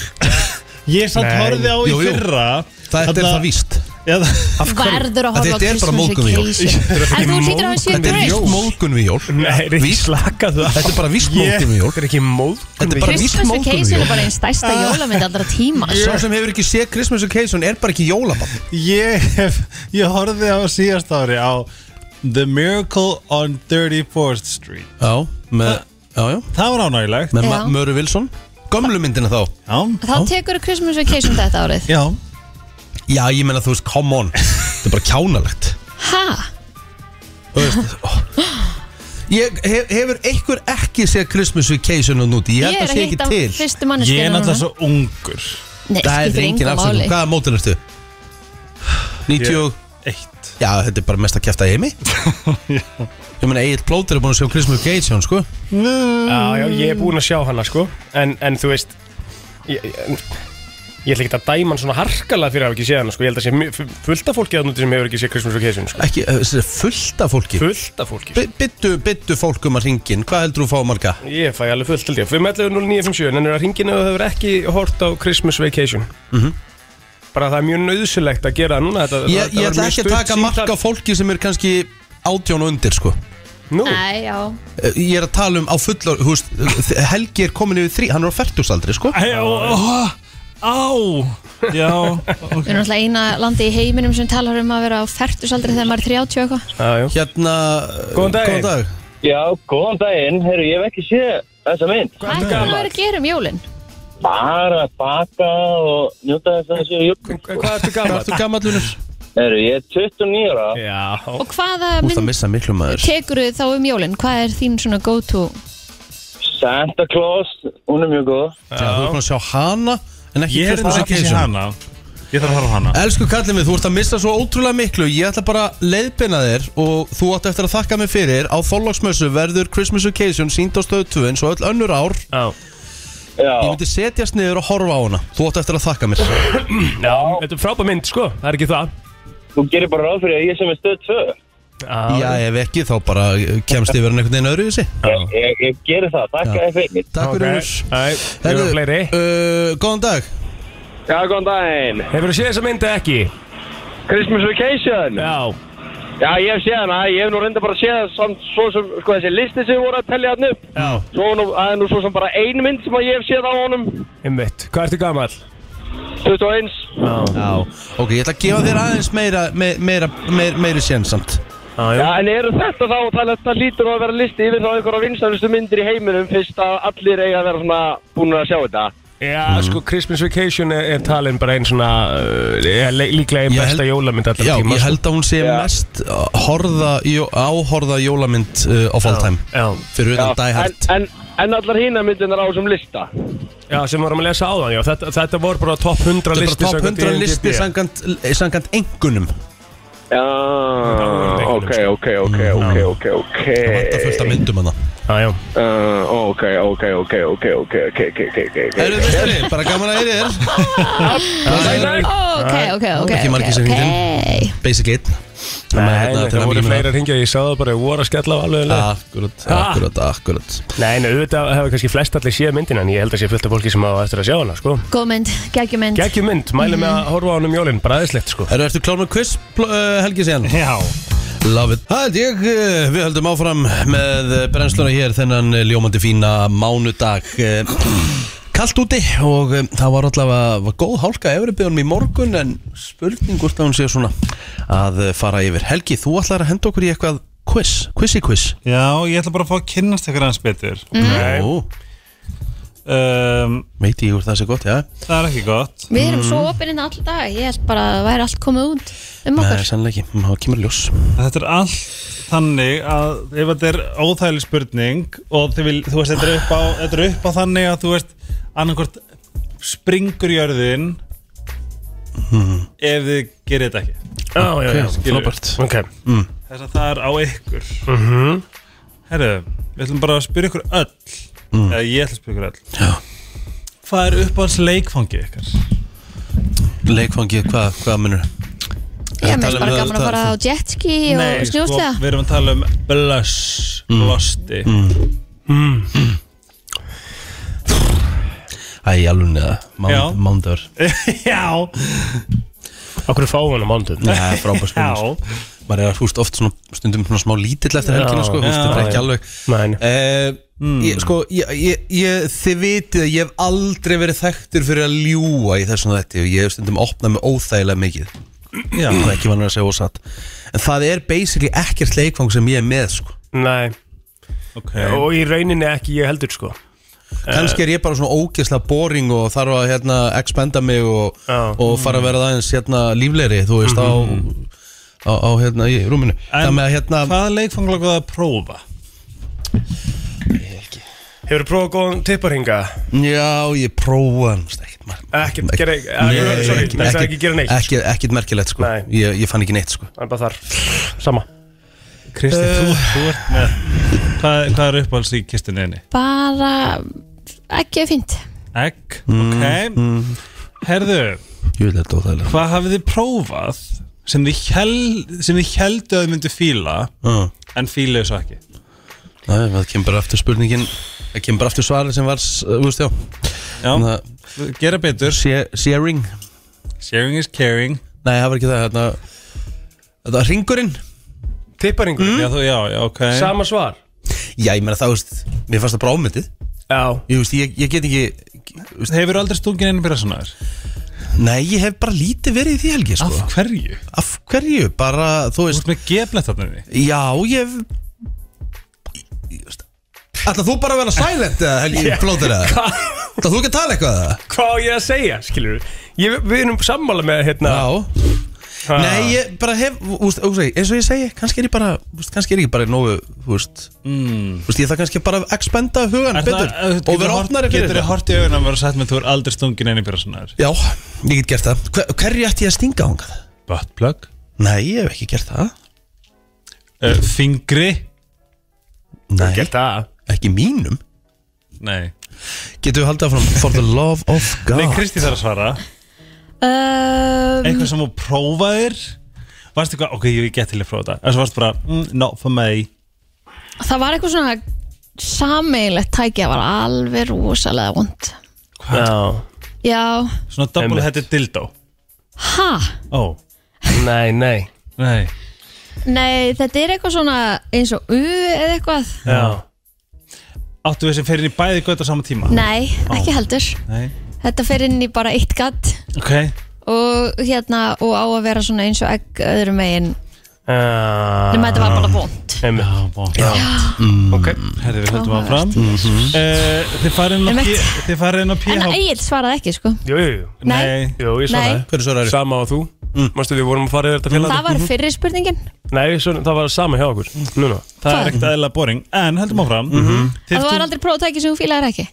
Speaker 5: Ég samt
Speaker 3: Nei.
Speaker 5: horfið á í
Speaker 1: Jú, jú.
Speaker 5: fyrra
Speaker 1: Það þetta er það víst
Speaker 5: víst
Speaker 2: Verður að
Speaker 1: Að
Speaker 2: horfa á
Speaker 1: þetta er bara
Speaker 2: Christmas
Speaker 1: móðgun í jól.
Speaker 2: Vacation En þú hlýtur að hafa séð
Speaker 1: Þetta er víst
Speaker 2: Grace
Speaker 1: mólgun við jól
Speaker 3: Nei, Rikki, slakaðu á.
Speaker 1: Þetta er bara víst
Speaker 5: Ég-
Speaker 1: mólgun við jól
Speaker 3: Þetta er ekki móðgun
Speaker 1: Þetta er bara víst Ah.
Speaker 2: Christmas
Speaker 1: mólgun við
Speaker 2: Vacation
Speaker 1: jól
Speaker 2: er bara einn stærsta jólamynd allra tíma
Speaker 1: Sá sem hefur ekki séð Christmas Vacation er bara ekki jólabann
Speaker 5: Ég hef, ég horfið á síðast ári á The Miracle on 34th Street
Speaker 1: Já, með, já, já,
Speaker 5: Það var ánægilegt
Speaker 1: með
Speaker 2: Já.
Speaker 1: Ma- Möru Wilson Gömlu myndina þá
Speaker 5: Já,
Speaker 2: Þá tekur Christmas Vacation þetta árið
Speaker 5: já
Speaker 1: Já, ég menna þú veist, come on Þetta er bara kjánalegt
Speaker 2: Ha?
Speaker 1: Þú veist, ó. Ég, hef, hefur einhver ekki séð Christmas Vacation og núti Ég
Speaker 2: Ég
Speaker 1: held
Speaker 2: er
Speaker 1: að
Speaker 2: að
Speaker 1: sé
Speaker 2: hitta
Speaker 1: ekki til
Speaker 2: fyrstu
Speaker 5: Ég er
Speaker 2: manneskina
Speaker 5: náttúrulega
Speaker 2: núna
Speaker 5: svo ungur
Speaker 2: Nei,
Speaker 1: Það er
Speaker 2: skiptir
Speaker 1: engin
Speaker 2: engu
Speaker 1: afsökun
Speaker 2: máli
Speaker 1: Hvaða mótin ertu? 90
Speaker 5: Eitt
Speaker 1: Já, þetta er bara mest að kæfta heimi Ég meina, Egil Plóter er búin að sjá Christmas Vacation, sko
Speaker 3: já, já, ég er búin að sjá hana sko en, en þú veist ég, ég, ég ætla ekki að dæma hann svona harkalega fyrir að hafa ekki séð hana sko ég held að sé mi- fu- fullt af fólki að núti sem hefur ekki séð Christmas Vacation sko.
Speaker 1: Ekki, eh, þessi fullt af fólki
Speaker 3: fullt af fólki
Speaker 1: Bi- Biddu, biddu fólk um að ringin Hvað heldur þú fá marga?
Speaker 3: Ég fæ alveg fullt til því 5.11.09.57 En er að ringin ef þú hefur ekki hort á Christmas Vacation Bara það er mjög nöðsulegt að gera það núna
Speaker 1: Ég,
Speaker 3: þetta, þetta
Speaker 1: ég
Speaker 3: var
Speaker 1: ætla
Speaker 3: mjög
Speaker 1: ekki að
Speaker 3: stutt
Speaker 1: taka
Speaker 3: símtal.
Speaker 1: mark á fólki sem er kannski átján og undir sko
Speaker 3: Nú,
Speaker 2: Nei, já
Speaker 1: Eh, Ég er að tala um á fullor húst, Helgi er komin yfir þrý, hann er á færtúsaldri sko
Speaker 5: Æ, ó, ó, Á Já
Speaker 2: Við erum náttúrulega eina landi í heiminum sem talar um að vera á fertusaldri þegar maður er 30 og eitthvað
Speaker 3: já, já
Speaker 1: Hérna
Speaker 3: Góðan dag.
Speaker 1: Góðan dag.
Speaker 8: Já, góðan daginn, herru, ég hef ekki séð þessa mynd.
Speaker 2: Hvað er það að gera um jólin?
Speaker 8: Bara að baka og njóta þess að þessu jól.
Speaker 3: Hvað ertu
Speaker 1: Hvað
Speaker 3: gammal?
Speaker 1: ertu gammallunur?
Speaker 8: Herru, ég er 29 ára.
Speaker 3: Já,
Speaker 2: Og
Speaker 1: Þú
Speaker 2: hvaða
Speaker 1: ert að
Speaker 2: mynd
Speaker 1: missa miklu maður
Speaker 2: tekur þú þá um jólin? Hvað er þín svona go-to?
Speaker 8: Santa Claus, hún er mjög góð.
Speaker 1: Já, Þú ert búin að sjá hana En ekki
Speaker 5: Ég er
Speaker 1: Christmas
Speaker 5: það ekki
Speaker 1: Vacation
Speaker 5: hana Ég þarf að horfa á hana
Speaker 1: Elsku kallið mig, þú ert að missa svo ótrúlega miklu Ég ætla bara að leiðbina þér Og þú átt eftir að þakka mig fyrir Á þóllagsmössu verður Christmas Vacation Sýnd á stöðu 2 eins og öll önnur ár
Speaker 3: já
Speaker 8: Já,
Speaker 1: Ég myndi setjast niður og horfa á hana Þú átt eftir að þakka mér
Speaker 3: Já, þetta er frábæð mynd sko, það er ekki það
Speaker 8: þú gerir bara ráð fyrir að ég sem er stöð 2.
Speaker 1: Já, ef ekki, þá bara eh, kemst yfir hann einhvern veginn öðru í þessi
Speaker 8: Ég, ég, ég gerir það, takk
Speaker 1: Já.
Speaker 8: að þið fyrir.
Speaker 1: Takk
Speaker 3: Ok,
Speaker 1: fyrir
Speaker 3: nei,
Speaker 1: Herðu,
Speaker 3: eru fleiri
Speaker 1: uh, Góðan dag
Speaker 8: Já, góðan daginn.
Speaker 3: Hefur þú séð þessa mynd eða ekki?
Speaker 8: Christmas Vacation.
Speaker 3: Já,
Speaker 7: Já, ég hef séð hana, ég hef nú reynda bara séð samt svo sem, sko, þessi listi sem við vorum að tellja hann upp
Speaker 3: Já.
Speaker 7: Svo nú, það er nú svo sem bara ein mynd sem að ég hef séð á honum
Speaker 3: Einmitt, hvað ertu gammal?
Speaker 7: 21
Speaker 1: Já, ok, ég ætla að gefa þér aðeins meira, meira, meira, meira, meira sénsamt
Speaker 7: Já, en eru þetta þá, það, það lítur nú að vera listi yfir þá einhverja vinsalustu myndir í heiminum fyrst að allir eiga að vera svona búin að sjá þetta
Speaker 3: Já, sko, Christmas Vacation er, er talin bara einn svona uh, er le- líklega einn
Speaker 1: Ég
Speaker 3: besta
Speaker 1: held-
Speaker 3: jólamynd allra
Speaker 1: Já,
Speaker 3: tíma sko.
Speaker 1: ég held að hún sé mest horða, jó- áhorða jólamynd uh, of all time
Speaker 3: Já,
Speaker 1: Fyrir utan Die
Speaker 7: en,
Speaker 1: Hard
Speaker 7: en, en allar hína myndirnar á þessum lista
Speaker 3: já, sem vorum að lesa áðan, já, þetta, þetta voru bara top
Speaker 1: Þetta
Speaker 3: 100
Speaker 1: er
Speaker 3: listi
Speaker 1: bara top
Speaker 3: samkvæmt E
Speaker 1: 100
Speaker 3: IMDb.
Speaker 1: listi samkant, samkant engunum
Speaker 7: Já,
Speaker 3: voru
Speaker 7: ok,
Speaker 3: leikunum,
Speaker 7: ok, ok, ok, ok, ok
Speaker 1: Það vantar fullt af myndum hana
Speaker 3: Já, já,
Speaker 7: Uh, Ok, ok, ok, ok, ok, ok, ok, ok, ok, ok
Speaker 1: Eruð mistri, bara gaman að heyri þér
Speaker 2: Ok, ok, ok
Speaker 1: Ekki margir sem hringdu
Speaker 2: okay.
Speaker 1: Basic 1
Speaker 3: Nei,
Speaker 1: hérna
Speaker 3: nei, þetta voru fleira hringja, ég sá það bara, ég voru að skella á alveg leið.
Speaker 1: Ah. Akkurat, akkurat, akkurat
Speaker 3: Nei, nei, auðvitað hefur kannski flest allir séð myndina en ég held að sé fullt af fólki sem á eftir að sjá hana, sko
Speaker 2: Góð mynd, geggjumynd
Speaker 3: Gækjum mynd, mælum við að horfa á hann um jólinn, bara aðeinslegt, sko
Speaker 1: Eru, ertu klár með quiz, pl- uh, Helgi síðan?
Speaker 5: Já
Speaker 1: Love it Það held ég, eh, við höldum áfram með eh, brennsluna hér þennan eh, ljómandi fína mánudag eh, Kalt úti og eh, það var allavega var góð hálka efribyðunum í morgun en spurning hvort að hún sé svona að eh, fara yfir Helgi, þú ætlar að henda okkur í eitthvað quiz, quiz í quiz
Speaker 5: Já, ég ætla bara að fá að kynnast ykkur aðeins betur
Speaker 3: Nei.
Speaker 1: Ó,
Speaker 5: um,
Speaker 1: veit ég úr það sé gott, já
Speaker 5: Það er ekki gott
Speaker 2: Við erum svo opininn all dag Ég held bara að það væri allt komið út um
Speaker 1: Mhm. Nei,
Speaker 2: okkur
Speaker 1: sannlega ekki, það kemur í ljós
Speaker 5: Þetta er allt þannig að ef þetta er óþægileg spurning og þið vil, þú veist, þetta er upp á, þetta er upp á þannig að þú veist, annarkvort springur jörðin ef þið gerir þetta ekki
Speaker 3: Já, já, já,
Speaker 5: skilur.
Speaker 1: Frábært
Speaker 3: ok
Speaker 5: þess að það er á ykkur Herru, við ætlum bara að spyrja ykkur öll eða ég ætla að spyrja ykkur öll
Speaker 1: Já.
Speaker 5: Hvað er uppáhalds leikfangi ykkar?
Speaker 1: Leikfangið, hvað hva munur?
Speaker 2: Ég
Speaker 1: Ég
Speaker 2: meðist
Speaker 1: tala
Speaker 2: bara
Speaker 1: um
Speaker 2: gaman
Speaker 1: það-
Speaker 2: að
Speaker 1: sko,
Speaker 2: fara á jetski og snjóslega
Speaker 5: sko, við erum að tala um blush, losti
Speaker 1: Æ, alveg neða,
Speaker 5: Já.
Speaker 1: mándagur
Speaker 5: Já,
Speaker 3: Okkur fáum hann á mándum
Speaker 1: Nei, frábært sko
Speaker 5: já
Speaker 1: maður er að húst oft svona, stundum svona smá lítill eftir helgina sko, húst,
Speaker 5: já,
Speaker 1: þetta
Speaker 5: Hmm.
Speaker 1: er
Speaker 3: já.
Speaker 1: ekki alveg
Speaker 3: Nei, nei.
Speaker 1: uh, ég, sko, ég, ég, ég, þið vitið að ég hef aldrei verið þekktur fyrir að ljúa í þessum þetta og ég hef stundum opnað mig óþægilega mikið
Speaker 5: Já.
Speaker 1: það er ekki vanur að segja ósatt en það er basically ekkert leikfang sem ég er með sko.
Speaker 3: Nei,
Speaker 5: okay.
Speaker 3: og í rauninni ekki ég heldur, sko
Speaker 5: Eh.
Speaker 1: kannski er ég bara svona ógeðslega boring og þarf að hérna, expanda mig og,
Speaker 3: Já.
Speaker 1: og fara að vera aðeins hérna, líflegri, þú veist, á, á, á hérna, í rúminu
Speaker 5: Mhm. En
Speaker 1: það með að hérna
Speaker 5: Hvaða leikfang langar það að prófa?
Speaker 3: Hefur prófað góðan tipparhinga?
Speaker 1: Já, ég prófa hann veist, ekkert mar-
Speaker 3: Ekkert, gera ekki-
Speaker 1: Nei,
Speaker 3: eh, sorry,
Speaker 1: ekkert-
Speaker 3: það er
Speaker 1: ekkert-
Speaker 3: ekki gera neitt.
Speaker 1: Ekkert ekkert merkilegt sko
Speaker 3: Nei.
Speaker 1: ég, ég fann ekki neitt sko
Speaker 3: Það er bara þar, sama Eh,
Speaker 5: Kristi, þú, þú ert með hvað, hvað er uppáhalds í kistunniðinni?
Speaker 2: Bara ekki fínt
Speaker 5: Egg, ok Herðu,
Speaker 1: Jú, þetta er óþægilega
Speaker 5: hvað hafið þið prófað sem þið, hel, sem þið heldu að þið myndu fíla
Speaker 1: uh,
Speaker 5: en fílaðu svo ekki?
Speaker 1: nei, Það kemur bara aftur spurningin Það kemur bara aftur svarið sem var s- eh, Þú veist, já
Speaker 5: Já,
Speaker 1: Þannig að-
Speaker 5: gera betur
Speaker 1: Share- Sharing
Speaker 5: Sharing is caring
Speaker 1: Nei, það var ekki það hérna, Þetta var ringurinn
Speaker 3: Tipparhingur,
Speaker 5: Já, þú, já, já, ok
Speaker 3: sama svar
Speaker 1: Já, ég meina það, þú veist Mér fannst það bara ámyndið
Speaker 3: Já,
Speaker 1: Ég, þú veist, ég, ég get ekki þú veist,
Speaker 5: Hefur aldrei stungin einu personaður?
Speaker 1: Nei, ég hef bara lítið verið í því helgi sko
Speaker 5: Af hverju?
Speaker 1: Af hverju? Bara, þú
Speaker 5: Þú
Speaker 1: veist
Speaker 5: ert með geflett þarna inni
Speaker 1: Já, ég Ætlað þú bara að vera silent eða Helgi flótir eða? Það þú ekki að tala eitthvað eða?
Speaker 3: hvað á ég að segja, skilur við Við erum sammála með hérna
Speaker 1: Já
Speaker 3: ha,
Speaker 1: Nei, ég bara hef, úst, úst, eins og ég segi Kannski er ég bara, úst, kannski er ég bara nógu Úst, mm. úst ég það kannski bara að expanda hugan betur Og vera opnari fyrir
Speaker 5: Getur þið
Speaker 1: það
Speaker 5: hort í augunum að vera sagt með þú er aldrei stungin einu personaður?
Speaker 1: Já, ég get gert það Hver, Hverju ætti ég að stinga ángað?
Speaker 5: Buttplug
Speaker 1: Nei, ég hef ekki gert það
Speaker 5: uh, Fingri
Speaker 1: Nei,
Speaker 3: Gert það
Speaker 1: ekki mínum
Speaker 5: Nei
Speaker 1: Getur við haldið áfram For the love of God
Speaker 5: Nei, Kristi þarf að svara
Speaker 2: um,
Speaker 5: Eitthvað sem þú prófaðir Varstu eitthvað, ok, ég get til að prófa þetta En svo varstu bara, mm, not for me
Speaker 2: Það var eitthvað svona sameigilegt tæki Það var alveg rosalega vond
Speaker 3: Já,
Speaker 2: Já,
Speaker 5: Svona double headed dildo
Speaker 2: ha?
Speaker 5: Ó,
Speaker 3: nei, nei
Speaker 5: nei
Speaker 2: Nei, þetta er eitthvað svona eins og U eða eitthvað
Speaker 5: Já Áttu við sem fer inn í bæði götu á sama tíma?
Speaker 2: Nei, ekki heldur
Speaker 5: Nei
Speaker 2: Þetta fer inn í bara eitt gatt
Speaker 5: Ok
Speaker 2: og hérna og á að vera svona eins og egg öðrum megin Nema
Speaker 3: Nefnum
Speaker 1: Ah.
Speaker 2: þetta var bara vont.
Speaker 3: Já,
Speaker 5: bónt Já
Speaker 3: Ok
Speaker 5: Herði, við höldum áfram Eh, Þið farið inn á
Speaker 2: Einmitt.
Speaker 5: P- Þið farið inn á
Speaker 2: En
Speaker 5: PH
Speaker 2: Egil svaraði ekki sko
Speaker 3: Jú, jú, jú
Speaker 2: Nei.
Speaker 3: Jú, ég svaraði
Speaker 2: Nei. Mm.
Speaker 1: Hvernig svaraði?
Speaker 3: Sama og þú
Speaker 1: Mm.
Speaker 3: Mástu við vorum að fara yfir þetta félag
Speaker 2: Það Mm. var
Speaker 1: Mhm.
Speaker 2: fyrri spurningin
Speaker 3: Nei, svo, það var sama hjá okkur Núna
Speaker 5: Það er ekkert aðeinslega boring En höldum áfram
Speaker 2: Mhm. Það
Speaker 5: Þið
Speaker 2: var aldrei prófutæki sem hún fílaði ekki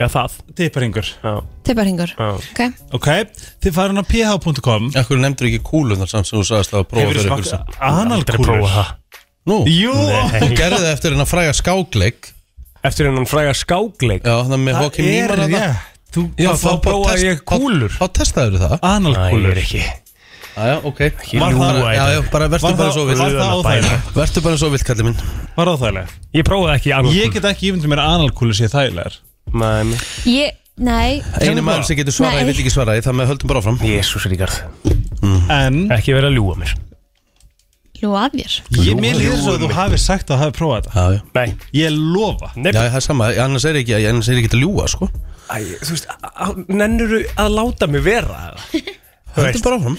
Speaker 3: Já, það
Speaker 5: tippar yngur
Speaker 3: Já,
Speaker 2: Tipparhingur
Speaker 3: já
Speaker 2: Ok
Speaker 5: Ok Þið farið inn á ph.com
Speaker 1: Akkur nefndur ekki kúlunar samt sem þú sagðist að prófa
Speaker 5: Hefur
Speaker 1: fyrir
Speaker 5: þið
Speaker 1: ykkur sem
Speaker 5: svakað analkúlur?
Speaker 3: prófa það
Speaker 1: Nú,
Speaker 5: Jú
Speaker 1: þú gerði það eftir hennar fræga skákleik
Speaker 3: Eftir hennan fræga skákleik
Speaker 1: Já, það með Hókim
Speaker 5: er
Speaker 1: Nýmar þarna.
Speaker 5: rétt Þú
Speaker 1: Já,
Speaker 5: þá
Speaker 1: þá
Speaker 3: prófaði
Speaker 1: test-
Speaker 3: ég kúlur.
Speaker 1: þá- Þá testaður það
Speaker 5: analkúlur
Speaker 3: ekki
Speaker 1: Jæja, ok
Speaker 5: Var
Speaker 1: Bara-
Speaker 5: það-
Speaker 1: Já, já, bara verður
Speaker 5: Var
Speaker 1: bara
Speaker 5: það-
Speaker 1: svo
Speaker 5: Var
Speaker 1: vill
Speaker 5: það óþægilegt?
Speaker 1: Verður bara svo vill, kallið minn
Speaker 5: Var það óþægilegt?
Speaker 3: Ég prófaði ekki annað
Speaker 5: Ég get ekki ímyndið mér að analkúlur sé þægilegar
Speaker 3: Mæmi
Speaker 2: Ég, nei
Speaker 1: Einu maður sem getur svarað, ég
Speaker 2: Nei.
Speaker 1: veit ekki svarað Það með höldum bara áfram
Speaker 3: Jésús Ríkard
Speaker 5: En
Speaker 3: Ekki verið að ljúa mér
Speaker 2: Ljú að mér
Speaker 5: Ég mér líður svo að þú hafi sagt að þú hafi prófað þetta
Speaker 1: Já, já
Speaker 3: Nei
Speaker 5: Ég lofa
Speaker 1: Já, það er sama, annars er ekki, annars er ekki að ljúa, sko
Speaker 3: Æ, þú veist, nennuru að láta mig vera
Speaker 1: Höldu bara áfram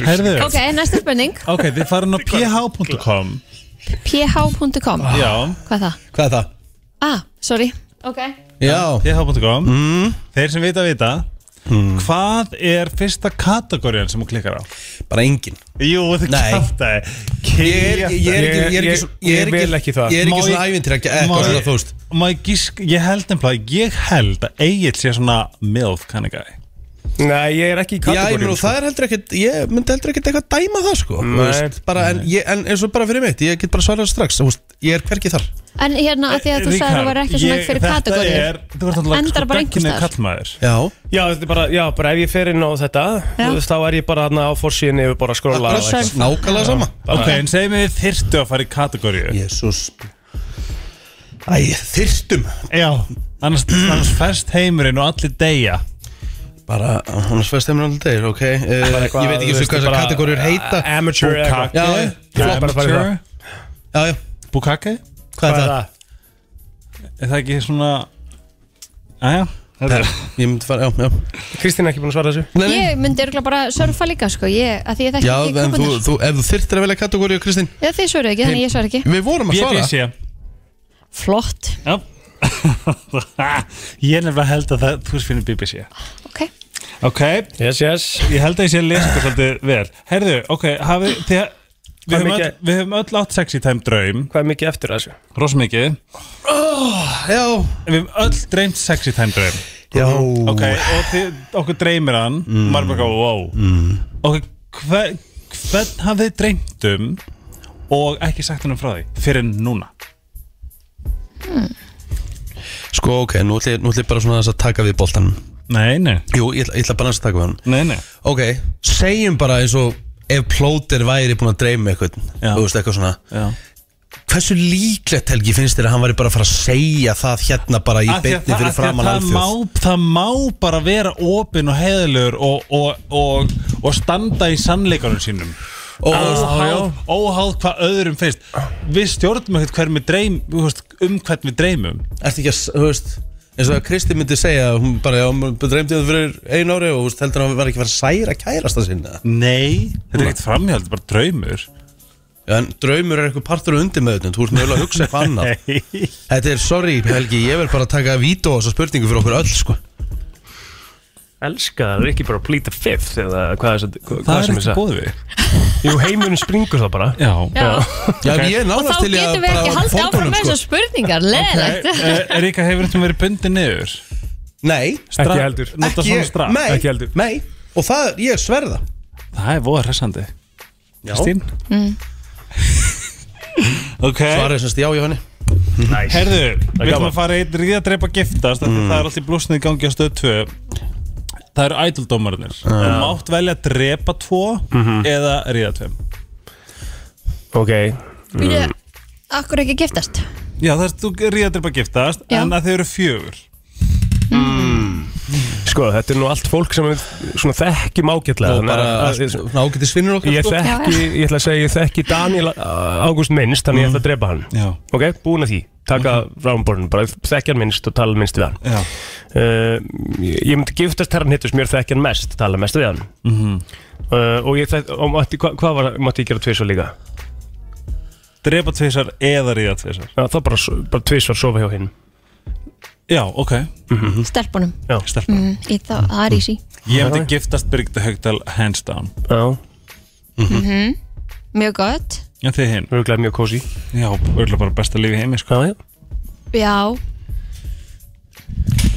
Speaker 5: Herðu
Speaker 2: Ok, næsta spurning
Speaker 5: Ok, þið farin á ph.com
Speaker 2: ph.com
Speaker 5: Já
Speaker 2: Hvað er það?
Speaker 1: Hvað er það?
Speaker 2: Ah, sorry Ok
Speaker 1: Já,
Speaker 5: ph.com Þeir sem vita vita Hvað er fyrsta kategóriðan sem þú klikkar á?
Speaker 1: bara engin
Speaker 5: Jú, þú
Speaker 1: Nei.
Speaker 5: kæftæði
Speaker 1: Ég er ekki, ég er ekki, ég er ekki svo-
Speaker 3: Ég- ég- ég vil ekki það.
Speaker 1: Ég er
Speaker 5: Má
Speaker 1: ekki svona
Speaker 5: ég-
Speaker 1: ævintir, ekki eitthvað svona, þú veist
Speaker 5: Má ég gísk, ég held nefnilega Ég held að Egil sé svona MILF kannig að
Speaker 3: Nei, ég er ekki í sko.
Speaker 1: Já, ég
Speaker 3: kategórium
Speaker 1: meina, og það er heldur ekkert, ég myndi heldur ekkert eitthvað dæma það, sko þú
Speaker 3: Nei.
Speaker 1: veist, bara, en, ég, en eins og bara fyrir mitt, ég get bara svarað strax, þú veist, ég er hvergi þar
Speaker 2: En hérna, að því að þú sagðir að það var ekki svona fyrir kategórið
Speaker 5: Þetta er, þú
Speaker 2: Endar bara einhvers
Speaker 5: veist,
Speaker 2: staðar.
Speaker 5: kallmaður
Speaker 1: Já,
Speaker 3: Já, þetta er bara, já, bara ef ég fer inn á þetta
Speaker 2: Já.
Speaker 3: þú veist, Þá er ég bara hérna á forsíðinni og bara að skrolla
Speaker 1: bara
Speaker 3: og eitthvað.
Speaker 2: surf.
Speaker 1: nákvæmlega sama
Speaker 5: Ok, en segjum við þyrftu að fara í kategóriu
Speaker 1: Jésús Æ, þyrstum
Speaker 5: Já Annars, annars fest heimurinn og allir deyja
Speaker 1: Bara, hún er svæst heimur alveg degir, ok uh,
Speaker 3: Bara
Speaker 1: Ég
Speaker 3: eitthvað,
Speaker 1: veit ekki
Speaker 3: þú
Speaker 1: eins og
Speaker 3: veist,
Speaker 1: hvað þessar
Speaker 3: bara Eh,
Speaker 1: kategóriur heita
Speaker 3: Amateur eða eitthvað.
Speaker 1: Já, já, flott.
Speaker 5: Amateur
Speaker 1: já, já,
Speaker 5: Bukake
Speaker 1: hvað er það?
Speaker 5: Er það ekki svona Æja
Speaker 1: Herra, Ég myndi fara, já, já
Speaker 3: Kristín er ekki búin að svara
Speaker 1: Nei,
Speaker 3: þessu
Speaker 1: nei.
Speaker 2: Ég myndi örgulega bara surfa líka sko ég, að því ég þekki
Speaker 1: Já,
Speaker 2: ekki
Speaker 1: en þú,
Speaker 2: kupunar
Speaker 1: þú, ef þú þyrtir að velja kategóriu, Kristín
Speaker 2: Já, þið svöruðu ekki, þannig ég svara ekki
Speaker 1: Við vorum að svara
Speaker 5: BBC
Speaker 2: Flott,
Speaker 5: Já Ég er nefnilega held að það Þú veist finnir BBC
Speaker 2: ok
Speaker 5: Ok
Speaker 3: Yes, yes
Speaker 5: Ég held að ég sé að lesa þetta svolítið vel Herðu, ok, hafið þið Við
Speaker 3: Hvað
Speaker 5: höfum,
Speaker 3: mikið-
Speaker 5: öll, við höfum öll átt sexy time draum
Speaker 3: Hvað er mikið eftir af þessu?
Speaker 5: Ross mikið
Speaker 1: Já,
Speaker 5: Við höfum öll dreymt sexy time draum
Speaker 1: já
Speaker 5: Ok, og þið, okkur dreymir hann mm. Maður bara, wow mm. Ok, hve, hvern hafið þið dreymt um Og ekki sagt hann frá því Fyrir en núna
Speaker 1: Sko, ok, nú ætlum ég nú ætla ég bara svona þess að taka við boltanum
Speaker 5: Nei, nei,
Speaker 1: Jú, ég ætla, ég ætla bara aðeins að taka við hann
Speaker 5: nei, nei
Speaker 1: Ok, segjum bara eins og ef plóter væri búin að dreyma eitthvað
Speaker 5: Já.
Speaker 1: Þú veist, eitthvað svona
Speaker 5: Já.
Speaker 1: Hversu líklegt, Helgi, finnst þér að hann væri bara að fara að segja það hérna bara í
Speaker 5: Af því að
Speaker 1: beinni
Speaker 5: það-
Speaker 1: fyrir
Speaker 5: af því að
Speaker 1: framann
Speaker 5: það
Speaker 1: alþjóð
Speaker 5: má, það má bara vera opinn og heiðilegur og, og, og, og standa í sannleikanum sínum
Speaker 1: Ó,
Speaker 5: óháð, óháð hvað öðrum finnst við stjórnum ekkert hver við dreym, þú veist, um hvern við dreymum
Speaker 1: Ertu ekki að, s- þú veist eins og að Kristi myndi segja hún bara, já, hún dreymdi það fyrir einu ári og þú veist, heldur hann að vera ekki að fara að særa kærasta sinna
Speaker 5: nei, þetta er ekkert framhjald, þetta er bara draumur
Speaker 1: Já, en draumur er eitthvað partur undir meðutnum, þú ert mögulega að hugsa eitthvað annað Þetta er, sorry Helgi, ég verð bara að taka vító á þessa spurningu fyrir okkur öll, sko
Speaker 3: Elska það, er ekki bara plead the fifth eða hvað er þetta?
Speaker 5: það er ekki bóðið við
Speaker 3: Jú, heimurinn springur það bara
Speaker 5: já,
Speaker 2: Já,
Speaker 1: Já, okay. ég er
Speaker 2: og þá
Speaker 1: nánast til í að
Speaker 2: getum við ekki
Speaker 1: bara
Speaker 2: haldið áfram
Speaker 1: fótunum, sko.
Speaker 2: með þessar spurningar Leðilegt
Speaker 5: er ekki að Eh, hefur þetta verið bundið niður
Speaker 1: Nei,
Speaker 5: Stra-
Speaker 3: Ekki heldur.
Speaker 5: nota svona straf
Speaker 1: nei,
Speaker 3: ekki heldur.
Speaker 1: Nei, og það, er- ég sverða
Speaker 5: það er voða hressandi Kristín ok
Speaker 1: Svarið semst já, Jóhanni
Speaker 5: Herðu, við ætlum
Speaker 3: gaman.
Speaker 5: að fara einn ríða dreipa giftast mm. Það er alltaf blúsnið í gangi á stöð 2 Það eru ædldómarinir Þú mátt velja að drepa 2 eða ríða 2
Speaker 3: Ok
Speaker 1: Mm.
Speaker 2: Býtu, Akkur ekki giftast
Speaker 5: Já, það er þú ríða dreipa giftast
Speaker 2: Já.
Speaker 5: En að þau eru fjögur
Speaker 3: Sko, þetta er nú allt fólk sem við svona þekkjum ágætlega
Speaker 1: Og
Speaker 3: þannig
Speaker 1: bara
Speaker 3: að- að-
Speaker 1: ágæti svinnur okkar
Speaker 3: Ég
Speaker 1: sko.
Speaker 3: þekki, ég ætla að segja, ég þekki Daniel uh, Ágúst minnst, þannig ég ætla að drepa hann
Speaker 5: Já.
Speaker 3: Ok, búin að því, taka rámborðin bara þekkja hann minnst og tala minnst við hann
Speaker 5: Já.
Speaker 3: uh, Ég ég myndi giftast herran hittus mér þekkja hann mest, tala mest við hann
Speaker 5: Mhm.
Speaker 3: uh, Og ég þekki, og mátti, hva, hvað var, mátti ég gera tvisvar líka?
Speaker 5: Drepa tvisar eða ríða tvisar
Speaker 3: Já, þá bara, so- bara tvisvar sofa hjá hinn
Speaker 5: Já, ok
Speaker 1: Mm.
Speaker 2: stelpunum
Speaker 3: Já,
Speaker 5: Stelpa
Speaker 2: mm, í það, það er easy
Speaker 5: Ég myndi giftast Birgit Haugdal hands down
Speaker 3: já,
Speaker 2: mjög gott,
Speaker 5: Já, þið hinn
Speaker 3: mjög glæð mjög kósi
Speaker 5: Já, örgulega bara besta lífi heimi sko
Speaker 3: Já, já
Speaker 2: já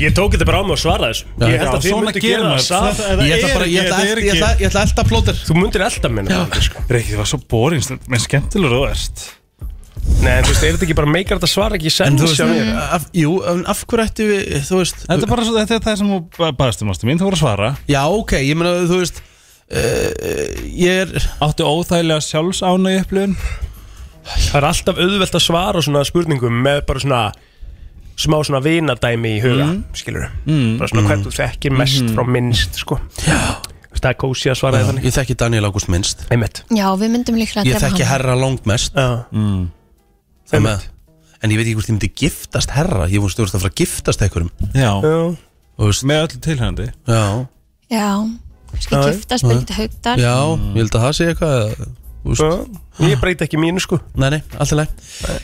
Speaker 3: Ég tók þetta bara á mig að svara þessu Ég held
Speaker 5: já,
Speaker 3: að þið
Speaker 5: svona
Speaker 3: myndu
Speaker 5: gerir
Speaker 3: gera
Speaker 5: maður.
Speaker 3: það samt.
Speaker 1: Ég ætla bara, ég ætla
Speaker 5: Þetta er
Speaker 1: elt-
Speaker 5: ekki- sko.
Speaker 1: ég ætla- ég ætla að elda plóter
Speaker 3: Þú myndir elda minna
Speaker 5: Rikki, það var svo boring stund Menn skemmtilegur þú ert
Speaker 3: Nei, en þú veist, er þetta ekki bara meikar þetta svara ekki
Speaker 1: En
Speaker 3: senn
Speaker 1: þú veist,
Speaker 3: sjá mér?
Speaker 1: af, jú, en af hverju ættu við, þú veist
Speaker 5: Þetta er bara svo, þetta er það sem þú ba- baðst um ástu mín Þú voru að svara
Speaker 1: Já, ok, ég meina, þú veist uh, Ég er
Speaker 5: Áttu óþægilega sjálfsánau upplifun
Speaker 3: Það er alltaf auðvelt að svara svona spurningum með bara svona smá svona vinadæmi í huga, mm. skilur bara svona hvernig þú þekkir mest frá minnst, sko Já Þú veist, það er kósi að svara þannig
Speaker 1: Ég þekki Daniel August minnst
Speaker 3: Einmitt
Speaker 2: já, við myndum líklega
Speaker 1: Ég
Speaker 2: drepa
Speaker 1: þekki herra langmest
Speaker 3: Já,
Speaker 1: það með- En ég veit ekki hvort ég myndi giftast herra Ég fórst þú veist að fara að giftast einhverjum
Speaker 5: Já,
Speaker 3: já,
Speaker 1: Þú veist,
Speaker 5: með öllu tilhændi
Speaker 1: já,
Speaker 2: já, kannski
Speaker 3: Já,
Speaker 2: giftast Birgitta Haugdal
Speaker 1: já, ég held að það sé eitthvað Þú
Speaker 3: já
Speaker 1: veist,
Speaker 3: Ég breyti ekki mínu, sko
Speaker 1: nei, nei, allt í leið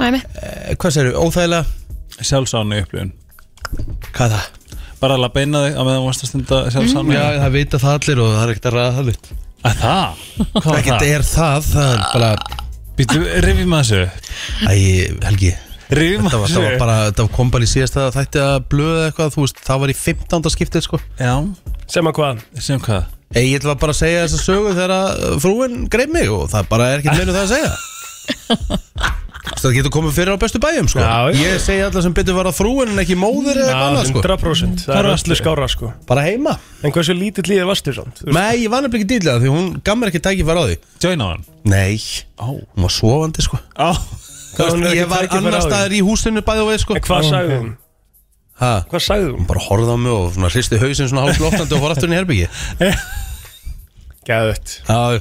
Speaker 2: Næmi.
Speaker 1: Eh, Hvað segirðu, óþægilega,
Speaker 5: Sjálfsánau upplifun
Speaker 1: hvað er það?
Speaker 5: Bara að beina þig á meðan þú varst að stunda sjálfsánau
Speaker 1: Mm. Já, það vita það allir og það er ekkert að ræða það allir
Speaker 5: Að það? Hvað var
Speaker 1: Ekkert
Speaker 5: það?
Speaker 1: er það, það er bara
Speaker 5: Býttu, rifjum að þessu
Speaker 1: Æ, Helgi,
Speaker 5: Rifjum
Speaker 1: þetta
Speaker 5: að
Speaker 1: var,
Speaker 5: þessu
Speaker 1: það var bara, það kom bara í síðasta þætti að blöða eitthvað, þú veist, það var í 15. skiptið, sko
Speaker 5: Já,
Speaker 3: Sem að hvað?
Speaker 5: sem hvað?
Speaker 1: Egil var bara að segja þessa sögu þegar að uh, frúin greið mig og það bara er ekkert meinu það að segja Það getur komið fyrir á bestu bæjum sko
Speaker 3: Já, já.
Speaker 1: Ég segi alltaf sem betur var að frúin en ekki móðir eða
Speaker 3: Já,
Speaker 1: eitthvað annað sko
Speaker 3: 100% Það
Speaker 1: Hvar
Speaker 3: er
Speaker 1: varstu?
Speaker 3: öllu skára, sko
Speaker 1: Bara heima
Speaker 3: En hversu lítið líðið varstu, svont?
Speaker 1: Nei, ég var nefnilega ekki dýrlega því hún gaf mér ekki tækifæra á því
Speaker 5: Join á hann
Speaker 1: Nei,
Speaker 5: Ó
Speaker 1: hún var sofandi sko
Speaker 5: Á
Speaker 3: Gaf hún mér ekki
Speaker 1: Ég var
Speaker 3: tækifæri á
Speaker 1: annar
Speaker 3: því?
Speaker 1: staðar í húsinu bæði og veið sko
Speaker 3: En hvað sagði hún?
Speaker 1: Ha,
Speaker 3: Hvað sagði hún?
Speaker 1: hún bara horfði á mig og svona hristi hausinn svona hálflóttandi og fór aftur inn í herbyggi
Speaker 3: Gæðut
Speaker 1: Já,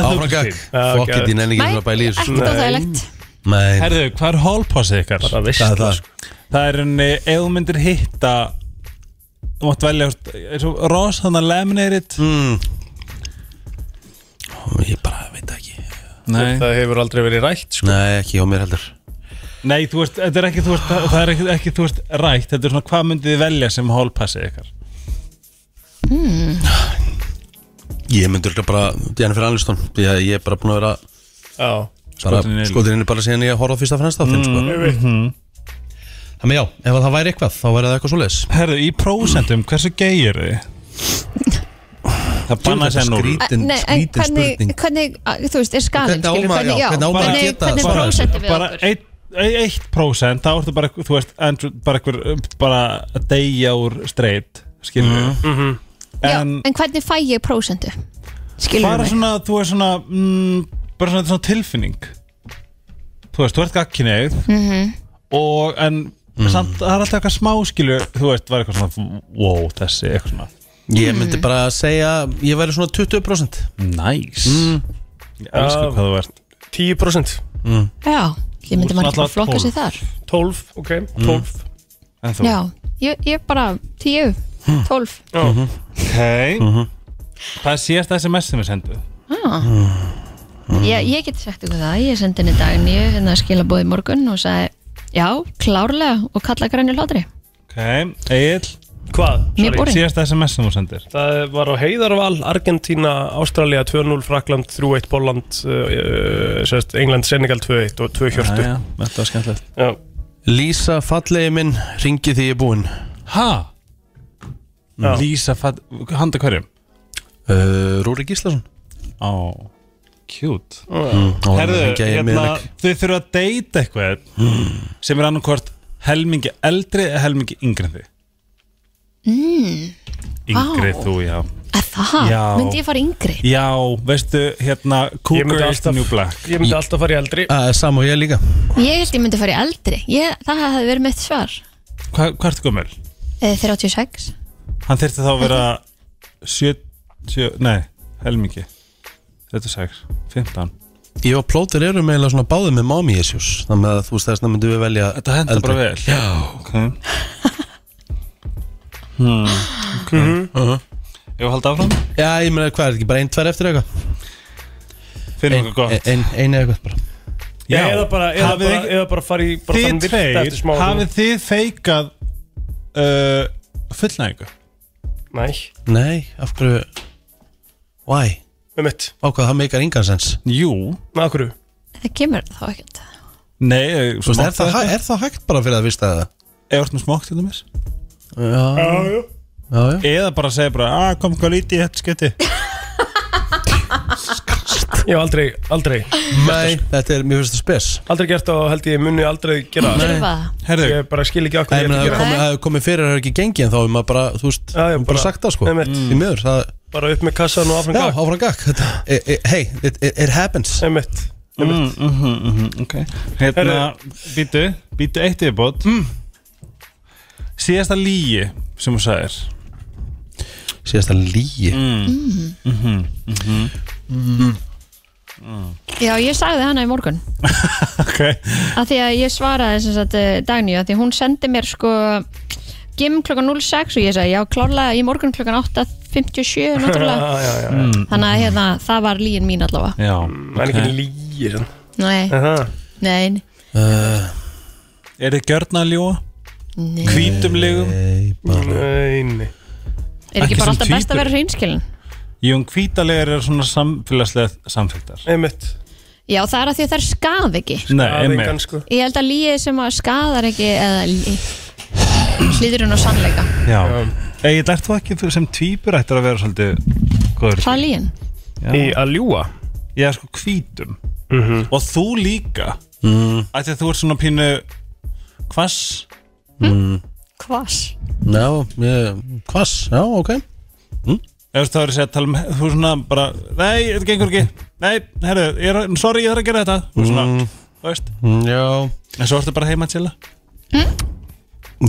Speaker 1: áfram gag
Speaker 3: Já,
Speaker 1: Fokk
Speaker 3: geðveikt.
Speaker 1: it, ég nenni ekki
Speaker 2: Nei,
Speaker 1: svona bæli í þessu,
Speaker 2: ekkert
Speaker 1: sko.
Speaker 2: óþægilegt
Speaker 1: Nei,
Speaker 5: Herðu, hvað er hallpassið ykkar?
Speaker 3: Bara
Speaker 1: það er
Speaker 3: veist
Speaker 1: það
Speaker 5: Það er henni, ef þú myndir hitta Þú mátt velja þú veist, eins og Ross, hann að laminated
Speaker 1: Mm. Ég bara veit það ekki
Speaker 5: Nei,
Speaker 3: Það hefur aldrei verið rætt, sko
Speaker 1: Nei, ekki hjá mér heldur
Speaker 5: Nei þú veist, þetta er ekki, þú veist, það það er ekki, ekki þú veist, rætt Þetta er svona, hvað myndið þið velja sem hallpassið ykkar?
Speaker 1: Ég myndi örugglega bara Jennifer Aniston Því að ég er bara búin að vera
Speaker 3: Já
Speaker 5: Skotin í
Speaker 1: bara,
Speaker 5: einu.
Speaker 1: Skotin inni bara síðan ég horfði á fyrsta frænstáttin mm, sko.
Speaker 3: veit.
Speaker 1: Þannig já, ef að það væri eitthvað Þá væri það eitthvað svoleiðis
Speaker 5: Herðu, í prósentum, hversu gay eru þið? Það banna
Speaker 1: þetta
Speaker 5: sér nú
Speaker 1: skrýt- Skrítin-
Speaker 2: Nei, en
Speaker 1: skrítin
Speaker 2: hvernig,
Speaker 1: spurning.
Speaker 2: hvernig, að- þú veist, er skalinn
Speaker 1: Hvernig á
Speaker 2: skilur,
Speaker 1: maður- já, hvernig á maður að
Speaker 2: hvernig,
Speaker 1: geta
Speaker 2: hvernig
Speaker 1: svarað þessu?
Speaker 2: prósentum við
Speaker 5: bara
Speaker 2: okkur
Speaker 5: eitt, eitt, eitt prósent þá ertu bara, þú veist, Andrew, bara einhver bara að deyja úr streit skilur við
Speaker 2: Já,
Speaker 5: en
Speaker 2: en hvernig fæ ég prósentu skilur
Speaker 5: bara
Speaker 2: mig
Speaker 5: svona, þú veist svona mm, bara svona, svona tilfinning þú veist, þú ert gagkinnið
Speaker 2: Mhm.
Speaker 5: og en samt, það er alltaf eitthvað smá skilur þú veist, var eitthvað svona, wow, þessi eitthvað svona,
Speaker 1: Ég myndi bara að segja Ég væri svona 20%
Speaker 5: nice ég elsku
Speaker 3: Já.
Speaker 5: hvað þú ert
Speaker 3: 10%
Speaker 2: já, ég myndi
Speaker 5: Úr
Speaker 2: maður ekki
Speaker 5: svona
Speaker 2: bara flokka
Speaker 5: tólf.
Speaker 2: sig þar
Speaker 3: 12, ok, 12
Speaker 5: en þú,
Speaker 2: já, ég, ég bara 10,
Speaker 1: Hm.
Speaker 2: 12
Speaker 5: ok
Speaker 3: Mhm.
Speaker 5: hvað er síðast SMS sem við sendum
Speaker 2: ég, ég geti sagt ykkur það, ég sendi henni dag nýju hérna skilabóði morgun og sagði já, klárlega og kalla græni hlátri
Speaker 5: ok, Egil
Speaker 3: Hvað?
Speaker 2: Mjög
Speaker 3: Sorry.
Speaker 2: boring.
Speaker 5: síðasta SMS sem þú sendir
Speaker 3: Það var á Heiðarval, Argentína, Ástralja 2-0, Frakland 3-1, Bolland, eh, uh, sérst, England, Senegal 2-1 og 2-40
Speaker 5: Jæja, Þetta var skemmtilegt
Speaker 3: Já.
Speaker 1: Lísa fallegi minn Ringi því ég er búinn
Speaker 5: Ha?
Speaker 3: Já.
Speaker 5: Lísa fatt Handa hverjum?
Speaker 1: uh, Rúri Gíslason
Speaker 5: Á Cute
Speaker 1: Ó, hann er
Speaker 5: Herðu,
Speaker 1: að hringja í
Speaker 5: hérna
Speaker 1: miðleik.
Speaker 5: Þau þurfa að deyta eitthvað Sem er annarkvort helmingi eldri eða helmingi yngri en þið mm. Yngri
Speaker 2: Vá.
Speaker 5: þú, já
Speaker 2: að það,
Speaker 5: Já.
Speaker 2: myndi ég fara yngri
Speaker 5: Já, veistu, hérna
Speaker 3: Ég myndi
Speaker 5: Cougar is the
Speaker 3: alltaf-
Speaker 5: new black
Speaker 3: Ég myndi alltaf fara í eldri
Speaker 1: Ah, Sam og ég líka
Speaker 2: ég held ég myndi fara í eldri ég, það hefði verið mitt svar
Speaker 5: Hva, Hvað ertu gömul?
Speaker 2: Eh, 36,
Speaker 5: Hann þyrfti þá að vera 70, nei, helmingi Þetta er 6, 15
Speaker 1: Ég og plótir eru meðlega svona báðið með mommy issues Þannig að þú veist þess að myndum við velja
Speaker 5: Þetta henda
Speaker 1: eldri.
Speaker 5: bara vel
Speaker 1: Já
Speaker 5: Ok hmm. Ok Ég var halda áfram
Speaker 1: Já, ég meina hvað er þetta ekki bara einn, tvær eftir eitthvað
Speaker 5: Finnum okkur gott
Speaker 1: Einn ein, eða eitthvað bara
Speaker 3: Já, eða bara, eða
Speaker 5: hafið
Speaker 3: bara,
Speaker 5: ekki-
Speaker 3: eða bara fara í bara þann
Speaker 5: Þið
Speaker 3: vilt eftir smá
Speaker 5: tveir, hafið þið feikað uh, fullnæðingu?
Speaker 3: Nei,
Speaker 1: Nei, af hverju Why?
Speaker 3: um mitt,
Speaker 1: Ákvað, það meikar engansens
Speaker 5: Jú
Speaker 3: með okkur
Speaker 2: Það kemur þá ekkert
Speaker 5: Nei, eh,
Speaker 1: Þú veist, er, það, hæ- er það hægt bara fyrir það vista það?
Speaker 5: Eða orðnum smókt Eh, til dæmis
Speaker 1: Já, já, já
Speaker 5: Eða bara segja bara, að kom hvað lítið í þetta sketti
Speaker 3: Ég hef aldrei, aldrei,
Speaker 1: Nei,
Speaker 5: sko-
Speaker 1: þetta er, mér finnst það spes
Speaker 3: aldrei gert það og held ég muni aldrei gera það
Speaker 2: Þurfa það
Speaker 5: Herðu,
Speaker 3: Ég bara skil ekki okkur
Speaker 1: Nei,
Speaker 3: ég
Speaker 1: menn,
Speaker 3: ætti
Speaker 1: það hefur
Speaker 3: að gera
Speaker 1: komið, það hefur komið fyrir að það er ekki gengið en þá er maður bara, þú veist,
Speaker 3: Já, já,
Speaker 1: bara, bara
Speaker 3: bara-
Speaker 1: sagt það sko
Speaker 3: Einmitt.
Speaker 1: Í miður, það,
Speaker 3: það Bara upp með kassan og áfram
Speaker 1: já,
Speaker 3: gag
Speaker 1: áfram gakk Þetta- e- e- Hey, it, it, it happens
Speaker 3: Um mitt, um
Speaker 5: Mm,
Speaker 3: mitt
Speaker 5: okay. mhm, Hérna, býtu, býtu eitt yfirbót mm. Síðasta lígi sem þú sagðir
Speaker 1: Síðast að lígi
Speaker 2: Já, ég sagði hana í morgun
Speaker 5: okay.
Speaker 2: að því að ég svaraði sem sagt eh, Dagný að því hún sendi mér sko gym klokkan 06 og ég sagði já klálega í morgun klokkan 8.57 náttúrulega
Speaker 3: Já, já, já, já
Speaker 2: þannig að hérna, það var líin mín allavega
Speaker 5: Já,
Speaker 3: Það er
Speaker 5: ok.
Speaker 3: ekki lígir
Speaker 2: Nei, nei,
Speaker 5: Er þið gjörna að ljúa?
Speaker 2: nei
Speaker 5: Hvítum ligum?
Speaker 3: Nei, nei
Speaker 2: Er ekki bara
Speaker 5: Ekki sem
Speaker 2: alltaf best
Speaker 5: tvíburi.
Speaker 2: að vera hreinskilin?
Speaker 5: Jú, en hvítalegar eru svona samfélagslega samfélgdar
Speaker 3: Um mitt
Speaker 2: Já, það er að því að þær skað ekki
Speaker 5: Nei,
Speaker 3: Aðeingan
Speaker 5: einmitt
Speaker 3: sko
Speaker 2: Ég held að líið sem að skaðar ekki eða lí- hlýtur hún á sannleika
Speaker 5: Já, Egil, ert þú ekki þú sem tvíbur ættir að vera svolítið góður í
Speaker 2: Hvað er líin?
Speaker 5: því?
Speaker 3: Í
Speaker 5: Já.
Speaker 3: að ljúa
Speaker 5: Ég er sko hvítum Og þú líka mm. Ætti þú ert svona pínu Hvass?
Speaker 2: Hvas?
Speaker 1: Já, eh, hvass, já, ok
Speaker 5: Ef þú verður að segja að tala um Þú er svona bara Nei, þetta gengur ekki Nei, herru, ég er, sorry, ég þarf að gera þetta Þú er svona, þú veist
Speaker 1: Mm, Já,
Speaker 5: En svo ertu bara heima að chilla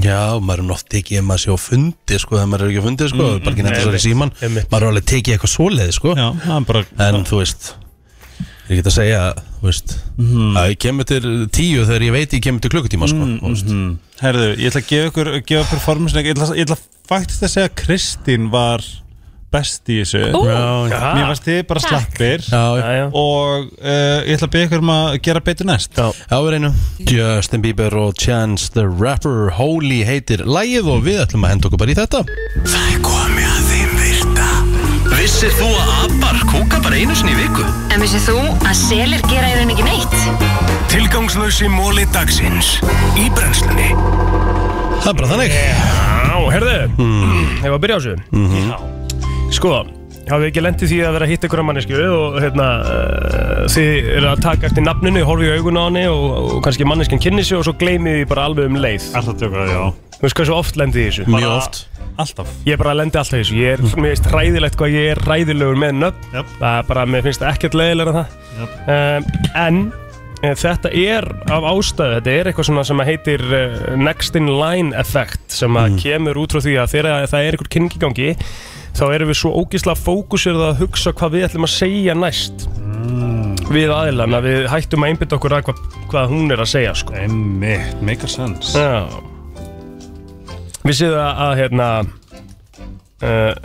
Speaker 1: já, maður er nú oft ekki ef maður sé á fundi, sko, ef maður er ekki á fundi, sko bara ekki nefnir svo í síman,
Speaker 3: Einmitt.
Speaker 1: maður er alveg tekið eitthvað svoleiði, sko,
Speaker 5: Já, það er bara
Speaker 1: en þú veist ég get að segja, þú veist að ég kemur til tíu þegar ég veit ég kemur til klukkutíma, sko, þú veist
Speaker 5: mm. Herru, ég ætla að gefa ykkur gefa performance Ég ætla, ég ætla faktist að segja að Kristín var best í þessu
Speaker 1: Já,
Speaker 3: Jaha.
Speaker 5: Mér varst þið bara
Speaker 2: Takk.
Speaker 5: slappir
Speaker 1: já,
Speaker 3: Já, já
Speaker 5: Og uh, ég ætla að beða ykkur um að gera betur næst
Speaker 3: Já.
Speaker 1: já, við reynum Justin Bieber og Chance the Rapper Holy heitir lægið og við ætlum að henda okkur bara í þetta
Speaker 4: Það er komið að þeim virta Vissir þú að abar kúka bara einu sinni í viku?
Speaker 10: En vissið þú að selir gera í rauninni ekki neitt?
Speaker 4: Tilgangslösi móli dagsins Í brennslunni
Speaker 1: Það er bara þannig
Speaker 3: Já, herðu Hefur að byrja á þessu Sko, hafið ekki lendið því að vera að hitta ykkur að mannesku og hérna, uh, þið eru að taka eftir nafninu, horfið í augun á henni og, og kannski manneskjan kynni sig og svo gleymið því bara alveg um leið
Speaker 5: Alltaf tjóka, já
Speaker 3: Þú veist hvað svo oft lendið þessu
Speaker 1: mjög oft
Speaker 5: Alltaf
Speaker 3: Ég bara lendi alltaf í þessu, ég er, mér finnst hræðilegt hvað ég er hræðilegur með nöfn
Speaker 5: Jöp.
Speaker 3: Það er bara, mér finnst það ekkert leiðilega en það
Speaker 5: Jöp.
Speaker 3: um, En eh, þetta er af ástæðu, þetta er eitthvað svona sem að heitir uh, next in line effect sem að kemur út frá því að þegar það er eitthvað kynningigangi þá erum við svo ógislega fókusir að hugsa hvað við ætlum að segja næst við aðilann að við hættum að einbytta okkur að hvað, hvað hún er að segja sko.
Speaker 5: Einmitt, make a sense
Speaker 3: Já Vissið að, að hérna uh,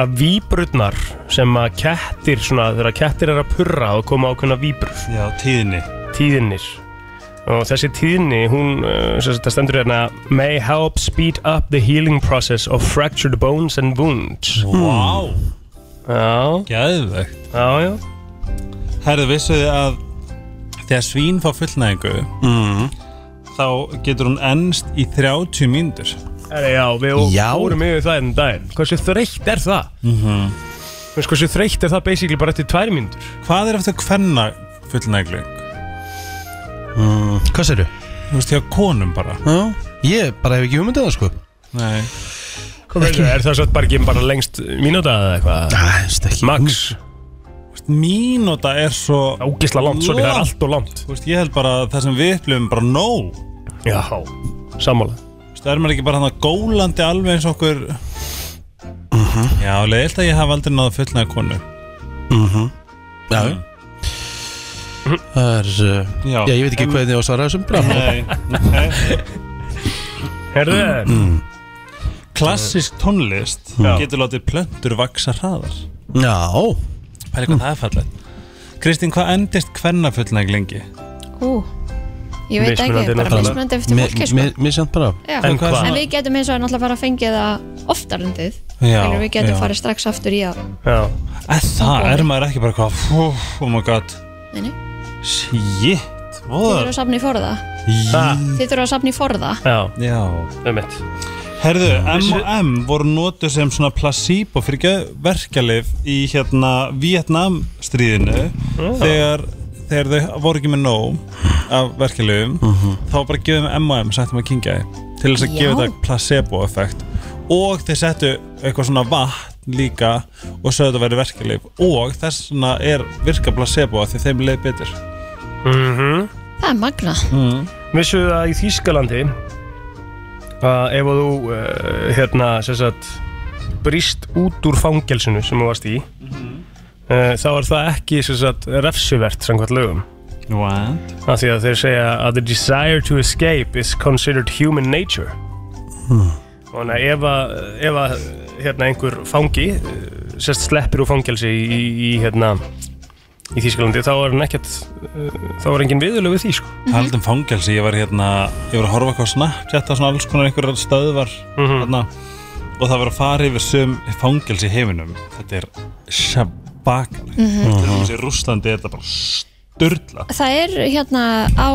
Speaker 3: að víbrutnar sem að kettir svona, þegar kettir er að purra og koma ákveðna víbrur,
Speaker 5: Já, tíðinni
Speaker 3: tíðinir og þessi tíðni, hún uh, sem þetta stendur hérna, may help speed up the healing process of fractured bones and wounds Hmm.
Speaker 5: Vá, wow,
Speaker 3: Já,
Speaker 5: gæðvegt
Speaker 3: já, já
Speaker 5: Herðu, vissuð þið að þegar svín fá fullnæðingu mm. þá getur hún ennst í 30 mínútur
Speaker 3: Herri, já, við
Speaker 1: Já.
Speaker 3: fórum yfir það enn daginn Hversu þreytt er það? Mm -hmm. Hversu þreytt er það basically bara eftir tvær mínútur?
Speaker 5: Hvað er eftir hvenna fullnæðingu?
Speaker 1: Hvað sérðu?
Speaker 5: Þú veist, hjá konum bara
Speaker 1: Já, ég bara hef ekki hugmyndið það, sko
Speaker 5: Nei
Speaker 3: Veitu, Er það svo bara ekki bara lengst mínúta eða eitthvað?
Speaker 1: Það er stekki
Speaker 3: Max,
Speaker 5: Mínúta er svo
Speaker 3: ógisla langt, sorry, það er allt og langt
Speaker 5: Þú veist, ég held bara að það sem við upplifum bara nóg
Speaker 3: Já, sammála
Speaker 5: Þú veist, er maður ekki bara hann að gólandi alveg eins og okkur Já, leiðilt að ég haf aldrei náða fullnað konu
Speaker 1: Mhm. Já Það er, uh, já.
Speaker 5: Mm. Já.
Speaker 1: ég veit ekki
Speaker 5: En-
Speaker 1: hvernig ég á að svara þessum bra
Speaker 5: Nei, nei.
Speaker 3: Herðu
Speaker 1: Mm.
Speaker 5: Klassisk tónlist
Speaker 1: Já.
Speaker 5: getur látið plöntur vaksa hraðar
Speaker 1: Já
Speaker 5: Pæli hvað það er fallet Kristín, hvað endist hvenna fullnæg lengi?
Speaker 2: Ú, ég veit ekki, bara mismunandi eftir fólki sko.
Speaker 1: Misjönd bara
Speaker 2: Já.
Speaker 5: En hvað
Speaker 2: En
Speaker 5: svona-
Speaker 2: við getum eins og náttúrulega bara að fengja það oftar en þið
Speaker 5: Já,
Speaker 2: Þannig við getum
Speaker 5: já.
Speaker 2: farið strax aftur í að
Speaker 3: Já
Speaker 5: Eð Það er maður ekki bara hvað fú, Oh my god
Speaker 2: Nei, nei.
Speaker 5: Shit
Speaker 2: Þið
Speaker 5: voða-
Speaker 2: þurfa að safna í forða
Speaker 5: Í-
Speaker 2: Þið þurfa að safna í forða
Speaker 3: Já
Speaker 5: Já
Speaker 3: Um mitt
Speaker 5: Herðu, M&M voru notuð sem svona placebo fyrir verkjalif í hérna Vietnam stríðinu þegar, þegar þau voru ekki með nóg af verkjalifum þá var bara að gefa þeim M&M sættum að kingja þið til þess að
Speaker 11: Já.
Speaker 5: gefa þetta placebo effekt og þeir settu eitthvað svona vatn líka og sögðu þetta að vera verkjalif og þess svona er virka placebo af því þeim leið betur
Speaker 3: mm -hmm.
Speaker 2: Það er magna
Speaker 5: mm.
Speaker 3: Vissuðu það í Þýskalandi að ef að þú uh, hérna, sem sagt brist út úr fangelsinu sem þú varst í mm
Speaker 1: Mhm.
Speaker 3: þá er það ekki sem sagt refsivert samkvæmt lögum
Speaker 5: What?
Speaker 3: af því að þeir segja að the desire to escape is considered human nature og þannig að ef að, ef að hérna, einhver fangi eh, sérst sleppir úr fangelsi í, í, í hérna í Þýskalandi þá er hann ekkert eh, þá er engin viðurlög við því sko
Speaker 2: Mhm.
Speaker 5: Haldum fangelsi, ég var hérna ég var að horfa eitthvað á Snapchat á svona alls konar einhverjar stöðvar
Speaker 2: Mhm.
Speaker 5: hérna, og það var að fara yfir sum fangelsi í heiminum þetta er sjabakalegt mm
Speaker 2: Mhm.
Speaker 5: -hmm. þessi rústandi þetta er bara styrla
Speaker 2: Það er hérna á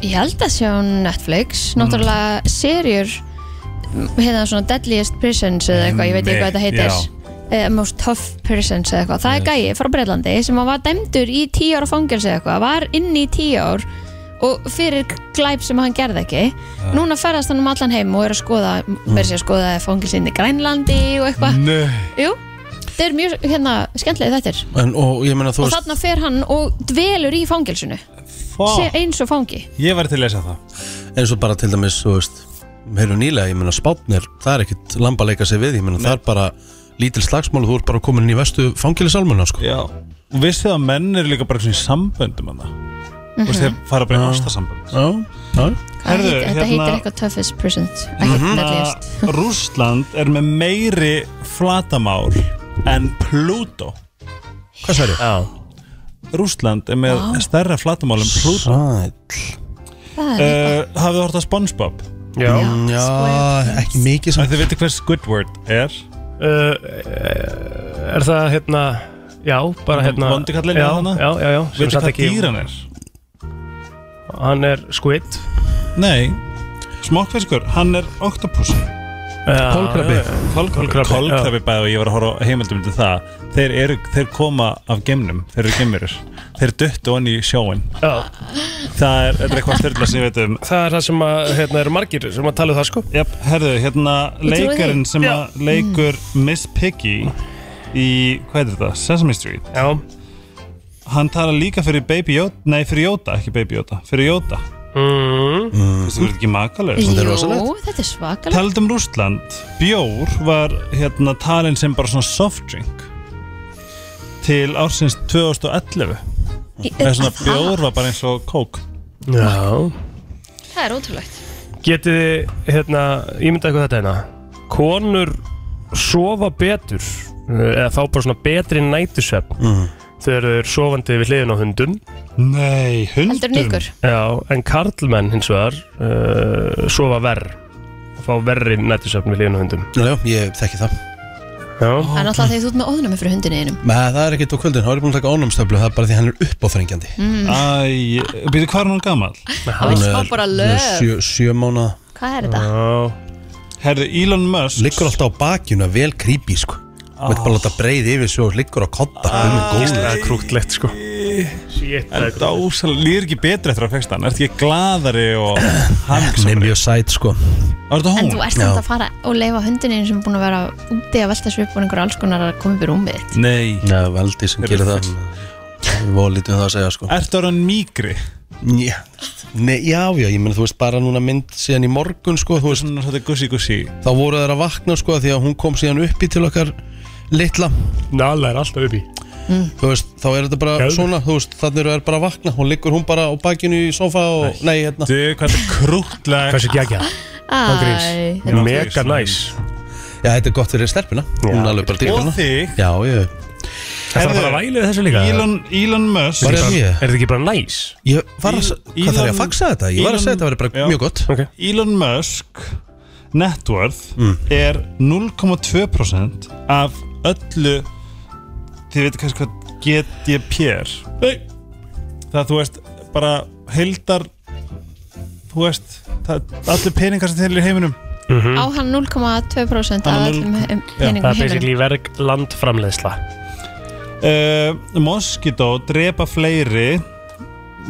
Speaker 2: ég held að sjá Netflix náttúrulega mm. serjur m, hérna svona Deadliest Prisons eða eitthvað, ég veit ekki hvað þetta
Speaker 5: Einmitt,
Speaker 2: heitir Eh, Most Tough Prisons eða eitthvað það er gæi frá Breitlandi sem var dæmdur í tíu ára fangelsi eða eitthvað, var inn í tíu ár og fyrir glæp sem hann gerði ekki núna ferðast hann um allan heim og er að skoða, mm. er að skoða fangelsin í Grænlandi og eitthvað
Speaker 5: Nei.
Speaker 2: Jú, þetta er mjög hérna skemmtilega þetta er
Speaker 1: En og ég meina þú
Speaker 2: og
Speaker 1: veist
Speaker 2: þarna fer hann og dvelur í fangelsinu sé
Speaker 5: Ah.
Speaker 2: eins og fangi
Speaker 5: Ég var til að lesa það
Speaker 1: eins og bara til dæmis, þú veist Heilu nýlega, ég meina spátnir, það er ekkit lamba að leika sig við, ég meina það er bara lítil slagsmál og þú ert bara komin inn í vestu fangilisalmuna sko.
Speaker 5: Já og vissi það að menn eru líka bara svona í samböndum hann mm
Speaker 2: Mhm.
Speaker 5: -hmm. þeir fara bara í ástasambönd
Speaker 1: Já, já
Speaker 2: Herðu, heitir, þetta heitir eitthvað toughest prisons ekki mm -hmm.
Speaker 5: Rúsland er með meiri flatamál en Pluto
Speaker 1: Hvað sverju?
Speaker 5: Já Rúsland er með
Speaker 2: Vá.
Speaker 5: stærra flatamál en Pluto
Speaker 1: Sæl
Speaker 2: það er uh,
Speaker 5: uh, Hafið þú hort að Spongebob?
Speaker 3: Ah, Já.
Speaker 1: Já, ekki mikið
Speaker 5: samt Þið veitir hver Squidward er?
Speaker 3: uh, Er það hérna Já, bara hérna
Speaker 5: Vondikallinn
Speaker 3: Já,
Speaker 5: er þarna?
Speaker 3: já, já, já sem
Speaker 5: Veitir
Speaker 3: samt
Speaker 5: hvað
Speaker 3: ekki-
Speaker 5: dýr hann er?
Speaker 3: Hann er squid
Speaker 5: Nei Smokkfiskur, hann er octopus
Speaker 3: Já,
Speaker 1: Kolkrabbi.
Speaker 3: Eh,
Speaker 5: já, já. Kolkrabbi
Speaker 3: Kolkrabbi,
Speaker 5: Kolkrabbi bæði og ég var að horfa á heimildum til það þeir, eru, þeir koma af gemnum Þeir eru gemurur Þeir duttu hann í sjóin
Speaker 3: Já.
Speaker 5: Það er, þetta er eitthvað styrla sem ég veit um
Speaker 3: Það er það sem að, hérna, eru margir sem að tala um það sko
Speaker 5: Jep, herðu, hérna
Speaker 3: Ég trúi því.
Speaker 5: leikarinn sem
Speaker 3: Já. Mm.
Speaker 5: að leikur Miss Piggy í, hvað er þetta, Sesame Street
Speaker 3: Já
Speaker 5: Hann talar líka fyrir Baby Yoda, nei fyrir Yoda, ekki Baby Yoda, fyrir Yoda
Speaker 3: mm.
Speaker 5: Þú ert ekki makalegur
Speaker 2: Jú, Mm-hmm. þetta er svakalegt
Speaker 5: Talað um Rústland, bjór var hérna talin sem bara svona soft drink til ársins 2011
Speaker 2: Í-
Speaker 5: eða svona
Speaker 2: það?
Speaker 5: bjór var bara eins og kók
Speaker 3: Já
Speaker 2: það er ótrúlegt
Speaker 3: Getið þið, hérna, ímyndaði hvað þetta hérna Konur sofa betur eh, eða fá bara svona betri nætusvefn þegar þau eru sofandi við hliðin á hundum
Speaker 5: Nei, hundum?
Speaker 2: Heldur en ykkur?
Speaker 3: Já, en karlmenn hins vegar uh, sofa verr og fá verri nætusvefn við hliðin á hundum
Speaker 1: Já, ég þekki það
Speaker 2: það er
Speaker 3: Já,
Speaker 2: náttúrulega þegar þú ert með óðnumi fyrir hundinu einum
Speaker 1: Með, það er ekkit á kvöldin, þá er ég búin að taka ónumstöflu það er bara því hann er uppáþrengjandi
Speaker 2: Mm.
Speaker 5: Æ, býtu hvað er hún gammal?
Speaker 2: Hann vill fá bara lög.
Speaker 1: sjö, sjö mánu
Speaker 2: hvað er þetta?
Speaker 5: Herðu, Elon Musk
Speaker 1: Liggur alltaf á bakjuna, vel creepy sko Þú veit bara að láta breið yfir svo Liggur á kotta, um og
Speaker 3: Það er
Speaker 1: góð
Speaker 3: krútlegt sko Shit,
Speaker 5: En dásalega, líður ekki betri eftir að fegst hann Ertu ekki gladari og hamingsamari?
Speaker 1: Nei, mjög sæt sko
Speaker 5: Var þetta hún?
Speaker 2: en þú ert þetta að fara og leifa hundinu einum sem er búin að vera úti að velta sér upp og einhver alls konar að koma upp í rúmið þitt.
Speaker 5: Nei
Speaker 1: Nei, veldi sem gerir það Við volítum það að segja sko
Speaker 5: Ertu orðan mýgri?
Speaker 3: Já, ne, já, já, ég meina þú veist bara núna mynd síðan í morgun sko, þú veist
Speaker 5: Þetta er gussi gussi
Speaker 1: Þá voru þær að vakna sko því að hún kom síðan uppi til okkar litla
Speaker 3: Nala er alltaf uppi
Speaker 1: Þú veist, þá er þetta bara
Speaker 5: Geðveikt.
Speaker 1: svona, þú veist, þannig eru þær bara að vakna Hún liggur hún bara á bakinu í sofa og, nei, hérna
Speaker 5: Þú, hvað þetta er krútlega
Speaker 3: Hversu gegja?
Speaker 2: Æ,
Speaker 3: Mega
Speaker 5: Já, þú veist,
Speaker 3: næs
Speaker 1: Já, þetta er gott fyrir stelpuna Hún er alveg bara til hérna?
Speaker 5: Og þig
Speaker 1: Já, ég,
Speaker 3: Það þarf bara að væla við þessu líka
Speaker 5: Elon, Elon Musk
Speaker 1: Var
Speaker 3: Er
Speaker 1: ég að
Speaker 3: þetta
Speaker 1: því?
Speaker 3: bara- er þetta ekki bara næs?
Speaker 1: ég var að, hvað þarf
Speaker 5: Í-
Speaker 1: ég
Speaker 5: Elon-
Speaker 1: að faxa þetta? Ég var að segja þetta verið bara
Speaker 5: Já.
Speaker 1: mjög gott
Speaker 3: Ok.
Speaker 5: Elon Musk net worth
Speaker 1: Mm.
Speaker 5: er 0,2% af öllu þið veitir kannski hvað GDP er Nei. það þú veist bara heldar þú veist það, allir peningar sem þeir eru í heiminum
Speaker 2: á hann 0,2% af
Speaker 5: Hann á
Speaker 2: öllum um,
Speaker 5: núll- Já,
Speaker 2: peningum
Speaker 3: Það er
Speaker 2: heiminum
Speaker 3: basically verg landframleiðsla
Speaker 5: uh, Moskító drepa fleiri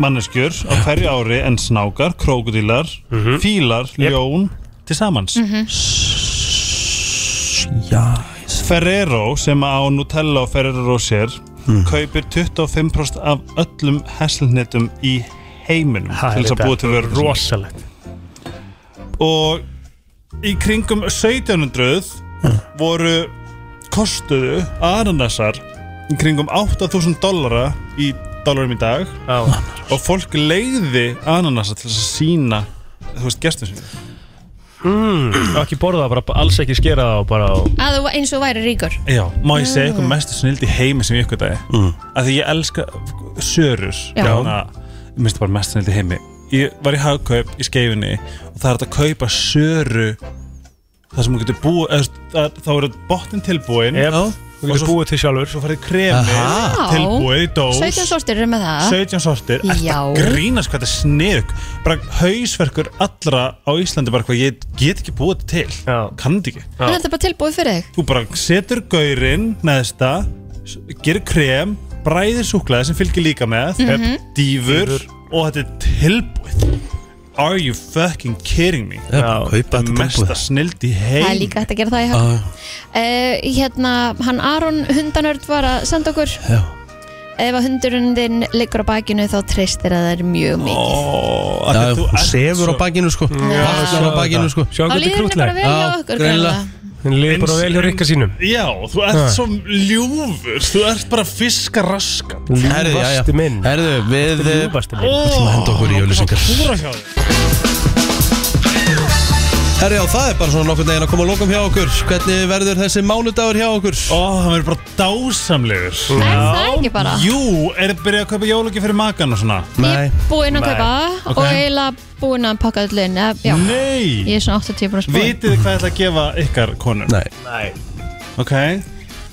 Speaker 5: manneskjur á hverju ári en snákar, krókudílar
Speaker 3: Mhm.
Speaker 5: fílar, ljón til samans Ferrero sem á Nutella og Ferrero Rocher
Speaker 3: Mhm.
Speaker 5: kaupir 25% af öllum hesselnetum í heiminum
Speaker 3: Ha,
Speaker 5: til þess að
Speaker 3: þetta
Speaker 5: búa til
Speaker 3: er
Speaker 5: verður
Speaker 3: Rosalegt
Speaker 5: og í kringum 1700 voru kostuðu ananasar í kringum 8000 dollara í dollarum í dag
Speaker 3: Já.
Speaker 5: og fólk leiði ananasa til þess að sína þú veist gestur sín
Speaker 3: Mm, Ekki borða það, bara alls ekki skera það og bara
Speaker 2: að þú eins og væri ríkur
Speaker 5: Já, má ég segja eitthvað mestu snild í heimi sem ég ykkur dagi mm. að því ég elska sörur
Speaker 2: Já.
Speaker 5: Þannig að- ég minnst bara mestu snild í heimi ég var í hagkaup í skeifinni og það er hægt að kaupa söru það sem hún getur búið eða, þú veist, það- þá eru botnin tilbúin
Speaker 3: Ef
Speaker 1: Já.
Speaker 3: þú getur búið til sjálfur
Speaker 5: svo farið kremi
Speaker 2: Aha.
Speaker 5: tilbúið í dós
Speaker 2: 17 sortir eru með það
Speaker 5: 17 sortir Ertu
Speaker 2: Já.
Speaker 5: að grínast hvað þetta er sniðug bara hausverkur allra á Íslandi bara hvað ég get ekki búið þetta til
Speaker 3: Já.
Speaker 5: kann þetta ekki
Speaker 2: hann er þetta bara tilbúið fyrir þig
Speaker 5: þú bara setur gaurinn neðsta s- gerir krem bræðir súklaði sem fylgir líka
Speaker 2: Mhm.
Speaker 5: með dýfur og þetta er tilbúið are you fucking kidding me
Speaker 1: Já, bara kaupa
Speaker 5: þetta
Speaker 1: þetta
Speaker 5: er mesta
Speaker 1: tilbúið
Speaker 5: snild í heim
Speaker 2: það er líka hægt að gera það í höfn
Speaker 1: Já,
Speaker 2: Uh, hérna, hann Aron hundanörd var að senda okkur
Speaker 1: Já.
Speaker 2: Ef að hundurinn þinn liggur á bakinu þá treystir að það er mjög mikið
Speaker 5: Ó, af því
Speaker 1: Já,
Speaker 5: að þú
Speaker 1: hún
Speaker 5: ert
Speaker 1: sefur á
Speaker 5: svo-
Speaker 1: bakinu sko Vaknar á bakinu sko
Speaker 3: Sjá
Speaker 2: Þá
Speaker 3: hvað þetta er
Speaker 2: líður henni bara
Speaker 3: krútlega
Speaker 2: vel hjá
Speaker 1: Já,
Speaker 2: okkur
Speaker 1: greinilega.
Speaker 2: greinilega.
Speaker 3: Hún liður bara vel hjá rikka sínum
Speaker 5: Já, þú ert svo ljúfur Þú ert bara fiskaraskan
Speaker 1: Herðu, já, já.
Speaker 3: Ljúfasti minn
Speaker 1: Herðu, við eh,
Speaker 3: Ljúfasti minn
Speaker 1: Við ætlum að henda okkur í auðlýsingar
Speaker 5: Húra hjá þér
Speaker 1: Herri já, það er bara svona nokkur neginn að koma að lokum hjá okkur Hvernig verður þessi mánudagur hjá okkur?
Speaker 5: Ó, það verður bara dásamlegur
Speaker 2: Er það ekki bara?
Speaker 5: Jú, er það byrjað að kaupa jólugjöf fyrir makan og svona?
Speaker 1: Nei,
Speaker 2: Búinn að kaupa og eiginlega búinn að pakka öll inn eða- Já,
Speaker 5: Nei
Speaker 2: ég er svona 80 brúst búinn
Speaker 5: Vitið þið hvað ég ætla að gefa ykkar konum?
Speaker 1: nei
Speaker 5: Ok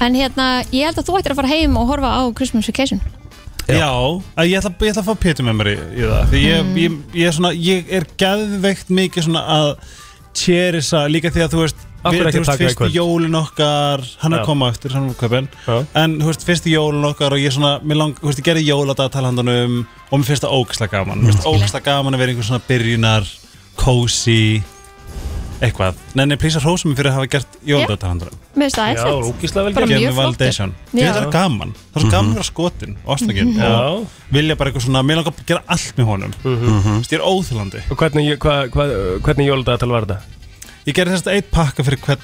Speaker 2: En hérna, ég held að þú ættir að fara heim og horfa á Christmas Vacation
Speaker 5: Já, að ég, ætla, ég ætla að fá Pétur með mér í, í það Því ég, ég, ég, er svona, ég er geðveikt mikið svona að tjerisa líka því að þú veist
Speaker 3: Af hverju
Speaker 5: við-
Speaker 3: ekki
Speaker 5: þú veist,
Speaker 3: taka í
Speaker 5: fyrstu
Speaker 3: kvöld?
Speaker 5: jólin okkar hann er
Speaker 3: Já.
Speaker 5: að koma eftir, hann er kaupin
Speaker 3: Já.
Speaker 5: en þú veist, fyrstu jólin okkar og ég svona, mér lang, þú veist, ég gerði jóladagatalhandanum um og mér finnst það ógæslega gaman mér finnst ógæslega gaman að vera einhver svona byrjunar cozy eitthvað, nenni, plísa hrósum mér fyrir að um. hafa gert jóladagatalhandanum
Speaker 2: Mér finnst það
Speaker 3: Já,
Speaker 2: eitthvað
Speaker 3: ógíslega vel
Speaker 2: Bara
Speaker 3: gert
Speaker 2: mjög
Speaker 5: Gemmi
Speaker 2: flottir.
Speaker 5: Validation Ég
Speaker 2: Já.
Speaker 5: veit það er gaman Það er svo gaman að vera skotin og ástakinn og
Speaker 3: Já
Speaker 5: vilja bara eitthvað svona, mér langar að gera allt með honum
Speaker 2: Mhm.
Speaker 5: Þú veist, ég er óþjólandi
Speaker 3: Og hvernig, hva, hva, hvernig jóladaðatal var þetta?
Speaker 5: Ég gerði þess að eitt pakka fyrir hvern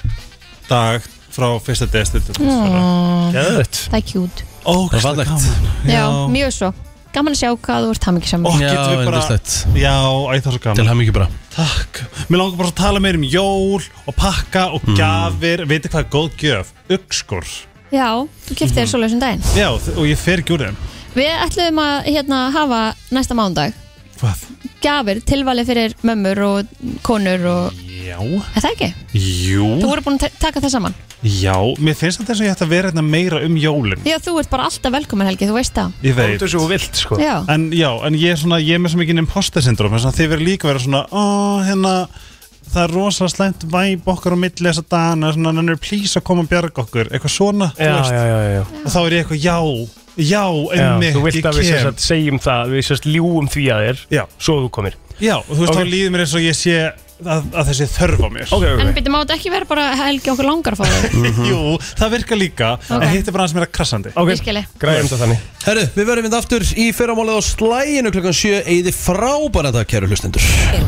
Speaker 5: dag frá fyrsta destitur mm.
Speaker 3: Gæðvett
Speaker 2: Það er cute
Speaker 1: Það
Speaker 5: Ógæslega
Speaker 1: er fallegt.
Speaker 5: gaman
Speaker 2: Já, mjög svo Gaman að sjá hvað þú ert hammingi
Speaker 5: Ó,
Speaker 2: saman
Speaker 5: getum
Speaker 1: Já,
Speaker 5: við bara
Speaker 1: yndislegt.
Speaker 5: Já, æ, það er svo
Speaker 1: Til
Speaker 5: gaman
Speaker 1: hann ekki bara
Speaker 5: Takk Mér langar bara að tala meir um jól og pakka og
Speaker 1: Mhm.
Speaker 5: gjafir mm. Veitir hvað er góð gjöf? Uggskor
Speaker 2: Já, þú kiptir þér svoleiðis um daginn
Speaker 5: Já, þ- og ég fer ekki úr þeim
Speaker 2: Við ætlum að hérna, hafa næsta mándag
Speaker 5: Hvað?
Speaker 2: gjafir tilvalið fyrir mömmur og konur og
Speaker 5: Já
Speaker 2: er það ekki?
Speaker 5: Jú
Speaker 2: Þú voru búin að ta- taka það saman
Speaker 5: Já, mér finnst þetta eins og ég ætti að vera hérna meira um jólin
Speaker 2: Já, þú ert bara alltaf velkomin Helgi, þú veist það
Speaker 5: Ég veit
Speaker 3: Þetta er svo vilt sko
Speaker 2: Já,
Speaker 5: En já, en ég er svona, ég er með svo mikið imposter syndrom þess að þið verður líka verið svona Ó, hérna, það er rosa slæmt væp okkar á milli þess að dana svona, en er please að koma og bjarga okkur eitthvað svona, þú
Speaker 3: Já, já, já, já,
Speaker 5: og þá er ég eitthvað já, já,
Speaker 3: já.
Speaker 5: einmitt,
Speaker 3: Þú vilt að
Speaker 5: ég
Speaker 3: við sem
Speaker 5: kem
Speaker 3: sagt segjum það Við sem sagt ljúum því að þér
Speaker 5: Já.
Speaker 3: Svo þú komir
Speaker 5: Já, og þú veist,
Speaker 3: Ok.
Speaker 5: þá líður mér eins og ég sé að, að þessi þörf á mér okay,
Speaker 2: En byrjum á þetta ekki vera bara helgi okkur langar að fá þau
Speaker 5: Jú, það virkar líka
Speaker 2: Ok.
Speaker 5: En hitt er bara aðeins meira krassandi
Speaker 2: Ég skil þig.
Speaker 3: Græðum þetta þannig
Speaker 1: Herru, hérna við verðum við aftur í fyrramálið á slæginu klukkan 7 Eði frábæra dag, kæru hlustendur